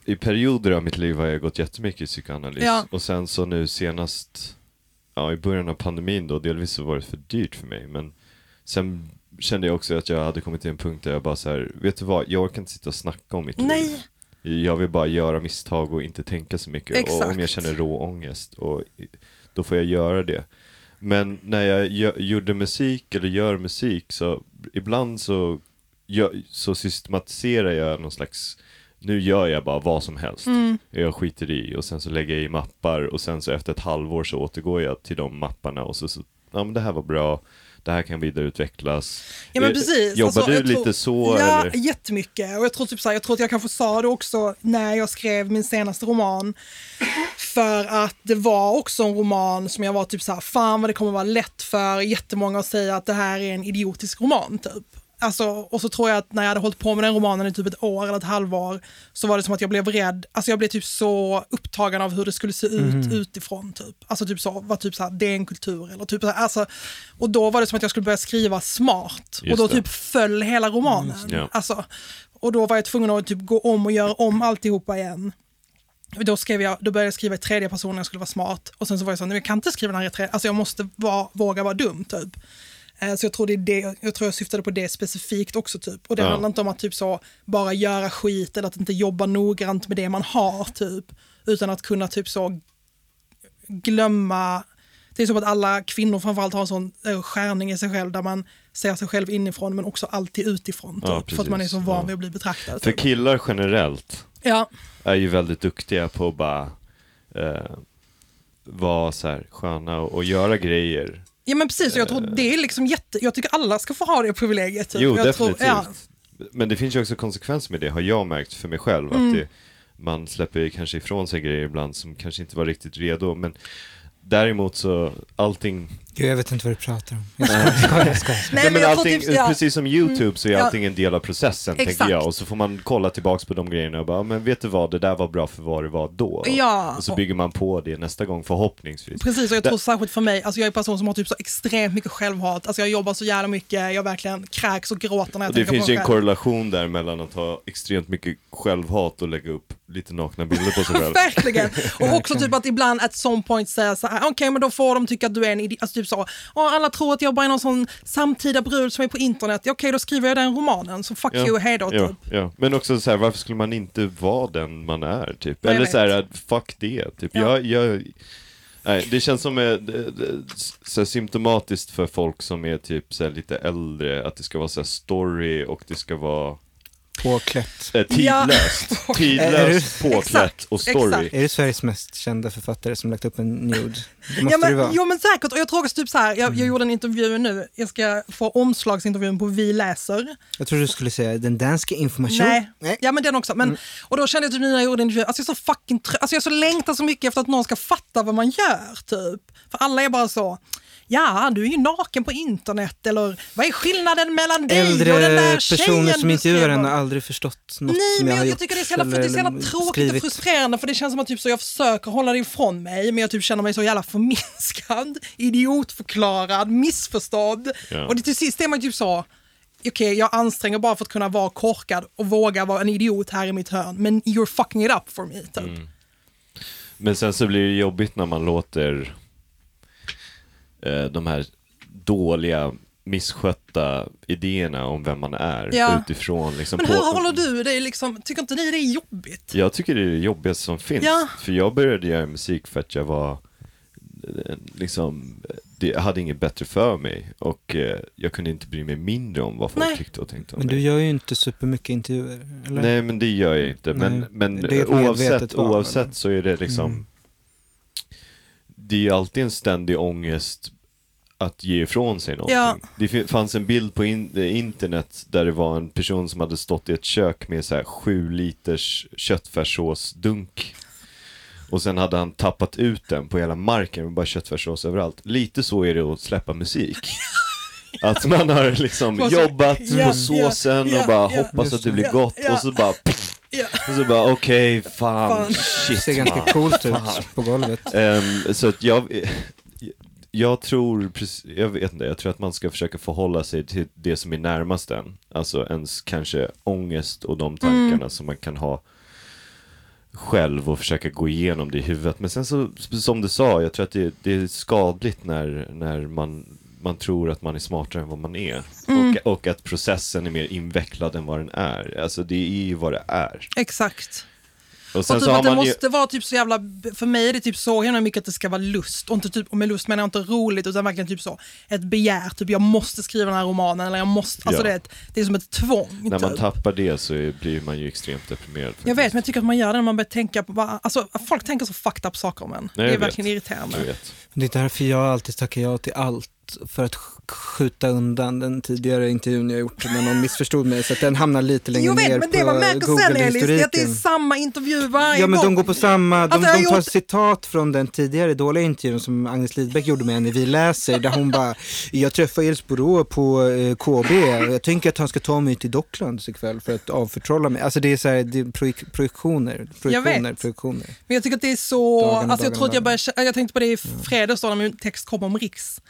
Speaker 2: i perioder av mitt liv har jag gått jättemycket i psykoanalys.
Speaker 3: Ja.
Speaker 2: Och sen så nu senast, ja i början av pandemin då, delvis så var det för dyrt för mig. Men sen kände jag också att jag hade kommit till en punkt där jag bara så här, vet du vad, jag kan inte sitta och snacka om mitt liv.
Speaker 3: Nej,
Speaker 2: Jag vill bara göra misstag och inte tänka så mycket. Och om jag
Speaker 3: Exakt.
Speaker 2: känner rå ångest, och, då får jag göra det. Men när jag gö- gjorde musik eller gör musik så ibland så, gö- så systematiserar jag någon slags nu gör jag bara vad som helst.
Speaker 3: Mm.
Speaker 2: Jag skiter i och sen så lägger jag i mappar och sen så efter ett halvår så återgår jag till de mapparna och så, så ja men det här var bra, det här kan vidareutvecklas.
Speaker 3: ja, men
Speaker 2: Eh,
Speaker 3: precis.
Speaker 2: Jobbar
Speaker 3: Alltså,
Speaker 2: du
Speaker 3: jag
Speaker 2: lite
Speaker 3: tror-
Speaker 2: så
Speaker 3: Ja,
Speaker 2: eller?
Speaker 3: jättemycket. Och jag tror, typ så här, jag tror att jag kanske sa det också när jag skrev min senaste roman. För att det var också en roman som jag var typ så här, fan vad det kommer vara lätt för jättemånga att säga att det här är en idiotisk roman typ. Alltså, och så tror jag att när jag hade hållit på med den romanen i typ ett år eller ett halvår så var det som att jag blev rädd. Alltså jag blev typ så upptagen av hur det skulle se ut
Speaker 2: Mhm.
Speaker 3: utifrån typ. Alltså typ så, var typ så här, det är en kultur eller typ så här, alltså, Och då var det som att jag skulle börja skriva smart.
Speaker 2: Just
Speaker 3: och då
Speaker 2: det.
Speaker 3: typ föll hela romanen.
Speaker 2: Mm, Ja.
Speaker 3: Alltså, och då var jag tvungen att typ gå om och göra om alltihopa igen. Då, skrev jag, då började jag skriva i tredje person när jag skulle vara smart. Och sen så var jag så här, "Nej, jag kan inte skriva den här i tredje, alltså jag måste vara, våga vara dum typ. Eh, Så jag tror, det är det, jag tror jag syftade på det specifikt också typ. Och det
Speaker 2: Ja.
Speaker 3: handlar inte om att typ så bara göra skit eller att inte jobba noggrant med det man har typ. Utan att kunna typ så glömma, det är som att alla kvinnor framförallt har en sån eh, skärning i sig själv där man ser sig själv inifrån men också alltid utifrån. Typ,
Speaker 2: Ja,
Speaker 3: för att man är
Speaker 2: precis.
Speaker 3: så van
Speaker 2: Ja.
Speaker 3: vid att bli betraktad.
Speaker 2: För
Speaker 3: typ.
Speaker 2: killar generellt,
Speaker 3: Ja.
Speaker 2: är ju väldigt duktiga på att bara eh, vara så här sköna och, och göra grejer.
Speaker 3: Ja men precis, och jag tror det är liksom jätte, jag tycker alla ska få ha det privilegiet. Typ.
Speaker 2: Eh. Jo,
Speaker 3: jag
Speaker 2: definitivt.
Speaker 3: Tror, ja,
Speaker 2: Men det finns ju också konsekvenser med det, har jag märkt för mig själv.
Speaker 3: Mm.
Speaker 2: Att det, man släpper kanske ifrån sig grejer ibland som kanske inte var riktigt redo. Men däremot så, allting
Speaker 4: Gud, jag vet inte vad du pratar om. Jag skojar, jag skojar, jag skojar.
Speaker 3: Nej,
Speaker 2: Nej,
Speaker 3: men
Speaker 2: men
Speaker 3: jag tror
Speaker 2: allting,
Speaker 3: typ- ja.
Speaker 2: Precis som YouTube så är
Speaker 3: Ja.
Speaker 2: allting en del av processen,
Speaker 3: Exakt.
Speaker 2: tänker jag. Och så får man kolla tillbaks på de grejerna och bara, "Ja, men vet du vad, det där var bra för vad det var då.
Speaker 3: Ja.
Speaker 2: Och så bygger man på det nästa gång förhoppningsvis.
Speaker 3: Precis, och jag tror särskilt för mig, alltså jag är en person som har typ så extremt mycket självhat, alltså jag jobbar så jävla mycket, jag verkligen kräks och gråter när jag
Speaker 2: Och det
Speaker 3: tänker
Speaker 2: finns
Speaker 3: på
Speaker 2: ju
Speaker 3: mig
Speaker 2: en
Speaker 3: själv.
Speaker 2: korrelation där mellan att ha extremt mycket självhat och lägga upp lite nakna bilder på sig själv.
Speaker 3: Verkligen. Och också typ att ibland at some point säga så här, okej men då får de tycka att du är en idiot. Alltså typ så, "Åh, alla tror att jag bara är någon sån samtida brud som är på internet. Ja, Okej då skriver jag den romanen, så fuck you, hej då.
Speaker 2: ja,
Speaker 3: Typ.
Speaker 2: ja. Men också så här, varför skulle man inte vara den man är typ?
Speaker 3: Nej, jag
Speaker 2: Eller
Speaker 3: vet.
Speaker 2: så här, att, fuck det, typ.
Speaker 3: Ja.
Speaker 2: Jag, jag, nej, det känns som eh, det- det- så här, symptomatiskt för folk som är typ så här, lite äldre, att det ska vara så här, story och det ska vara
Speaker 4: Påklätt.
Speaker 2: eh, tidlöst. Tidlöst, påklätt
Speaker 3: Exakt,
Speaker 2: och story.
Speaker 3: exakt.
Speaker 4: Är det Sveriges mest kända författare som lagt upp en nude? Det måste
Speaker 3: Ja, men,
Speaker 4: det vara.
Speaker 3: Jo men säkert, och jag tror också typ så här, jag,
Speaker 2: Mm.
Speaker 3: jag gjorde en intervju nu, jag ska få omslagsintervjun på Vi läser.
Speaker 4: Jag trodde du skulle säga den danska information.
Speaker 3: Nej. ja men den också. Men,
Speaker 4: Mm.
Speaker 3: Och då kände jag typ när jag gjorde intervjun, alltså jag är så fucking trött, alltså jag så längtar så mycket efter att någon ska fatta vad man gör typ. För alla är bara så, ja du är ju naken på internet eller vad är skillnaden mellan dig och den
Speaker 4: Äldre
Speaker 3: där tjejen
Speaker 4: personer som
Speaker 3: du
Speaker 4: intervjuar
Speaker 3: skrev
Speaker 4: henne
Speaker 3: om?"
Speaker 4: har aldrig förstått något
Speaker 3: Nej,
Speaker 4: som
Speaker 3: men
Speaker 4: jag har
Speaker 3: jag,
Speaker 4: gjort.
Speaker 3: jag tycker det är så jävla, för
Speaker 4: eller
Speaker 3: det är så jävla tråkigt och
Speaker 4: skrivit.
Speaker 3: frustrerande för det känns som att typ så jag försöker hålla det ifrån mig men jag typ känner mig så jävla förminskad, idiotförklarad, missförstådd.
Speaker 2: Ja.
Speaker 3: Och det, till sist är man typ så, okej jag anstränger bara för att kunna vara korkad och våga vara en idiot här i mitt hörn men you're fucking it up for me. Typ.
Speaker 4: Mm.
Speaker 2: Men sen så blir det jobbigt när man låter eh, de här dåliga, misskötta idéerna om vem man är
Speaker 3: Ja.
Speaker 2: utifrån. Liksom,
Speaker 3: Men hur håller du dig liksom, tycker inte ni det är jobbigt?
Speaker 2: Jag tycker det är det jobbigaste som finns.
Speaker 3: Ja.
Speaker 2: För jag började göra musik för att jag var eh, liksom, det, jag hade inget bättre för mig och eh, jag kunde inte bry mig mindre om vad folk
Speaker 3: Nej.
Speaker 2: tyckte och tänkte om
Speaker 4: Men
Speaker 2: mig.
Speaker 4: du gör ju inte supermycket intervjuer. Eller?
Speaker 2: Nej men det gör jag inte. Men,
Speaker 4: Nej,
Speaker 2: men
Speaker 4: det är ett
Speaker 2: oavsett,
Speaker 4: medvetet Mm. val, eller?
Speaker 2: oavsett så är det liksom Det är ju alltid en ständig ångest att ge ifrån sig någonting.
Speaker 3: Ja.
Speaker 2: Det fin- fanns en bild på in, eh, internet där det var en person som hade stått i ett kök med så här sju liters köttfärssåsdunk. Och sen hade han tappat ut den på hela marken och bara köttfärssås överallt. Lite så är det att släppa musik. Att man har liksom
Speaker 3: Och så-
Speaker 2: jobbat
Speaker 3: ja,
Speaker 2: på såsen
Speaker 3: ja,
Speaker 2: och bara
Speaker 3: ja.
Speaker 2: hoppas att det blir
Speaker 3: Ja,
Speaker 2: gott
Speaker 3: ja.
Speaker 2: och så bara
Speaker 3: Ja.
Speaker 2: och så bara okej, fan,
Speaker 3: Fan.
Speaker 4: Det ser
Speaker 2: shit man.
Speaker 4: ganska coolt ut på golvet.
Speaker 2: Ehm, Så att jag, jag tror, precis- jag vet inte, jag tror att man ska försöka förhålla sig till det som är närmast en. Alltså ens kanske ångest och
Speaker 3: Mm.
Speaker 2: de tankarna som man kan ha själv och försöka gå igenom det i huvudet. Men sen så, som du sa, jag tror att det, det är skadligt när, när man, man tror att man är smartare än vad man är.
Speaker 3: Mm.
Speaker 2: Och, och att processen är mer invecklad än vad den är. Alltså det är ju vad det är.
Speaker 3: Exakt.
Speaker 2: Och
Speaker 3: Och
Speaker 2: sen
Speaker 3: typ
Speaker 2: så har
Speaker 3: att det
Speaker 2: man ju...
Speaker 3: måste vara typ så jävla, för mig är det typ så himla mycket att det ska vara lust. Och, inte typ, och med lust menar jag inte roligt utan verkligen typ så, ett begär. Typ jag måste skriva den här romanen eller jag måste, alltså
Speaker 2: Ja.
Speaker 3: det, är ett, det är som ett tvång.
Speaker 2: När man
Speaker 3: typ.
Speaker 2: tappar det så är- blir man ju extremt deprimerad. faktiskt.
Speaker 3: Jag vet men jag tycker att man gör det när man börjar tänka på, bara, alltså folk tänker så fucked up saker om en.
Speaker 2: jag
Speaker 3: det är
Speaker 2: vet.
Speaker 3: verkligen
Speaker 2: Jag
Speaker 3: irriterande.
Speaker 2: vet.
Speaker 4: Det är därför jag alltid tackar ja till allt. För att sk- skjuta undan den tidigare intervjun jag gjort när någon missförstod mig. Så att den hamnar lite längre
Speaker 3: Jag
Speaker 4: ner
Speaker 3: vet men det
Speaker 4: på
Speaker 3: man märker sen Elis, det är att det är
Speaker 4: Google-historiken.
Speaker 3: samma intervju varje
Speaker 4: Ja men de
Speaker 3: gång.
Speaker 4: går på samma, de,
Speaker 3: Alltså, jag
Speaker 4: de
Speaker 3: har
Speaker 4: tar
Speaker 3: gjort-
Speaker 4: citat från den tidigare dåliga intervjun som Agnes Lidbeck gjorde med henne i Vi läser där hon bara, jag träffade Elis Borå på eh, KB, jag tänker att han ska ta mig till Docklands ikväll för att avförtrolla mig. Alltså det är så här, det är projek- projektioner, projektioner,
Speaker 3: vet.
Speaker 4: projektioner.
Speaker 3: Men jag tycker att det är så...
Speaker 4: Dagen,
Speaker 3: alltså jag,
Speaker 4: dagen,
Speaker 3: tror att jag,
Speaker 4: dagen. Mm.
Speaker 3: började, kä- jag tänkte på det i fredags då när min text kom om Riks.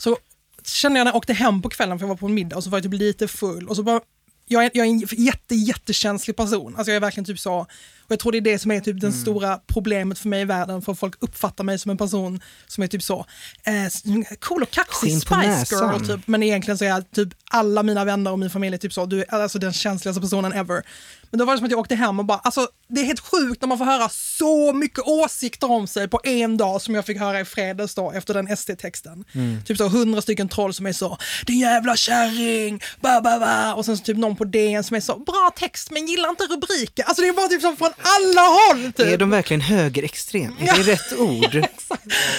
Speaker 3: Så kände jag när jag åkte hem på kvällen för jag var på en middag och så var jag typ lite full och så bara jag är, jag är en jätte, jättekänslig person. Alltså jag är verkligen typ så. Och jag tror det är det som är typ
Speaker 4: Mm.
Speaker 3: den stora problemet för mig i världen. För folk uppfattar mig som en person som är typ så eh, s- cool och kaxig,
Speaker 4: Skinn på
Speaker 3: Spice Girl
Speaker 4: näsan.
Speaker 3: typ. Men egentligen så är jag typ alla mina vänner och min familj är typ så, du är alltså den känsligaste personen ever. Men då var det som att jag åkte hem och bara, alltså det är helt sjukt när man får höra så mycket åsikter om sig på en dag som jag fick höra i fredags då efter den ST-texten. Typ så hundra stycken troll som är så, din jävla kärring, ba ba ba. Och sen så typ någon på DN som är så, bra text men gillar inte rubriken. Alltså det är bara typ så från alla håll typ.
Speaker 4: Är de verkligen högerextrem? Är det rätt ord?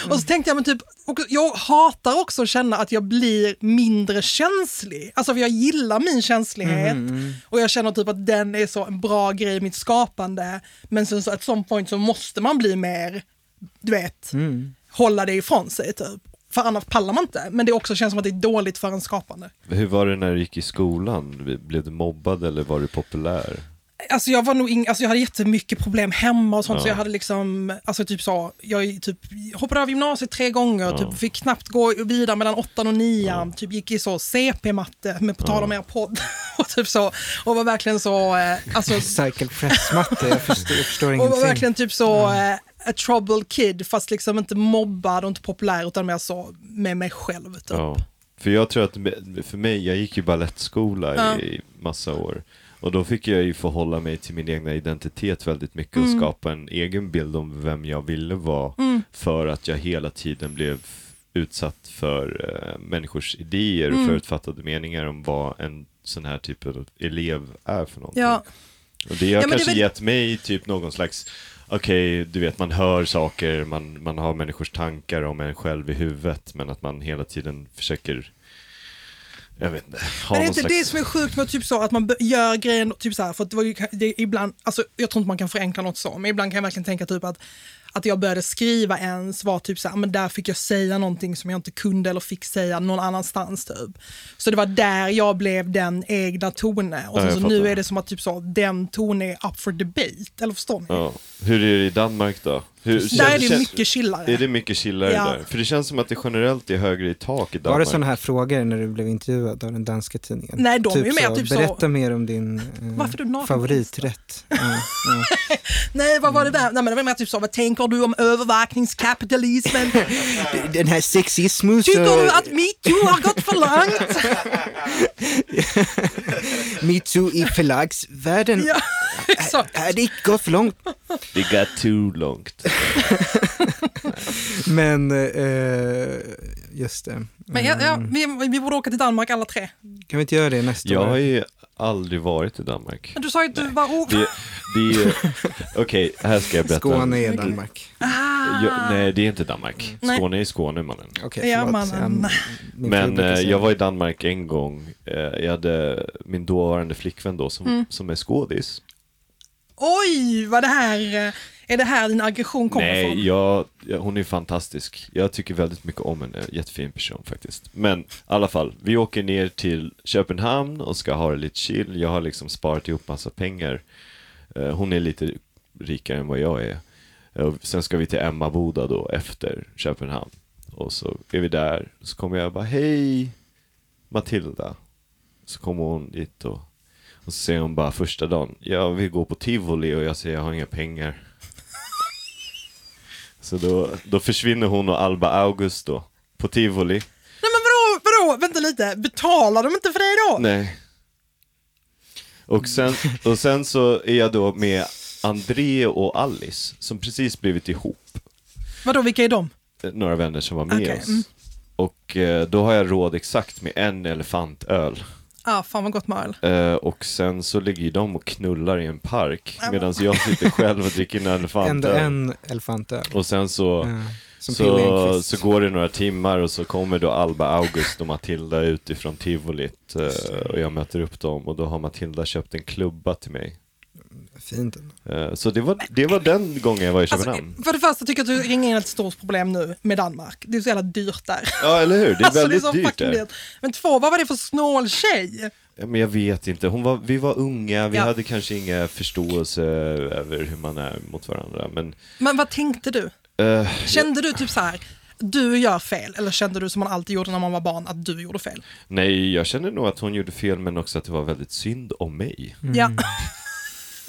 Speaker 3: Och så tänkte jag, men typ, och jag hatar också att känna att jag blir mindre känslig. Alltså för jag gillar min känslighet och jag känner typ att den är så en bra grej i mitt skapande. Men sen så at some point så måste man bli mer, du vet, hålla det ifrån sig typ. För annars pallar man inte. Men det också känns som att det är dåligt för en skapande.
Speaker 2: Hur var det när du gick i skolan? Blev du mobbad eller var du populär?
Speaker 3: Alltså jag var nog ing- alltså jag hade jättemycket problem hemma och sånt
Speaker 2: Ja.
Speaker 3: så jag hade liksom, alltså typ så, jag typ hoppade av gymnasiet tre gånger,
Speaker 2: Ja.
Speaker 3: typ fick knappt gå vidare mellan åttan och nian, typ gick i så CP-matte, men på tal om er podd, och typ så, och var verkligen så, eh, alltså
Speaker 4: Cycle press-matte, jag förstår, jag förstår
Speaker 3: Och var
Speaker 4: ingenting.
Speaker 3: verkligen typ så eh, a troubled kid, fast liksom inte mobbad och inte populär utan mer så med mig själv. Typ.
Speaker 2: Ja. För jag tror att, me- för mig, jag gick ju balettskola i- i massa år. Och då fick jag ju förhålla mig till min egna identitet väldigt mycket och
Speaker 3: Mm.
Speaker 2: skapa en egen bild om vem jag ville vara. För att jag hela tiden blev utsatt för eh, människors idéer och
Speaker 3: Mm.
Speaker 2: förutfattade meningar om vad en sån här typ av elev är för någonting.
Speaker 3: Ja.
Speaker 2: Och det har
Speaker 3: Ja, men det är
Speaker 2: kanske
Speaker 3: väl-
Speaker 2: gett mig typ någon slags, okej, du vet man hör saker, man, man har människors tankar om en själv i huvudet, men att man hela tiden försöker, jag vet inte, ha
Speaker 3: Men det är
Speaker 2: någon
Speaker 3: inte
Speaker 2: slags...
Speaker 3: det som är sjukt med typ så att man b- gör grejen typ så här, för att det var ju, det är ibland, alltså jag tror inte man kan förenkla något så, men ibland kan jag verkligen tänka typ att att jag började skriva ens var typ så här, men där fick jag säga någonting som jag inte kunde eller fick säga någon annanstans typ. Så det var där jag blev den egna tonen och
Speaker 2: Ja,
Speaker 3: sen
Speaker 2: jag
Speaker 3: så nu
Speaker 2: fattar.
Speaker 3: är det som att typ så, den tonen är up for debate, eller förstår ni?
Speaker 2: Ja. Hur är det i Danmark då? Hur,
Speaker 3: Där är det
Speaker 2: känns-
Speaker 3: mycket chillare.
Speaker 2: Är det mycket chillare
Speaker 3: Ja.
Speaker 2: där? För det känns som att det generellt är högre i tak i Danmark.
Speaker 4: Var det sådana här frågor när du blev intervjuad av den danska tidningen?
Speaker 3: Nej, de är ju med, typ så-
Speaker 4: Berätta mer om din eh,
Speaker 3: Varför du naken
Speaker 4: favoriträtt. Ja, ja.
Speaker 3: Nej, vad var det där? Nej, men det var mer typ så, vad tänker du om övervakningskapitalismen?
Speaker 4: Den här sexismen, så,
Speaker 3: Tycker du att metoo har gått för långt?
Speaker 4: metoo i förlagsvärlden,
Speaker 3: Ja, så.
Speaker 4: är det inte gått för långt?
Speaker 2: Det got too långt.
Speaker 4: Men, eh, just det.
Speaker 3: Men ja, ja,
Speaker 2: Mm.
Speaker 3: vi, vi borde åka till Danmark alla tre.
Speaker 4: Kan vi inte göra det nästa
Speaker 2: Jag
Speaker 4: år?
Speaker 2: har ju aldrig varit i Danmark.
Speaker 3: Men du sa ju att du var o...
Speaker 2: Det, det är... Okej, här ska jag berätta.
Speaker 4: Skåne är Danmark.
Speaker 3: Ah.
Speaker 2: Jag, nej, det är inte Danmark.
Speaker 3: Nej.
Speaker 2: Skåne är Skåne, mannen.
Speaker 4: Okej,
Speaker 3: Ja,
Speaker 4: förlåt.
Speaker 3: mannen.
Speaker 4: Ja, min fru
Speaker 2: Men
Speaker 4: brukar
Speaker 2: eh,
Speaker 4: säga
Speaker 2: jag
Speaker 4: det.
Speaker 2: var i Danmark en gång. Eh, jag hade min dåvarande flickvän då som, som är skådis.
Speaker 3: Oj, vad det här... eh, Är det här din aggression kommer
Speaker 2: Nej,
Speaker 3: ifrån?
Speaker 2: jag, jag, hon är fantastisk. Jag tycker väldigt mycket om henne. Jättefin person faktiskt. Men i alla fall, vi åker ner till Köpenhamn och ska ha det lite chill. Jag har liksom sparat ihop massa pengar. Eh, hon är lite rikare än vad jag är. Eh, och sen ska vi till Emmaboda då efter Köpenhamn. Och så är vi där. Så kommer jag bara, hej Matilda. Så kommer hon dit och, och så säger hon bara första dagen, jag vill gå på tivoli och jag säger jag har inga pengar. Så då, då försvinner hon och Alba August då, på tivoli.
Speaker 3: Nej men vadå, vadå, vänta lite, betalar de inte för dig då?
Speaker 2: Nej. Och sen, och sen så är jag då med André och Alice, som precis blivit ihop.
Speaker 3: Vadå, vilka är de?
Speaker 2: eh, Några vänner som var med
Speaker 3: Okej,
Speaker 2: oss.
Speaker 3: mm.
Speaker 2: Och eh, då har jag råd exakt med en elefantöl.
Speaker 3: Ah, fan vad gott med öl.
Speaker 2: Eh, och sen så ligger ju de och knullar i en park medan jag sitter själv och dricker en
Speaker 4: Ändå
Speaker 2: elefantöl.
Speaker 4: en elefantöl.
Speaker 2: Och sen så,
Speaker 4: Ja, som Pelle
Speaker 2: så,
Speaker 4: Enquist.
Speaker 2: så går det några timmar och så kommer då Alba August och Matilda utifrån tivolit eh, och jag möter upp dem och då har Matilda köpt en klubba till mig.
Speaker 4: Fint.
Speaker 2: Eh, Så det var, det var den gången jag var i
Speaker 3: Alltså,
Speaker 2: Köpenhamn.
Speaker 3: för det första tycker jag att du ringer in ett stort problem nu med Danmark. Det är så jävla dyrt där.
Speaker 2: Ja, eller hur? Det är
Speaker 3: Alltså,
Speaker 2: väldigt
Speaker 3: så
Speaker 2: dyrt
Speaker 3: fucking
Speaker 2: där.
Speaker 3: dyrt. Men två, vad var det för snål tjej?
Speaker 2: Ja, Men jag vet inte. Hon var, vi var unga, vi
Speaker 3: Ja.
Speaker 2: hade kanske inga förståelse över hur man är mot varandra. Men
Speaker 3: Men vad tänkte du?
Speaker 2: eh,
Speaker 3: Kände du typ så här, du gör fel, eller kände du som man alltid gjorde när man var barn, att du gjorde fel?
Speaker 2: nej, jag känner nog att hon gjorde fel, men också att det var väldigt synd om mig.
Speaker 3: Ja.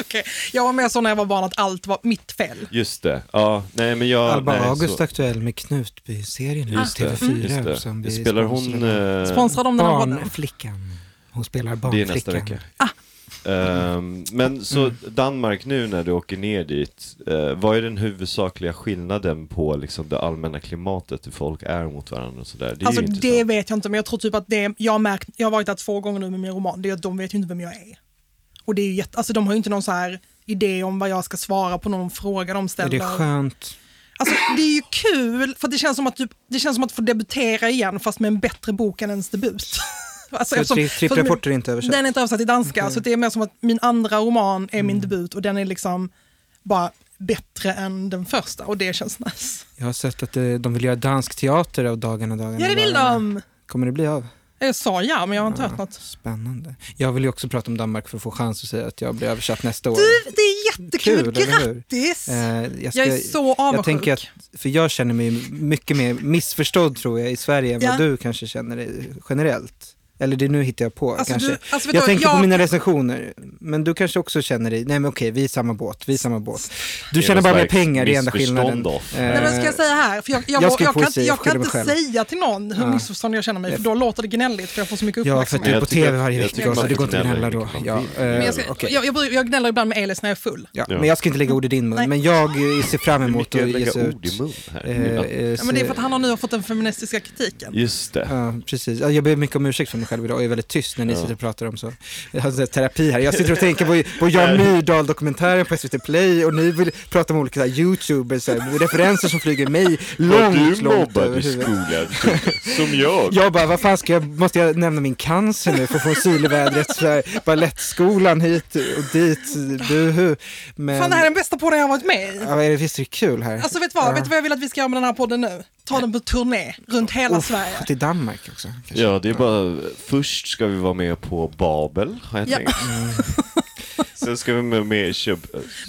Speaker 3: Okej, jag var med så när jag var barn att allt var mitt fel.
Speaker 2: Just det. Ja, nej, men jag...
Speaker 4: Alba
Speaker 2: nej,
Speaker 4: August
Speaker 2: så,
Speaker 4: aktuell med Knutby-serien i
Speaker 2: Just det,
Speaker 4: TV4.
Speaker 2: just det.
Speaker 4: Som
Speaker 2: det
Speaker 4: vi
Speaker 2: spelar hon...
Speaker 4: sponsrar.
Speaker 2: eh,
Speaker 3: Sponsrar de den här podden?
Speaker 4: Barnflickan. Hon spelar
Speaker 2: Det
Speaker 4: barnflickan.
Speaker 2: är nästa vecka.
Speaker 4: Ah.
Speaker 2: Ehm, men så Danmark nu när du åker ner dit, eh, vad är den huvudsakliga skillnaden på liksom, det allmänna klimatet hur folk är mot varandra och sådär? Det är
Speaker 3: Alltså
Speaker 2: ju intressant.
Speaker 3: det vet jag inte, men jag tror typ att det, jag har märkt, jag har varit där två gånger nu med min roman, det är att de vet ju inte vem jag är. Och det är ju jätte, alltså de har ju inte någon så här idé om vad jag ska svara på någon fråga de
Speaker 4: Är
Speaker 3: ställer.
Speaker 4: det skönt?
Speaker 3: Alltså, det är ju kul, för det känns som att, typ, det känns som att få debutera igen fast med en bättre bok än ens debut. Alltså,
Speaker 4: Så
Speaker 3: eftersom-
Speaker 4: tri-
Speaker 3: för min-
Speaker 4: Tripprapporter är inte översatt? Mm.
Speaker 3: Den är inte översatt till danska, så det är mer som att min andra roman är min debut och den är liksom bara bättre än den första och det känns nice.
Speaker 4: Jag har sett att eh, de vill göra dansk teater av Dagarna, dagarna,
Speaker 3: Ja, det vill
Speaker 4: dagarna.
Speaker 3: de!
Speaker 4: Kommer det bli av?
Speaker 3: Jag sa ja, men jag har inte hört något.
Speaker 4: Spännande. Jag vill ju också prata om Danmark för att få chans att säga att jag blir översatt nästa år.
Speaker 3: Du, det är jättekul!
Speaker 4: Kul, eller hur?
Speaker 3: Grattis!
Speaker 4: Eh, jag, ska,
Speaker 3: Jag är så
Speaker 4: jag
Speaker 3: avundsjuk.
Speaker 4: tänker att, för jag känner mig mycket mer missförstådd tror jag i Sverige än
Speaker 3: Ja.
Speaker 4: vad du kanske känner dig generellt. Eller det nu hittar jag på
Speaker 3: Alltså,
Speaker 4: kanske.
Speaker 3: du- alltså, vet du
Speaker 4: jag
Speaker 3: vad,
Speaker 4: tänker på
Speaker 3: jag-
Speaker 4: mina recensioner, men du kanske också känner dig, nej men okej, vi är i samma båt, vi är i samma båt. Du
Speaker 2: Det är
Speaker 4: tjänar
Speaker 2: någon
Speaker 4: bara mer
Speaker 2: slags
Speaker 4: pengar, det är enda
Speaker 2: missförstånd
Speaker 4: skillnaden. eh,
Speaker 2: då.
Speaker 3: Nej, men ska jag säga här? För jag,
Speaker 4: jag
Speaker 3: jag, jag,
Speaker 4: skrev
Speaker 3: kan,
Speaker 4: poesi,
Speaker 3: inte- jag
Speaker 4: jag
Speaker 3: kan
Speaker 4: skrev
Speaker 3: inte
Speaker 4: mig själv.
Speaker 3: säga till någon hur
Speaker 4: Ja.
Speaker 3: missförstånd jag känner mig, för då låter det gnälligt för jag får så mycket
Speaker 4: Ja, för att
Speaker 3: uppmärksamhet.
Speaker 4: du är
Speaker 2: Jag
Speaker 4: på
Speaker 2: tycker-
Speaker 4: tv varje
Speaker 2: jag
Speaker 4: vecka,
Speaker 2: tycker
Speaker 4: så
Speaker 2: man
Speaker 4: det går
Speaker 2: får
Speaker 4: inte att gnälla
Speaker 2: gnälla
Speaker 4: då.
Speaker 2: hur mycket
Speaker 4: Ja,
Speaker 2: man vill.
Speaker 4: eh,
Speaker 3: Men jag, ska,
Speaker 4: okej.
Speaker 3: jag, jag, bryr- jag gnäller ibland med Elis när jag är full.
Speaker 4: Ja,
Speaker 2: Ja.
Speaker 4: men jag ska inte lägga ord i din mun,
Speaker 3: Nej.
Speaker 4: men jag eh, ser fram emot
Speaker 2: Mycket
Speaker 4: att
Speaker 2: att
Speaker 4: ge sig
Speaker 2: lägga ord
Speaker 4: ut.
Speaker 2: i mun här.
Speaker 4: Eh,
Speaker 2: Ja.
Speaker 4: eh,
Speaker 3: Ja, men det är för att han har nu fått den feministiska kritiken.
Speaker 2: Just det.
Speaker 4: Ja, precis. Ja, Jag ber mycket om ursäkt för mig själv idag. Jag är väldigt tyst när ni
Speaker 2: Ja.
Speaker 4: sitter och pratar om så. Jag har så här terapi här. Jag sitter och tänker på, på Jan Myrdal-dokumentären på SVT Play och ni vill prata om olika så här, YouTubers, så här, referenser som flyger mig
Speaker 2: Var
Speaker 4: långt,
Speaker 2: du
Speaker 4: långt
Speaker 2: mobbad
Speaker 4: över
Speaker 2: i
Speaker 4: huvudet.
Speaker 2: skolan? Som jag?
Speaker 4: Jag bara, vad fan ska jag, måste jag nämna min cancer nu för att få sylevädret så här, balettskolan hit och dit, buhu. Men,
Speaker 3: Fan, det här är den bästa podden jag har varit med i.
Speaker 4: ja, vad är det, visst är det kul här?
Speaker 3: Alltså vet du vad, vet du vad jag vill att vi ska göra med den här podden nu? Ta den på turné runt hela
Speaker 4: Uff,
Speaker 3: Sverige.
Speaker 4: Till Danmark också. kanske.
Speaker 2: Ja, det är bara, först ska vi vara med på Babel, har jag
Speaker 3: Ja. Mm.
Speaker 2: tänkt. Sen ska vi vara med i köp...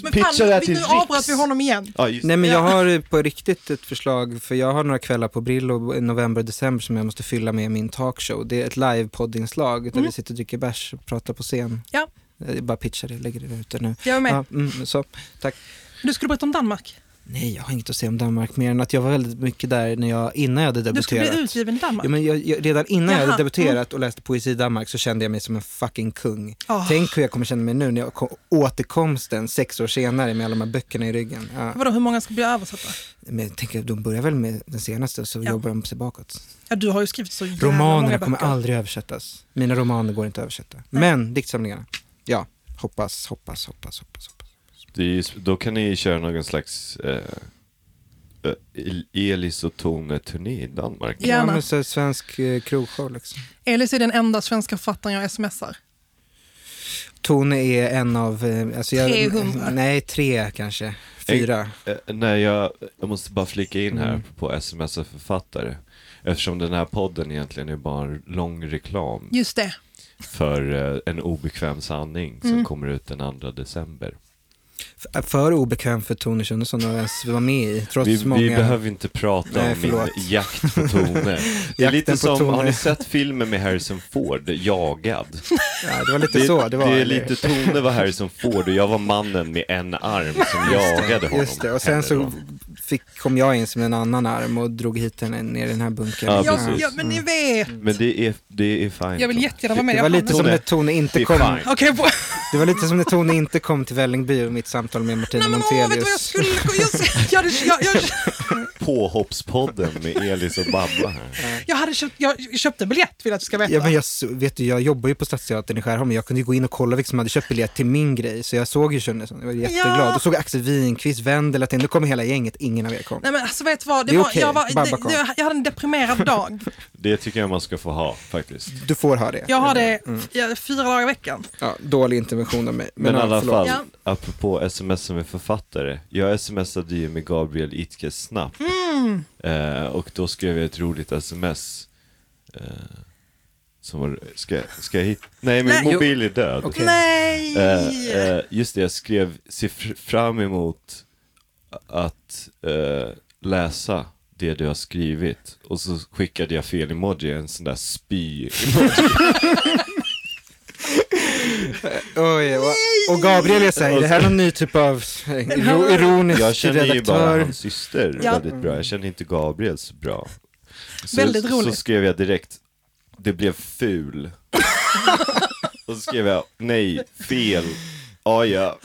Speaker 3: Men
Speaker 2: Pitcha det här
Speaker 3: fan, vi,
Speaker 2: till
Speaker 3: nu
Speaker 2: Riks.
Speaker 3: avbröt vi honom igen.
Speaker 2: Ja, just
Speaker 4: Nej men
Speaker 3: Ja.
Speaker 4: jag har eh, på riktigt ett förslag, för jag har några kvällar på Brillo i november och december som jag måste fylla med min talkshow. Det är ett live-poddinslag där
Speaker 3: Mm.
Speaker 4: vi sitter och dricker bärs och pratar på scen.
Speaker 3: Ja.
Speaker 4: Jag bara pitchar det, lägger det ute nu.
Speaker 3: Jag är med.
Speaker 4: Ja, mm, så. Tack.
Speaker 3: Du skulle berätta om Danmark.
Speaker 4: Nej, jag har inget att säga om Danmark mer än att jag var väldigt mycket där när jag, innan jag hade
Speaker 3: Du skulle
Speaker 4: debuterat.
Speaker 3: bli utgiven i Danmark.
Speaker 4: Ja, men jag, jag, redan innan jag
Speaker 3: Jaha,
Speaker 4: hade debuterat och läste poesi i Danmark så kände jag mig som en fucking kung.
Speaker 3: Ah.
Speaker 4: Tänk hur jag kommer känna mig nu när jag kom, återkomsten sex år senare med alla de här böckerna i ryggen. Ja.
Speaker 3: Vadå, hur många ska bli översatta?
Speaker 4: Men jag tänker, de börjar väl med den senaste och så
Speaker 3: Ja.
Speaker 4: jobbar de sig bakåt.
Speaker 3: Ja, du har ju skrivit så jävla många
Speaker 4: Romanerna
Speaker 3: böcker.
Speaker 4: kommer aldrig översättas. Mina romaner går inte att översätta. Men diktsamlingarna, ja. Hoppas, hoppas, hoppas, hoppas. hoppas.
Speaker 2: Det är ju, då kan ni köra någon slags eh, eh, El- Elis och Tone-turné i Danmark.
Speaker 3: Ja. Gärna.
Speaker 4: Ja, men så här svensk eh, krogshow liksom.
Speaker 3: Elis är den enda svenska författaren jag smsar.
Speaker 4: Tone är en av... eh, Alltså jag,
Speaker 3: 300.
Speaker 4: Nej, tre kanske. Fyra.
Speaker 2: Eh, nej, jag, jag måste bara flika in här på sms och författare. Eftersom den här podden egentligen är bara en lång reklam
Speaker 3: Just det.
Speaker 2: för eh, en obekväm sanning som kommer ut den 2 december.
Speaker 4: F- För obekväm för Tone Schunnesson att ens vara med i, trots
Speaker 2: Vi,
Speaker 4: många...
Speaker 2: vi behöver inte prata
Speaker 4: Nej,
Speaker 2: om min
Speaker 4: förlåt.
Speaker 2: jakt på Tone. Det är
Speaker 4: Jakten
Speaker 2: lite
Speaker 4: på
Speaker 2: som,
Speaker 4: Tone.
Speaker 2: har ni sett filmen med Harrison Ford, Jagad?
Speaker 4: ja, det var lite så det var.
Speaker 2: är
Speaker 4: eller?
Speaker 2: lite Tone var Harrison Ford och jag var mannen med en arm som jagade honom.
Speaker 4: Just det, och sen
Speaker 2: Henne
Speaker 4: så
Speaker 2: då.
Speaker 4: fick, kom jag in som en annan arm och drog hit henne ner i den här bunkern.
Speaker 2: Ja,
Speaker 3: jag,
Speaker 2: precis.
Speaker 3: jag, men
Speaker 4: Mm.
Speaker 3: ni vet,
Speaker 2: Men det är, det är fine.
Speaker 3: jag vill jättegärna vara med.
Speaker 4: Det
Speaker 3: Jag
Speaker 4: var
Speaker 3: hann
Speaker 4: lite
Speaker 3: inte.
Speaker 4: som
Speaker 2: Tone,
Speaker 4: när Tone
Speaker 2: det
Speaker 4: inte
Speaker 2: är
Speaker 4: kom.
Speaker 2: fine.
Speaker 3: Okej, bo-
Speaker 4: Det var lite som när Tone inte kom till Vällingby och mitt samtal med
Speaker 3: nej
Speaker 4: Martina
Speaker 3: men åh, vet du vad jag
Speaker 4: Montelius.
Speaker 3: skulle... Jag, hade, jag, jag,
Speaker 2: Påhoppspodden med Elis och Babba här.
Speaker 3: jag, hade köpt, jag köpte biljett, vill jag att du ska veta.
Speaker 4: Ja, men jag, s- vet du, jag jobbar ju på Stadsteatern i Skärholmen, jag kunde ju gå in och kolla vilka som hade köpt biljett till min grej, så jag såg ju Schunnesson, jag var jätteglad.
Speaker 3: Ja.
Speaker 4: Och såg Axel Winqvist, Wendela, till- nu kommer hela gänget, ingen av er kom.
Speaker 3: Nej men alltså vet du vad, det
Speaker 4: Det är
Speaker 3: var,
Speaker 4: okej,
Speaker 3: jag, var,
Speaker 4: Babba
Speaker 3: det,
Speaker 4: kom.
Speaker 3: det, jag hade en deprimerad dag.
Speaker 2: Det tycker jag man ska få ha faktiskt.
Speaker 4: Du får ha det.
Speaker 3: Jag har det
Speaker 4: Mm.
Speaker 3: jag, fyra dagar i veckan.
Speaker 4: Ja, dålig intervention av mig.
Speaker 2: Men i
Speaker 4: ja,
Speaker 2: alla
Speaker 4: förlåt.
Speaker 2: fall,
Speaker 3: Ja.
Speaker 2: apropå sms som är författare. Jag smsade ju med Gabriel Itke snabbt. Eh, och då skrev jag ett roligt sms. Eh, som var, ska, ska jag hitta? Nej, min
Speaker 3: Nej.
Speaker 2: mobil är död.
Speaker 4: Okej.
Speaker 3: Nej!
Speaker 2: Eh, eh, just det, jag skrev, se fr- fram emot att eh, läsa det du har skrivit. Och så skickade jag fel emoji, en sån där spy
Speaker 4: Oj, och, och Gabriel är såhär, är det här någon ny typ av iro, ironisk
Speaker 2: Jag känner ju bara
Speaker 4: redaktör?
Speaker 2: hans syster
Speaker 3: Ja.
Speaker 2: väldigt bra, jag känner inte Gabriel så bra. Så,
Speaker 3: Väldigt
Speaker 2: Så
Speaker 3: roligt.
Speaker 2: skrev jag direkt, det blev ful. Och så skrev jag, nej, fel. Ja, ja.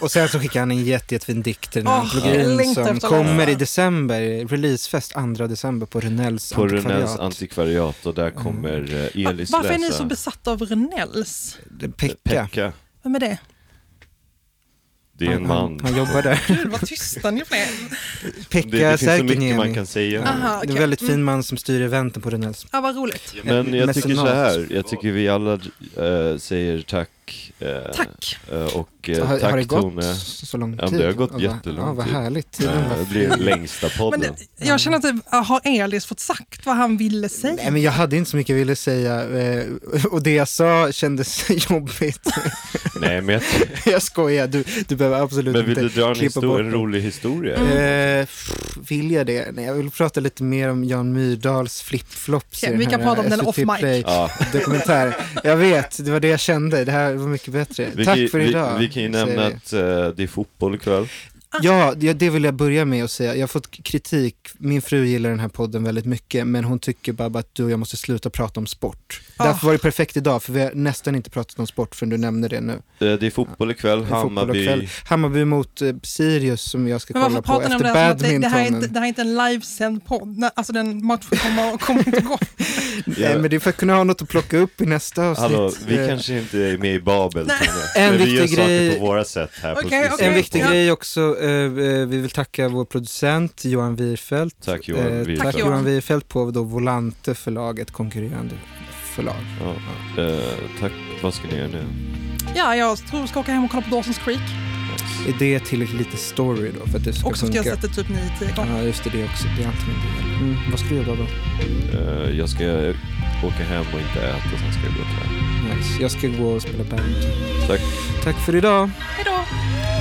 Speaker 4: Och sen så skickar han en jätte, jättefin dikt till den
Speaker 3: Åh,
Speaker 4: här
Speaker 3: jag
Speaker 4: antologin
Speaker 3: längtar
Speaker 4: som
Speaker 3: efter att läsa
Speaker 4: kommer i
Speaker 3: den.
Speaker 4: december, releasefest 2 december på Runells
Speaker 2: På Runells
Speaker 4: antikvariat. Mm.
Speaker 2: antikvariat och där kommer eh,
Speaker 3: Va-
Speaker 2: Elis
Speaker 3: Varför är ni
Speaker 2: läsa
Speaker 3: så besatta av Rönnells?
Speaker 4: Pekka.
Speaker 2: Pekka.
Speaker 3: Vem är det?
Speaker 2: Det är en man.
Speaker 4: Han, han jobbar där.
Speaker 3: Gud vad tysta ni blev.
Speaker 2: Det, det
Speaker 4: Pekka
Speaker 2: finns så mycket
Speaker 4: Särkiniemi.
Speaker 2: man kan säga.
Speaker 3: Aha.
Speaker 4: Det är en
Speaker 3: okej. Mm.
Speaker 4: väldigt fin man som styr eventen på Runells.
Speaker 3: Ja, vad roligt.
Speaker 2: Men jag tycker så
Speaker 4: Mecenat.
Speaker 2: här, jag tycker vi alla eh, säger tack tack. eh,
Speaker 3: Tack.
Speaker 2: eh, Och eh,
Speaker 4: har,
Speaker 2: tack
Speaker 4: har det gått
Speaker 2: Tone.
Speaker 4: så lång tid?
Speaker 2: Ja, men det har gått
Speaker 4: Ja, vad-
Speaker 2: jättelång
Speaker 4: Ja, vad
Speaker 2: tid.
Speaker 4: härligt. Tiden
Speaker 2: Eh,
Speaker 4: var
Speaker 2: Det blir längsta
Speaker 3: Men
Speaker 2: podden.
Speaker 3: det, jag känner att det, har Elis fått sagt vad han ville säga?
Speaker 4: Mm. Nej, men jag hade inte så mycket jag ville säga eh, och det jag sa kändes jobbigt.
Speaker 2: Nej, men, jag,
Speaker 4: Jag skojar, du, du behöver absolut
Speaker 2: men vill
Speaker 4: inte
Speaker 2: du dra en,
Speaker 4: klippa
Speaker 2: histor-
Speaker 4: bort
Speaker 2: en
Speaker 4: det.
Speaker 2: rolig historia?
Speaker 4: Eh, pff, vill jag det? Nej, jag vill prata lite mer om Jan Myrdals flipflops
Speaker 3: Okej, vi kan prata om den off mic.
Speaker 2: Ja.
Speaker 4: dokumentär. Jag vet, det var det jag kände. Det här var mycket bättre.
Speaker 2: Vi
Speaker 4: Tack
Speaker 2: kan, ju-
Speaker 4: för idag.
Speaker 2: Vi, vi kan ju
Speaker 4: säger
Speaker 2: nämna
Speaker 4: vi.
Speaker 2: att eh, det är fotboll ikväll.
Speaker 3: Ah.
Speaker 4: Ja, det det vill jag börja med att säga. Jag har fått kritik. Min fru gillar den här podden väldigt mycket, men hon tycker bara att du och jag måste sluta prata om sport.
Speaker 3: Ah.
Speaker 4: Därför var det perfekt idag, för vi har nästan inte pratat om sport förrän du nämnde det nu.
Speaker 2: Eh, det är fotboll ikväll,
Speaker 4: Det är fotboll och kväll.
Speaker 2: Hammarby.
Speaker 4: Hammarby mot eh, Sirius som jag ska
Speaker 3: Men varför
Speaker 4: kolla på
Speaker 3: pratar ni om det
Speaker 4: efter
Speaker 3: här som att det, det, här är inte,
Speaker 4: badmintonen.
Speaker 3: det här är inte en livesänd podd? Nej, Alltså den matchen kommer, kommer inte gå.
Speaker 4: Nej, men det är för att kunna ha något att plocka upp i nästa avsnitt.
Speaker 2: Hallå, vi
Speaker 4: Eh,
Speaker 2: kanske inte är med i Babel,
Speaker 3: Nej.
Speaker 2: Tone.
Speaker 4: En
Speaker 2: men vi gör
Speaker 4: viktig grej-
Speaker 2: saker på våra sätt här på
Speaker 3: Okej,
Speaker 2: på
Speaker 3: okej.
Speaker 4: En viktig
Speaker 3: Ja.
Speaker 4: grej också, eh, eh, vi vill tacka vår producent Johan Wirfeldt.
Speaker 2: Tack
Speaker 4: Eh,
Speaker 2: Johan. vi-
Speaker 4: Tack
Speaker 3: Tack,
Speaker 4: Johan
Speaker 3: Johan.
Speaker 4: Wirfeldt på då Volante förlag, ett konkurrerande förlag.
Speaker 2: Ja, eh, tack. Vad ska ni göra nu?
Speaker 3: Ja, jag tror jag ska åka hem och kolla på Dawson's Creek.
Speaker 4: Är det tillräckligt lite story då för att det ska
Speaker 3: Och så ska
Speaker 4: funka? Mm.
Speaker 3: jag sätta typ 9-10 gånger.
Speaker 4: Ja, just det, det också. Det är antingen det. Mm, vad ska du göra då?
Speaker 2: Eh, jag ska åka hem och inte äta, sen ska jag gå och träna.
Speaker 4: Nice. Jag ska gå och spela band.
Speaker 2: Tack.
Speaker 4: Tack för idag.
Speaker 3: Hej då!